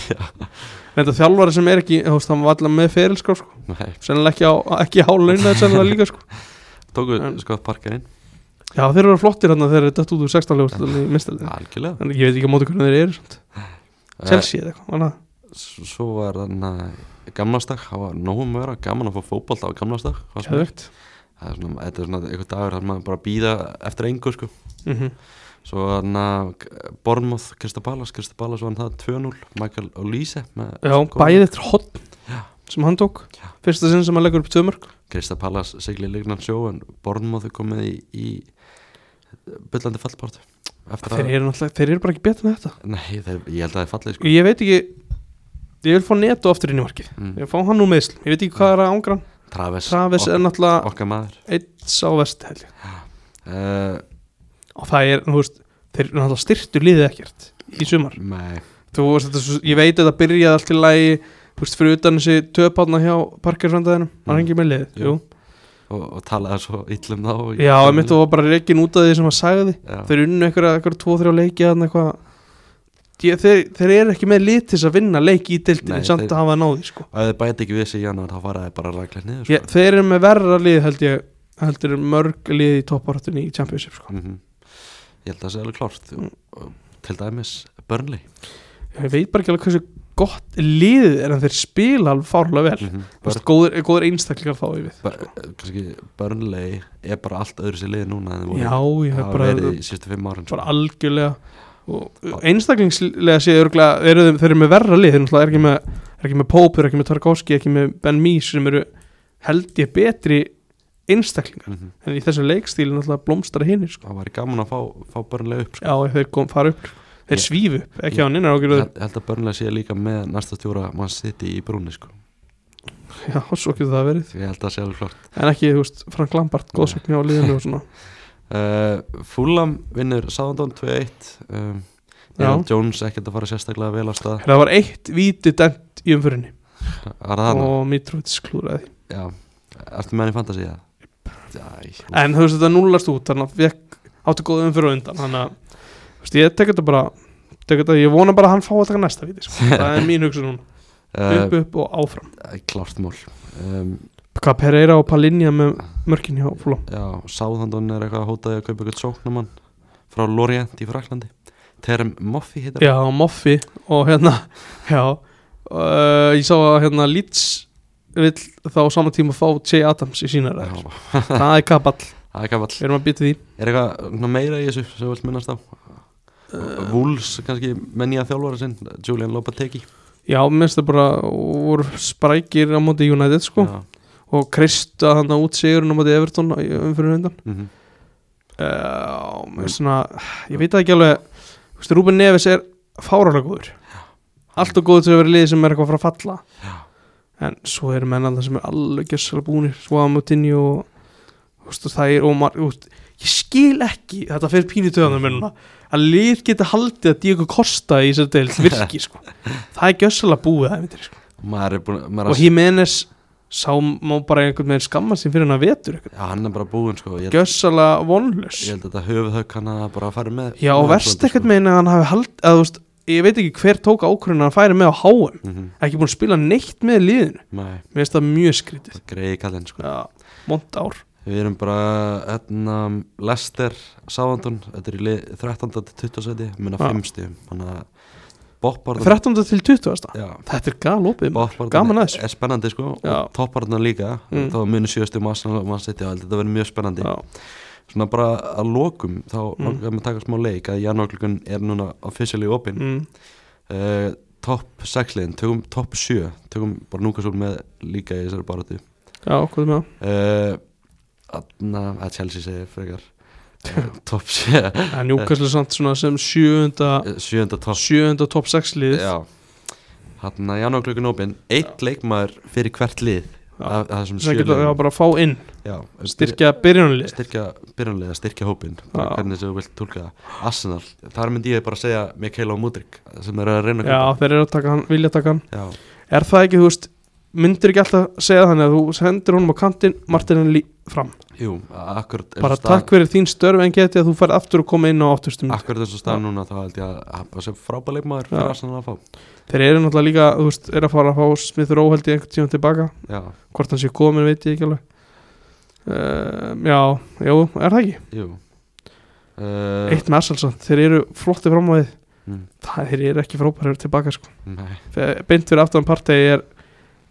þetta þjálfari sem er ekki, þú veist, hann var allavega með ferilskrá sko, Nei, sennilega ekki á, ekki á launað sennilega líka sko tóku En- sko parkerinn já þeir eru flottir hann að þeir eru dött út úr 16 ljóðstöldinni í misteldi, Algjörlega en ég veit ekki á móti hvernig þeir eru samt. Eh, Chelsea eða eitthvað var það? s- Svo var þannig Gamlastak, það var nógum vera Gaman að fá fótbolta á Gamlastak Það er Geðveikt. svona, þetta er svona eitthvað dagur þar maður bara býða eftir engu sko Mhm. Svo þannig Bormoth, Kristabalas, Kristabalas var það 2-0, Michael Olise já, bæði eftir hotn sem hann tók, fyrsta sinn sem hann leggur upp tömörk Kristabalas sigli lignan sjó en Bormoth er komið í, í byllandi fallbártu Eftir þeir eru náttúrulega, þeir eru bara ekki betur með þetta Nei, þeir, ég held að það er fallið og sko ég veit ekki ég vil fá neto aftur inn í markið Mm. ég vil fá hann úr meðsl, ég veit ekki hvað er að ángran Travis, Travis er okkar, náttúrulega okkar maður eitt sá vest held ég uh, og það er, þú veist, þeir eru náttúrulega styrtu liðið ekkert í sumar Nei, þú veist, þetta, er svo- ég veit að það byrjaði allt í lagi þú veist, fyrir utan þessi töpátna hjá parkerfrandaðinum, hann Mm. mm. með liðið Jú. jú. og, og talaði svo illum þá og- já, ég mitt og var bara reikin út af því sem hann sagði Já, þeir unnu einhverja, einhverja tvo, þrjá leiki þarna eitthvað Ég- þeir, þeir eru ekki með lið til þess að vinna leiki í Nei, deildinni samt þeir- að hafa náði sko. Ef þið bæti ekki við sig í januar þá faraði bara ræklegt niður sko. ég, þeir eru með verra lið held ég heldur en mörg lið í topparáttunni í Championship sko. Mhm. Ég held að það sé alveg klárt Mm. og, og, Til dæmis Burnley ég veit bara ekki alveg hversu gott liðið er en þeir spila alveg fárlega vel mm Þú veist, góður, góður einstaklingar þá yfir Kanski Burnley er bara allt öðru sér liði núna en þið voru Já, ég hef hafa bara, verið í sístu fimm árin sko. bara algjörlega og uh, einstaklingslega sé örgulega, eru þeir, þeir eru með verra lið þeir náttúrulega er ekki með, er ekki með Pópur, ekki með Tarkovski ekki með Ben Mies sem eru held ég betri einstaklingar mm -hmm. en í þessu leikstíli náttúrulega blómstara hinnir sko. Það væri gaman að fá, fá Burnley upp sko. já, ef þeir kom, fara upp, þeir Ég- svífu upp ekki ég- á hann innar Ég ágjörðu held- held að Burnley sé líka með næsta stjóra mann City í brúni sko. já, svo getur það verið Því ég held að það sé alveg klárt en ekki, þú veist, Frank Lampart, góðsögn hjá liðinu og svona uh, Fulham vinnur Southampton 2-1 um, Já. Neil Jones ekkert að fara sérstaklega vel á stað það var eitt víti dæmt í umfyrinni Var það hana? og Mitrovic klúraði því. Já, ertu með hann í fantasy eða? Æ, en þú veist þetta núllast út þannig að fekk áttu góð umfyrir og undan þannig að þú veist, ég tek þetta bara tek þetta, ég vona bara að hann fá að taka næsta víti sko. það er mín hugsun núna, upp uh, upp og áfram klárt mál um, hvað Pereira og Palinja með mörkin hjá Fulham Já, Southampton er eitthvað að hótaði að kaupa eitthvað sóknumann frá Lorient í Fraklandi Terem Moffi heitir já, og Moffi og hérna já, uh, ég sá að hérna Leeds vill þá á sama tíma fá Jay Adams í sína hann. ræður Já, það er kapall, Það er gamall við erum að býta því Er eitthvað svona meira í þessu sem þú vilt minnast á? Uh, Wolves kannski menja þjálfara sinn Julian Lopetegui já, minnst það bara voru sprækir á móti United sko Já, og Krista hann út sigurinn á móti Everton í umfyrir undan mhm. Já, mér finnst svona, ég veit það ekki alveg Þú veist, Rúben Neves er fáralega góður Allt og góður til að vera liðið sem er eitthvað að fara að falla En svo eru menn alltaf sem er alveg gjössalega búnir Svo að Moutinho og, þú veist, og það er ómar veist, Ég skil ekki, þetta fyrir pínu töðanum mér núna Að lið geta haldið að Diego Costa í þessar deil virki sko. Það er gjössalega búið það, myndir, sko. Og maður er búin maður er Og Jimenez sá má bara einhvern veginn skamma sín fyrir hann að vetur eitthvað. Já, hann er bara búinn sko Ég, Gjössalega vonlaus ég held að þetta höfuðhögg hann að bara fara með Já, og verst ekkert meina að hann hafi hald að, þú veist, ég veit ekki hver tók ákvörðin að hann færi með á HM, mm -hmm. ekki búin að spila neitt með liðinu, Nei, mér finnst það mjög skrítið greiði kallinn sko Já, mont ár Við erum bara, hérna, Lester, Sáandun Þetta er í lið 13. til 20. seti Minna Já. 5 stíðum Þannig að Bopparðan 13. til 20. Já, Þetta er galopið maður. Gaman Bopparðan að er, þessu. er spennandi sko Já. Og topparðan líka Mm. Þá munir 7 stíðum Arsenal og mann setja Þetta verður mjög spennandi Já, Svona bara að lokum Þá mm. langar við að taka smá leik Að janúarklukkan er núna officially open mm, uh, topp 6 liðin, tökum topp 7 tökum bara núkasúl með líka í þessari baratu já, hvað er með það? uh, na, að Chelsea segir frekar uh, topp 7 Það er njúkastlega samt svona sem sjöunda sjönda eh, topp sjöunda top 6 liðið já hann að janúar klukkan opinn eitt leikmaður fyrir hvert lið Já. af af þessum sem sjö getur liðum. já, bara að fá inn, Já, styrkja styrkja byrjunarlið styrkja byrjanlega, styrkja hópin Já. bara hvernig þessu þú vilt tólka það. Arsenal, þar myndi ég bara segja Mikael og Mudrik sem eru að reyna að Já, kaupa. þeir eru að taka hann, vilja taka hann Já. Er það ekki, þú veist, myndir ekki alltaf segja þannig að þú sendir honum á kantinn Martinelli fram Jú, akkurat bara takk fyrir þín störf en geti að þú fær aftur að koma inn á áttustum Akkurat þessu stað núna þá held ég að það var sem frábæð leikmaður Já. fyrir Arsenal að fá þeir eru náttúrulega líka, þú veist, eru að fara að fá Smith Rowe held ég einhvern tíma tilbaka Já, hvort hann sé komin veit ég ekki alveg uh, já, jú, er það ekki jú uh, eitt með Arsalsson, þeir eru flotti fram á þið Mm. það þeir eru ekki frábæri tilbaka sko. Nei, Fe- beint fyrir aftan partegi er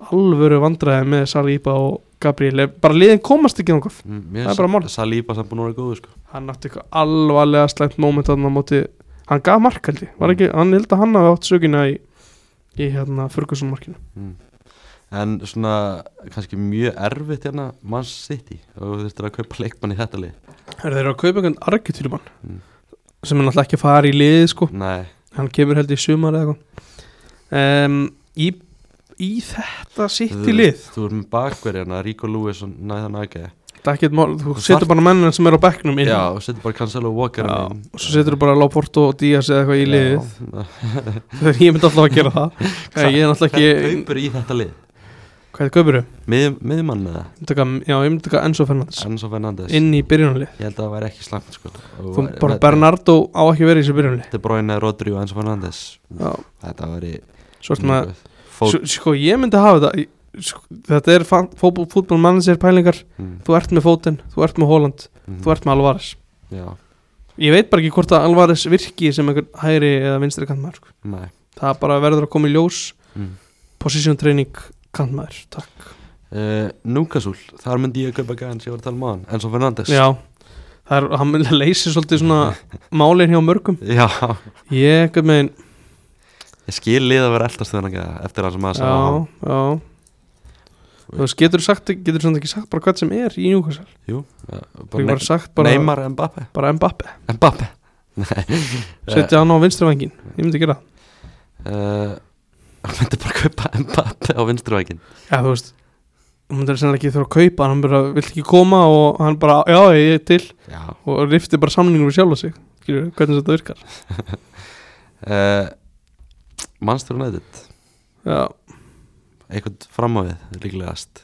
alvöru vandræði með Saliba og Gabriel bara liðin komast ekki náttúrulega mm, Það mér er bara mál. Salíba sem búin að vera góðu sko hann átti eitthvað alvarlega slæmt moment hann á móti, hann gaf mark held ég Var ekki, hann held að hann hafi átt sögina í, í hérna Ferguson markinu mm. En svona kannski mjög erfitt hérna Man City og þú þurftir að kaupa leikmann í þetta lið er þeir eru að kaupa einhvern argjutilmann Mm. sem er náttúrulega ekki að fara í liði sko Nei, hann kemur held ég í sumar eða eitthvað um, í, í þetta sitt í lið Þú ert með bakverjana, Rico Lewis og Nathan Ake það er ekkert mál, þú Svart- setur bara mennina sem er á bekknum inn Já, og setur bara Cancelo og Walker Já, inn. og svo setur þú bara Láporto og Díaz eða eitthvað í liðið Já. þegar ég myndi alltaf að gera það Nei, ég er alltaf Hvern ekki, kaupir í þetta lið? hvað er kaupuru? Mið, miðmann eða? Já, ég myndi taka Enzo Fernandes Enzo Fernandes inn í byrjunalið Ég held að það væri ekki slæmt sko Og Þú, væri- bara þetta- Bernardo á ekki verið í þessu byrjumli De Bruyne, Rodri og Enzo Fernandes Já. Þetta væri Svo ertu með Fót svo- Sko ég myndi hafa þetta ég- sko, Þetta er fútbolmannsir pælingar mm, Þú ert með Fóten, þú ert með Holland mm, Þú ert með Alvarez Já, Ég veit bara ekki hvort að Alvarez virki sem einhver hægri eða vinstri kantmaður sko. nei Það bara verður að koma í ljós mm. Position training kantmaður, takk uh, Núkasúl, þar myndi ég að kaupa gæðan sem ég var að tala um á hann Enzo Fernandes Já, það er, hann leysir svolítið svona málin hjá mörgum Já, Ég, einhvern veginn, ég skil lið að vera eldast þennan gæða eftir hann sem maður sagði á já, hann. já Þú veist, getur sagt, getur svona ekki sagt bara hvað sem er í Newcastle Jú, já, Bara, bara bara sagt ne bara Neymar Mbappe bara Mbappe Mbappe Nei setja hann á vinstrivangin, ég myndi gera það. uh, Hann myndi bara kaupa Mbappe á vinstruvækin já þú veist hún myndi sennilega ekki þurfa að kaupa hann, hann bara vill ekki koma og hann bara já ég er til Já og rifti bara samningur við sjálfa sig skilur hvernig þetta virkar uh, Manchester United já, Eitthvað fram á við líklegast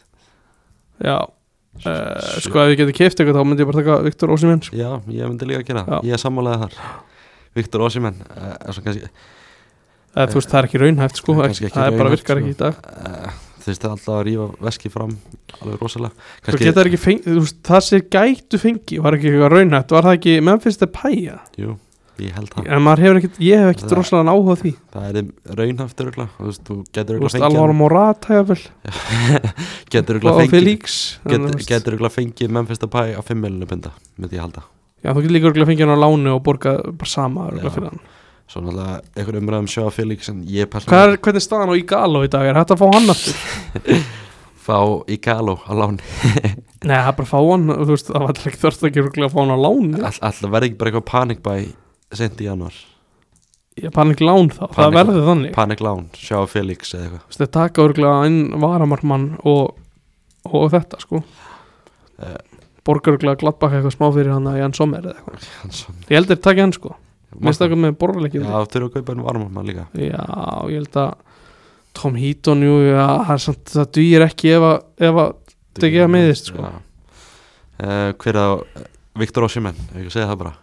já uh, sko ef ég geti keift eitthvað þá myndi ég bara taka Viktor Ósimenn sko. Já, ég myndi líka að gera Já. það, Ég er sammálaðið þar Viktor eh, Ósimenn Það eða þú veist það er ekki raunhæft sko það, það er bara virkar ekki í dag eh, Þú veist það er alltaf að rífa veski fram Alveg rosalega Kannski... geta þær ekki fengi, þú veist það sem gætu fengi var ekki eitthvað raunhæft var það ekki Memphis Depay ja? Jú, ég held það en maður hefur ekkit ég hef ekkit Það- rosalega áhuga á því Það er raunhaft örugla Þú veist, þú getur þú veist örugla Alvaro fengið Morata jafnvel, Getur og örugla fengið Felix en þú Getur, veist- getur örugla fengið Memphis Depay á 5 miljonum pinda Myndi ég halda Já, þú getur líka örgulega að fengja hann á lánu og borga bara sama örgulega Já. fyrir hann. Svo náttúrulega einhver umræðum sjá að Felix En ég Hvað er, persónum hvernig er staðan á Igalo í dag? Er hægt að fá hann aftur? Fá í Galo á láni Nei, það er bara að fá hann, þú veist, það var alltaf ekki þörst ekki örgulega að fá hann á lánu. All- Alltaf verði ekki bara eitthvað panic buy Sent í januar Ég er bara ekki lán þá, Panic- það verður þannig. Panic lán, sjá að Felix eða eitthvað Þú veist, þeir taka örgulega inn varamarmann og, og þetta, sko. Eh. Borga örgulega glattbaka eitthvað smá fyrir hann að Jan Sommer eða eitthvað. Hansson Ég held þeir takja hann, sko. Minnst það með borgarleikindi. Já, þurfa að kaupa einu varmamann líka Já, ég held að Tom Heaton, jú, já, það, er samt, það dýr ekki ef að, ef að Þetta ekki að meiðist, sko. Já. Eh, Hver á Viktor Ossimenn, ef ég segi það bara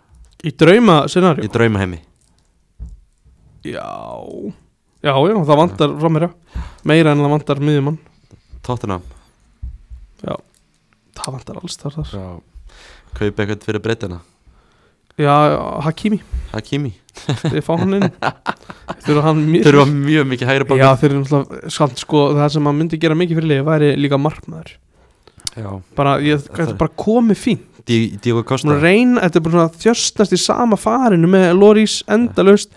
í drauma scenari Í draumaheimi Já Já, já, það vantar frá mér, já Meira en það vantar miðjumann Tottenham Það vantar alls þar þar Já Kaupa eitthvað fyrir breytina Já, já, Hakimi, Hakimi þið fá hann inn Þurfa hann mér Þurfa mjög mikið hægri Já, baka þeir eru náttúrulega Samt sko, það sem hann myndi gera mikið fyrir liði væri líka markmaður Já Bara, ég, þetta er bara komið fín Dí- Diego Costa Nú reyn, þetta er bara svona þjöstnast í sama farinu með Lorís endalaust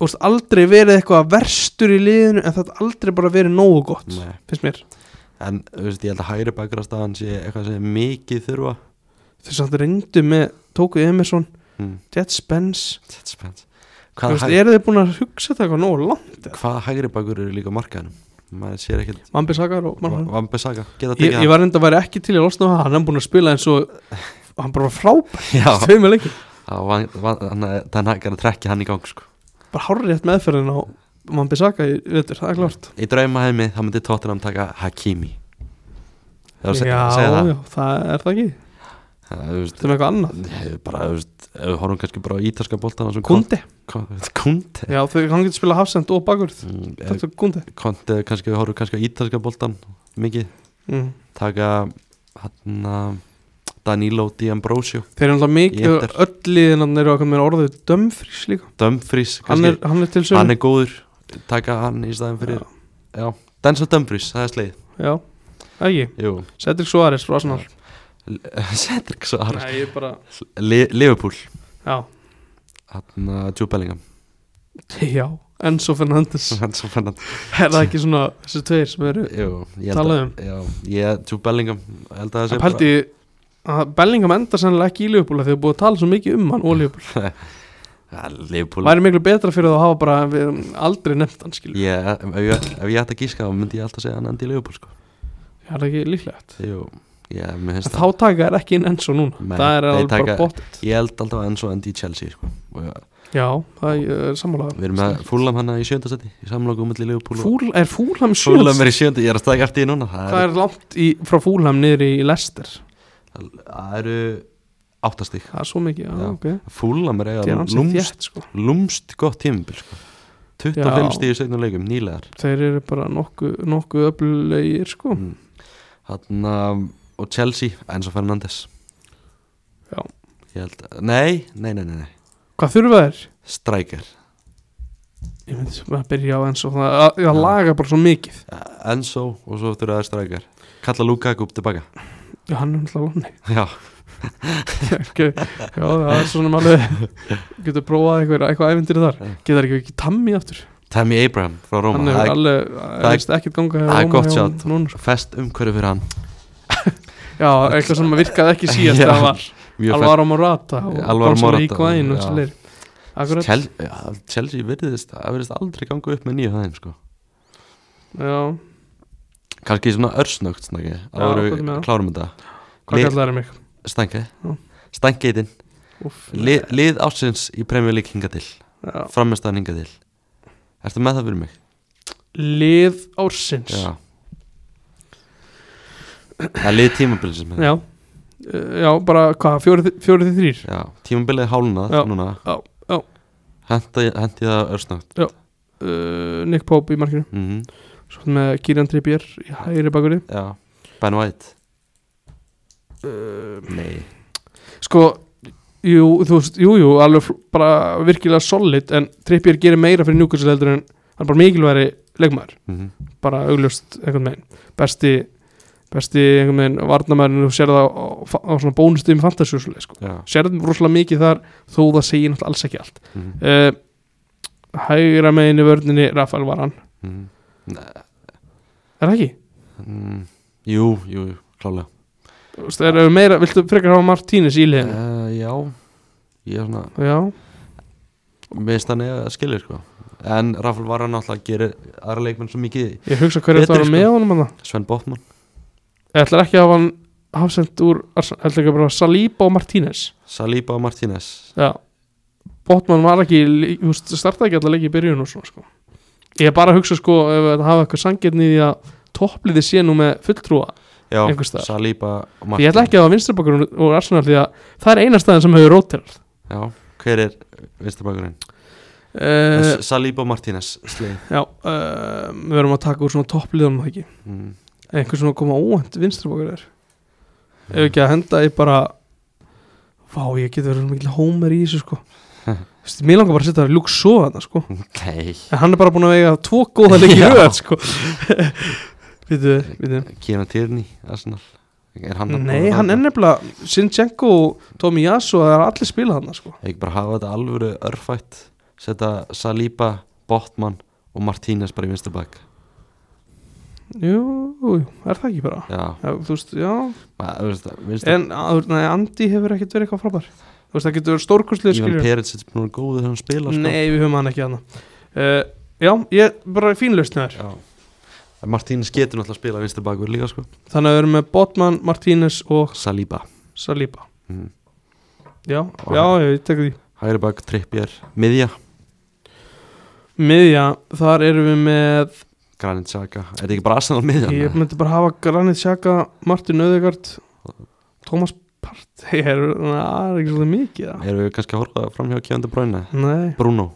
Þú veist, aldrei verið eitthvað verstur í liðinu En þetta aldrei bara verið nógu gott Nei Finnst mér En, þú veist, ég held að hægri bakra staðan sé eitthvað sem er mikið þurfa Þeir samt reyndu með, tókuð Emerson mm. Jet Spence Þetta er spennt Þú Hvað, veist, hæg, eru þið búin að hugsa þetta eitthvað nógu langt hvað hægri bakur eru líka á markaðinum? Maður sér ekkert Mambi Sakar og Marhan Vambi Saga Geta ég, tekið ég var enda að væri ekki til í að losna á það, hann er búin að spila eins og hann bara var frábært Já þau með leikin Já, van- van- hann- Þannig að hann er að trekja hann í gang sko. bara hárið rétt meðferðin á mann besaka í vetur, það er klart Í draumaheimi þá myndi Tottenham taka Hakimi Það var að Já, segja, segja það já, það er það ekki Það, þú veist, Það er með eitthvað annað ég bara, þú veist, ef við horfum kannski bara á ítalska boltana sem Kundi, Kunt já, þau hann getur spilað hafsend og bakurð Kunt, Þetta er Kundi Mm, kannski við horfum kannski á ítalska boltan mikið, mm. taka hann uh, Danilo Di Ambrosio Þeir eru alltaf mikið, Ég er- öll liðin þarna eru að koma með orðið Dömfrís líka Dumfries, hann er, kannski, hann er til hann er, sögum góður taka hann í staðin fyrir já. Denzel Dumfries, það er sleið Já, ekki, Jú, Cedric Suárez frá Arsenal Cedric Svar Nei, ég er bara, Liverpool, já, hann Jude Bellingham já Enzo Fernandes hann svo fann hann Er það ekki svona þessi tveir sem eru Jú, ég held Talaðu að já, ég, Jude Bellingham, ég held að það Það pælti að Bellingham endar sennilega ekki í Liverpool af því að búið að tala svo mikið um hann og Liverpool bara ja, Liverpool væri miklu betra fyrir það að hafa bara við höfum aldrei nefnt hann skilur Ég, ef, ég, ef ég ætti að gíska þá myndi ég alltaf segja hann endi í Leopold sko. það er ekki líklegt Jú, ég, mér en finnst þá það taka þær ekki inn enn svo núna Nei, það er þeir alveg taka- bara bótt Ég held alltaf að enn svo endi í Chelsea sko. Og ég- já, það er- eh, ég er Við erum með sammálaða Fúlam hana í sjöndasetti í samlokum mellir Leopold Fúl, er Fúlham Fúlam sjöld er í sjöndi, ég er að stækja eftir því núna Það hvað eru- er langt í, frá Fúlham niður í Leicester það eru áttastík það er svo mikið, já, Já. ok Fúlam er það er eiga hans lúmst, þétt sko lúmst gott tímabil sko. 25 Já. stíð í segnum leikum, nýlegar þeir eru bara nokkuð nokku öflugir sko Mm. Þarna, og Chelsea, Enzo Fernandes Já. Ég held, að- nei, nei, nei, nei, nei. hvað þurfa þær? Striker ég myndi bara að byrja á enn svo það að- að laga bara svo mikið Enzo og svo eftir aðeins strækjar Kalla Lukaku upp tilbaka já, hann er náttúrulega lóni Já, okay. Já, það er svona alveg Getur prófað eitthvað, eitthvað æfindir þar Já. Getur ekki ekki Tammy aftur Tammy Abraham frá Róma Hann Það hefur er alveg, er- það veist ekkert ganga hjá það er Róma gott hjá sjátt. honum núna, sko. fest umhverju fyrir hann Já, eitthvað sem virkaði ekki síðast Já, Það var Mjög Alvaro Morata og Alvaro Gonzalo Morata, Higuaín og já. þessi leir. fest Akkurat Chel Já, Chelsea virðist, það virðist aldrei ganga upp með nýju hæðin sko. Já, Kanski svona örsnögt snakki Já, Það hvað er með voru það? klárum þetta hvað Lið- kallar það mig? Stænki Já. Stænkiðin Úff, Lið, lið ásins í Premier League hinga til já. Frammeðstæðan hinga til Ertu með það fyrir mig? Lið ársins Já, Já Það er lið tímabilið sem já. Eh, já bara hvað, fjórið fjóri þrýr Já, tímabilið er hálunað Já. núna Já, já. Henta, Henti það örsnögt uh, Nick Pope í markinu mm Svo með Kieran Trippier í hægri bakverði Já, Ben White Nei sko jú, þú veist, jú, jú, alveg fl- bara virkilega solid, en Trippier gerir meira fyrir Newcastle heldur en hann er bara mikilværi leikmaður, mm bara augljóst einhvern veginn, besti besti einhvern veginn varnamæðurinn þú sér það á, á, á svona bónustum fantasjúsuleg, sko, Já, sér það rosalega mikið þar þó það segir náttúrulega alls ekki allt mm uh, hægra meginni vörninni Rafael Varan, -hmm. er það ekki? mm, Jú, jú, jú, klálega Þú veist, er, er meira, viltu frekar hafa Martínez í liðinu? uh, Já, ég er svona Já, Minnst hann eða skilur sko En Rafael Vara náttúrulega gerir aðra leikmenn svo mikið ég hugsa hverju þetta Betri, var sko. með honum hann Sven Botman, Ég ætlar ekki að hafa hann hafsend úr Arsenal, ætlar ekki að bara Saliba og Martínez Saliba og Martínez Já Botman var ekki, í leik- þú veist, startaði ekki alltaf leikið í byrjun og svona sko Ég er bara að hugsa sko, ef þetta hafa eitthvað sangjörni í því að toppliði sé nú með fulltrúa Já, Einhvers staðar. Saliba og Því ég Martínez ætla ekki að hafa vinstrabakur úr Arsenal því að það er eina staðin sem hefur rótirað Já, hver er vinstabakurinn? uh, Uh, Saliba og Martínez, sleið Já, uh, við verðum að taka úr svona toppliðum það ekki mm, Einhver svona koma óvænt vinstrabakur er Ef ekki að henda ég bara Vá, ég getur verið mikil hómer í þessu sko Þú veist, Mér langar bara að setja Luke Shaw þarna sko Nei, En hann er bara búin að vega tvo góða leikir Já. röð sko Vitu, vitu Kieran Tierney, Arsenal Er hann að- Nei, hann er nefnilega Sinchenko og Tomi Yasu það er allir spila hann sko ekki bara hafa þetta alvöru örfætt setja Saliba, Botman og Martínez bara í vinstu bak Jú, jú, er það ekki bara já, Já, þú veist, já maður, þú veist það, vinstu En að- nei, Andi hefur ekkert verið eitthvað frábær Þú veist, það getur verið stórkurslið Ivan skilur Perins er búin að vera góður þegar hann spila sko. Nei, við höfum hann ekki hann uh, Já, ég bara fínlaust með þér já. En Martínez getur náttúrulega að spila vinstu bakur líka sko. Þannig að við erum með Botman, Martínez og Saliba Saliba Mhm. Já, já, ég tek því hægri bak, Trippier, miðja miðja, þar erum við með Granit Xhaka, er þetta ekki bara Arsenal miðjan? ég myndi bara hafa Granit Xhaka, Martin Öðegard Thomas Partey er, na, er ekki svolítið mikið það Erum við kannski að horfa fram hjá Kevin De Bruyne? nei, Bruno,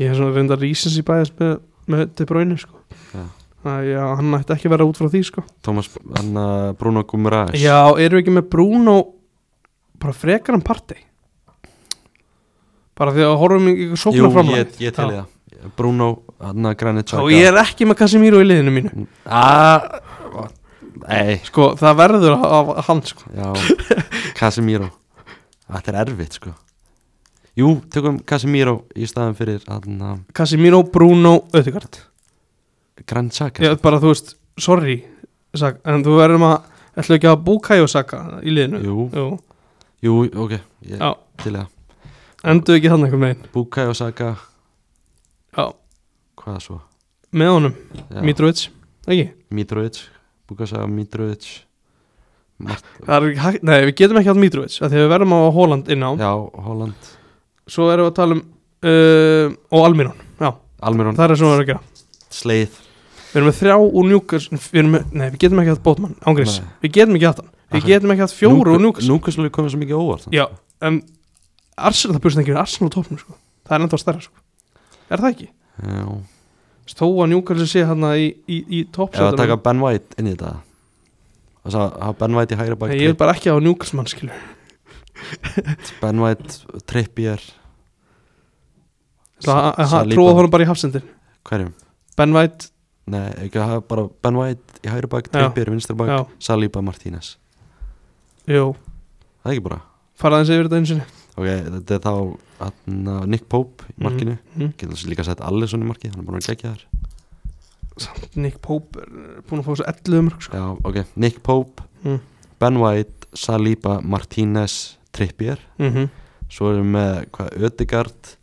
ég er svona reynda rísins í bæðis með, með De Bruyne sko Já. Það, já, hann ætti ekki að vera út frá því sko Thomas, hann að Bruno Gumraes já, erum við ekki með Bruno bara frekar en Partey bara því að horfum í ykkur Jú, sóknar framlega ég, ég til það Bruno, hann að Granit Xhaka og Sko, ég er ekki með Casemiro í liðinu mínu Ah, Nei, sko, það verður af af hann sko já Casemiro Þetta er erfitt sko Jú, tökum Casemiro í staðan fyrir hann uh, að Casemiro, Bruno, Ödegard Granit Xhaka ég bara, þú veist, sorry Saka, en þú verðum að, ætlu ekki að búka í og Saka í liðinu Jú, jú, ok Ég Já. til það endur ekki þannig einhvern veginn Bukai og Saka, já, hvað svo? með honum, Já. Mitrovic ekki, Mitrovic Bukai og Saka, Mitrovic Mart það er ekki hægt, nei, við getum ekki hatt Mitrovic, af því að við verðum á Holland inná, Já, Holland svo erum við að tala um uh, og Almiron, já, Almiron, það er svona að gera Sleið við erum með þrjá úr njúkars við erum með, nei, við getum ekki hatt Bótmann, ángriðs Nei. við getum ekki hatt hann, við Aha. getum ekki hatt fjóru úr njúkars Núkaslu komið svo mikið á óvart Já, en Arsenal, það búist ekki við Arsenal á topnum sko. Það er enda stærra sko. Er það ekki? Já. Þess, Þó að Newcastle sé hérna í, í, í Ef að taka toppsætunum Ben White inn í þetta Og svo hafa Ben White í hægri Nei, bak Ég vil bara ekki hafa Newcastle mann skilur tripp, Ben White, Trippier Það Saliba. trúið honum bara í hafsendin Hverjum? Ben White, Nei, ekki að hafa bara Ben White í hægri bak Já. Trippier, vinstri bak, já, Saliba, Martínez jú Það er ekki bara Faraðins yfir þetta einu sinni Ok, þetta er þá atna, Nick Pope í markinu mm. Getur þessi líka sett Allison í markið, hann er búin að gegja þar Nick Pope er búin að fá þessu 11 mörg sko. Já, ok, Nick Pope Mm. Ben White, Saliba, Martínez Trippier, mm -hmm. svo erum við með hvað, Ödegard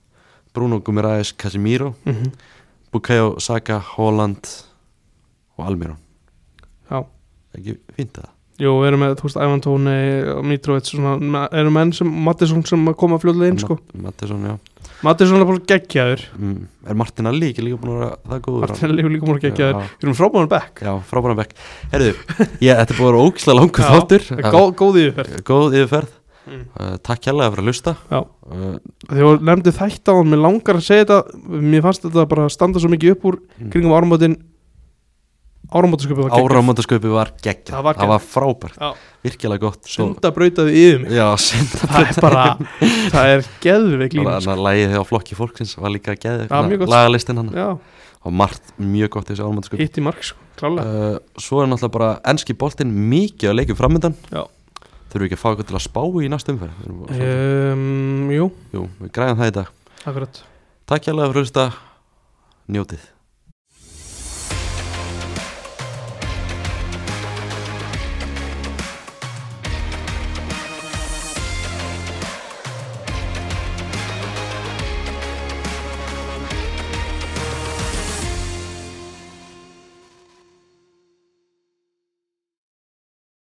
Bruno Gumirais, Casemiro mm -hmm. Bukayo, Saka, Holland og Almiron Já. Ekki fínt það Jú, við erum með, þú veist, Ivan Tóni og Mitrovic svona, me- eru menn sem Mattisson sem að koma fljóðlega inn sko. Mat- Mattisson, já Mattisson er bara geggjaður mm. Er Martin Alli ekki líka búin að vera það góður? Martin Leifur líka múl geggjaður Já, Við erum frábæðan bekk já frábæðan bekk Herðu, ég, þetta er búin að vera ógislega langur Já, þáttur Það er góð, góð yfirferð Já, Góð yfirferð Mm. uh, Takk hérlega fyrir að hlusta Já. uh, Þegar þú nefndi þætt á hann, mér langar að segja þetta Mér fannst þetta bara standa svo mikið upp úr Mm. Kringum áramótin Áramótasköpum Áramótasköpi var geggjað Það var það var frábært, Já. virkilega gott Svo- Sunda brautaði yfir mig Já, synda Það er bara, það er geðveik sko. lína Þannig að lægið á flokki fólksins var líka geðið Já, mjög gott. Lagalistin hann Já, Og margt mjög gott í þessu áramótasköpi hitt í mark sko, klálega uh, Svo er náttúrulega bara enski boltinn mikið að leikjum framöndan Já. Þurfum við ekki að fá eitthvað til að spá í næstu umferð Við erum bara svolítið- um, Jú, Jú, við græðum það í dag akkurat Takk hérlega fyrir að hlusta Njótið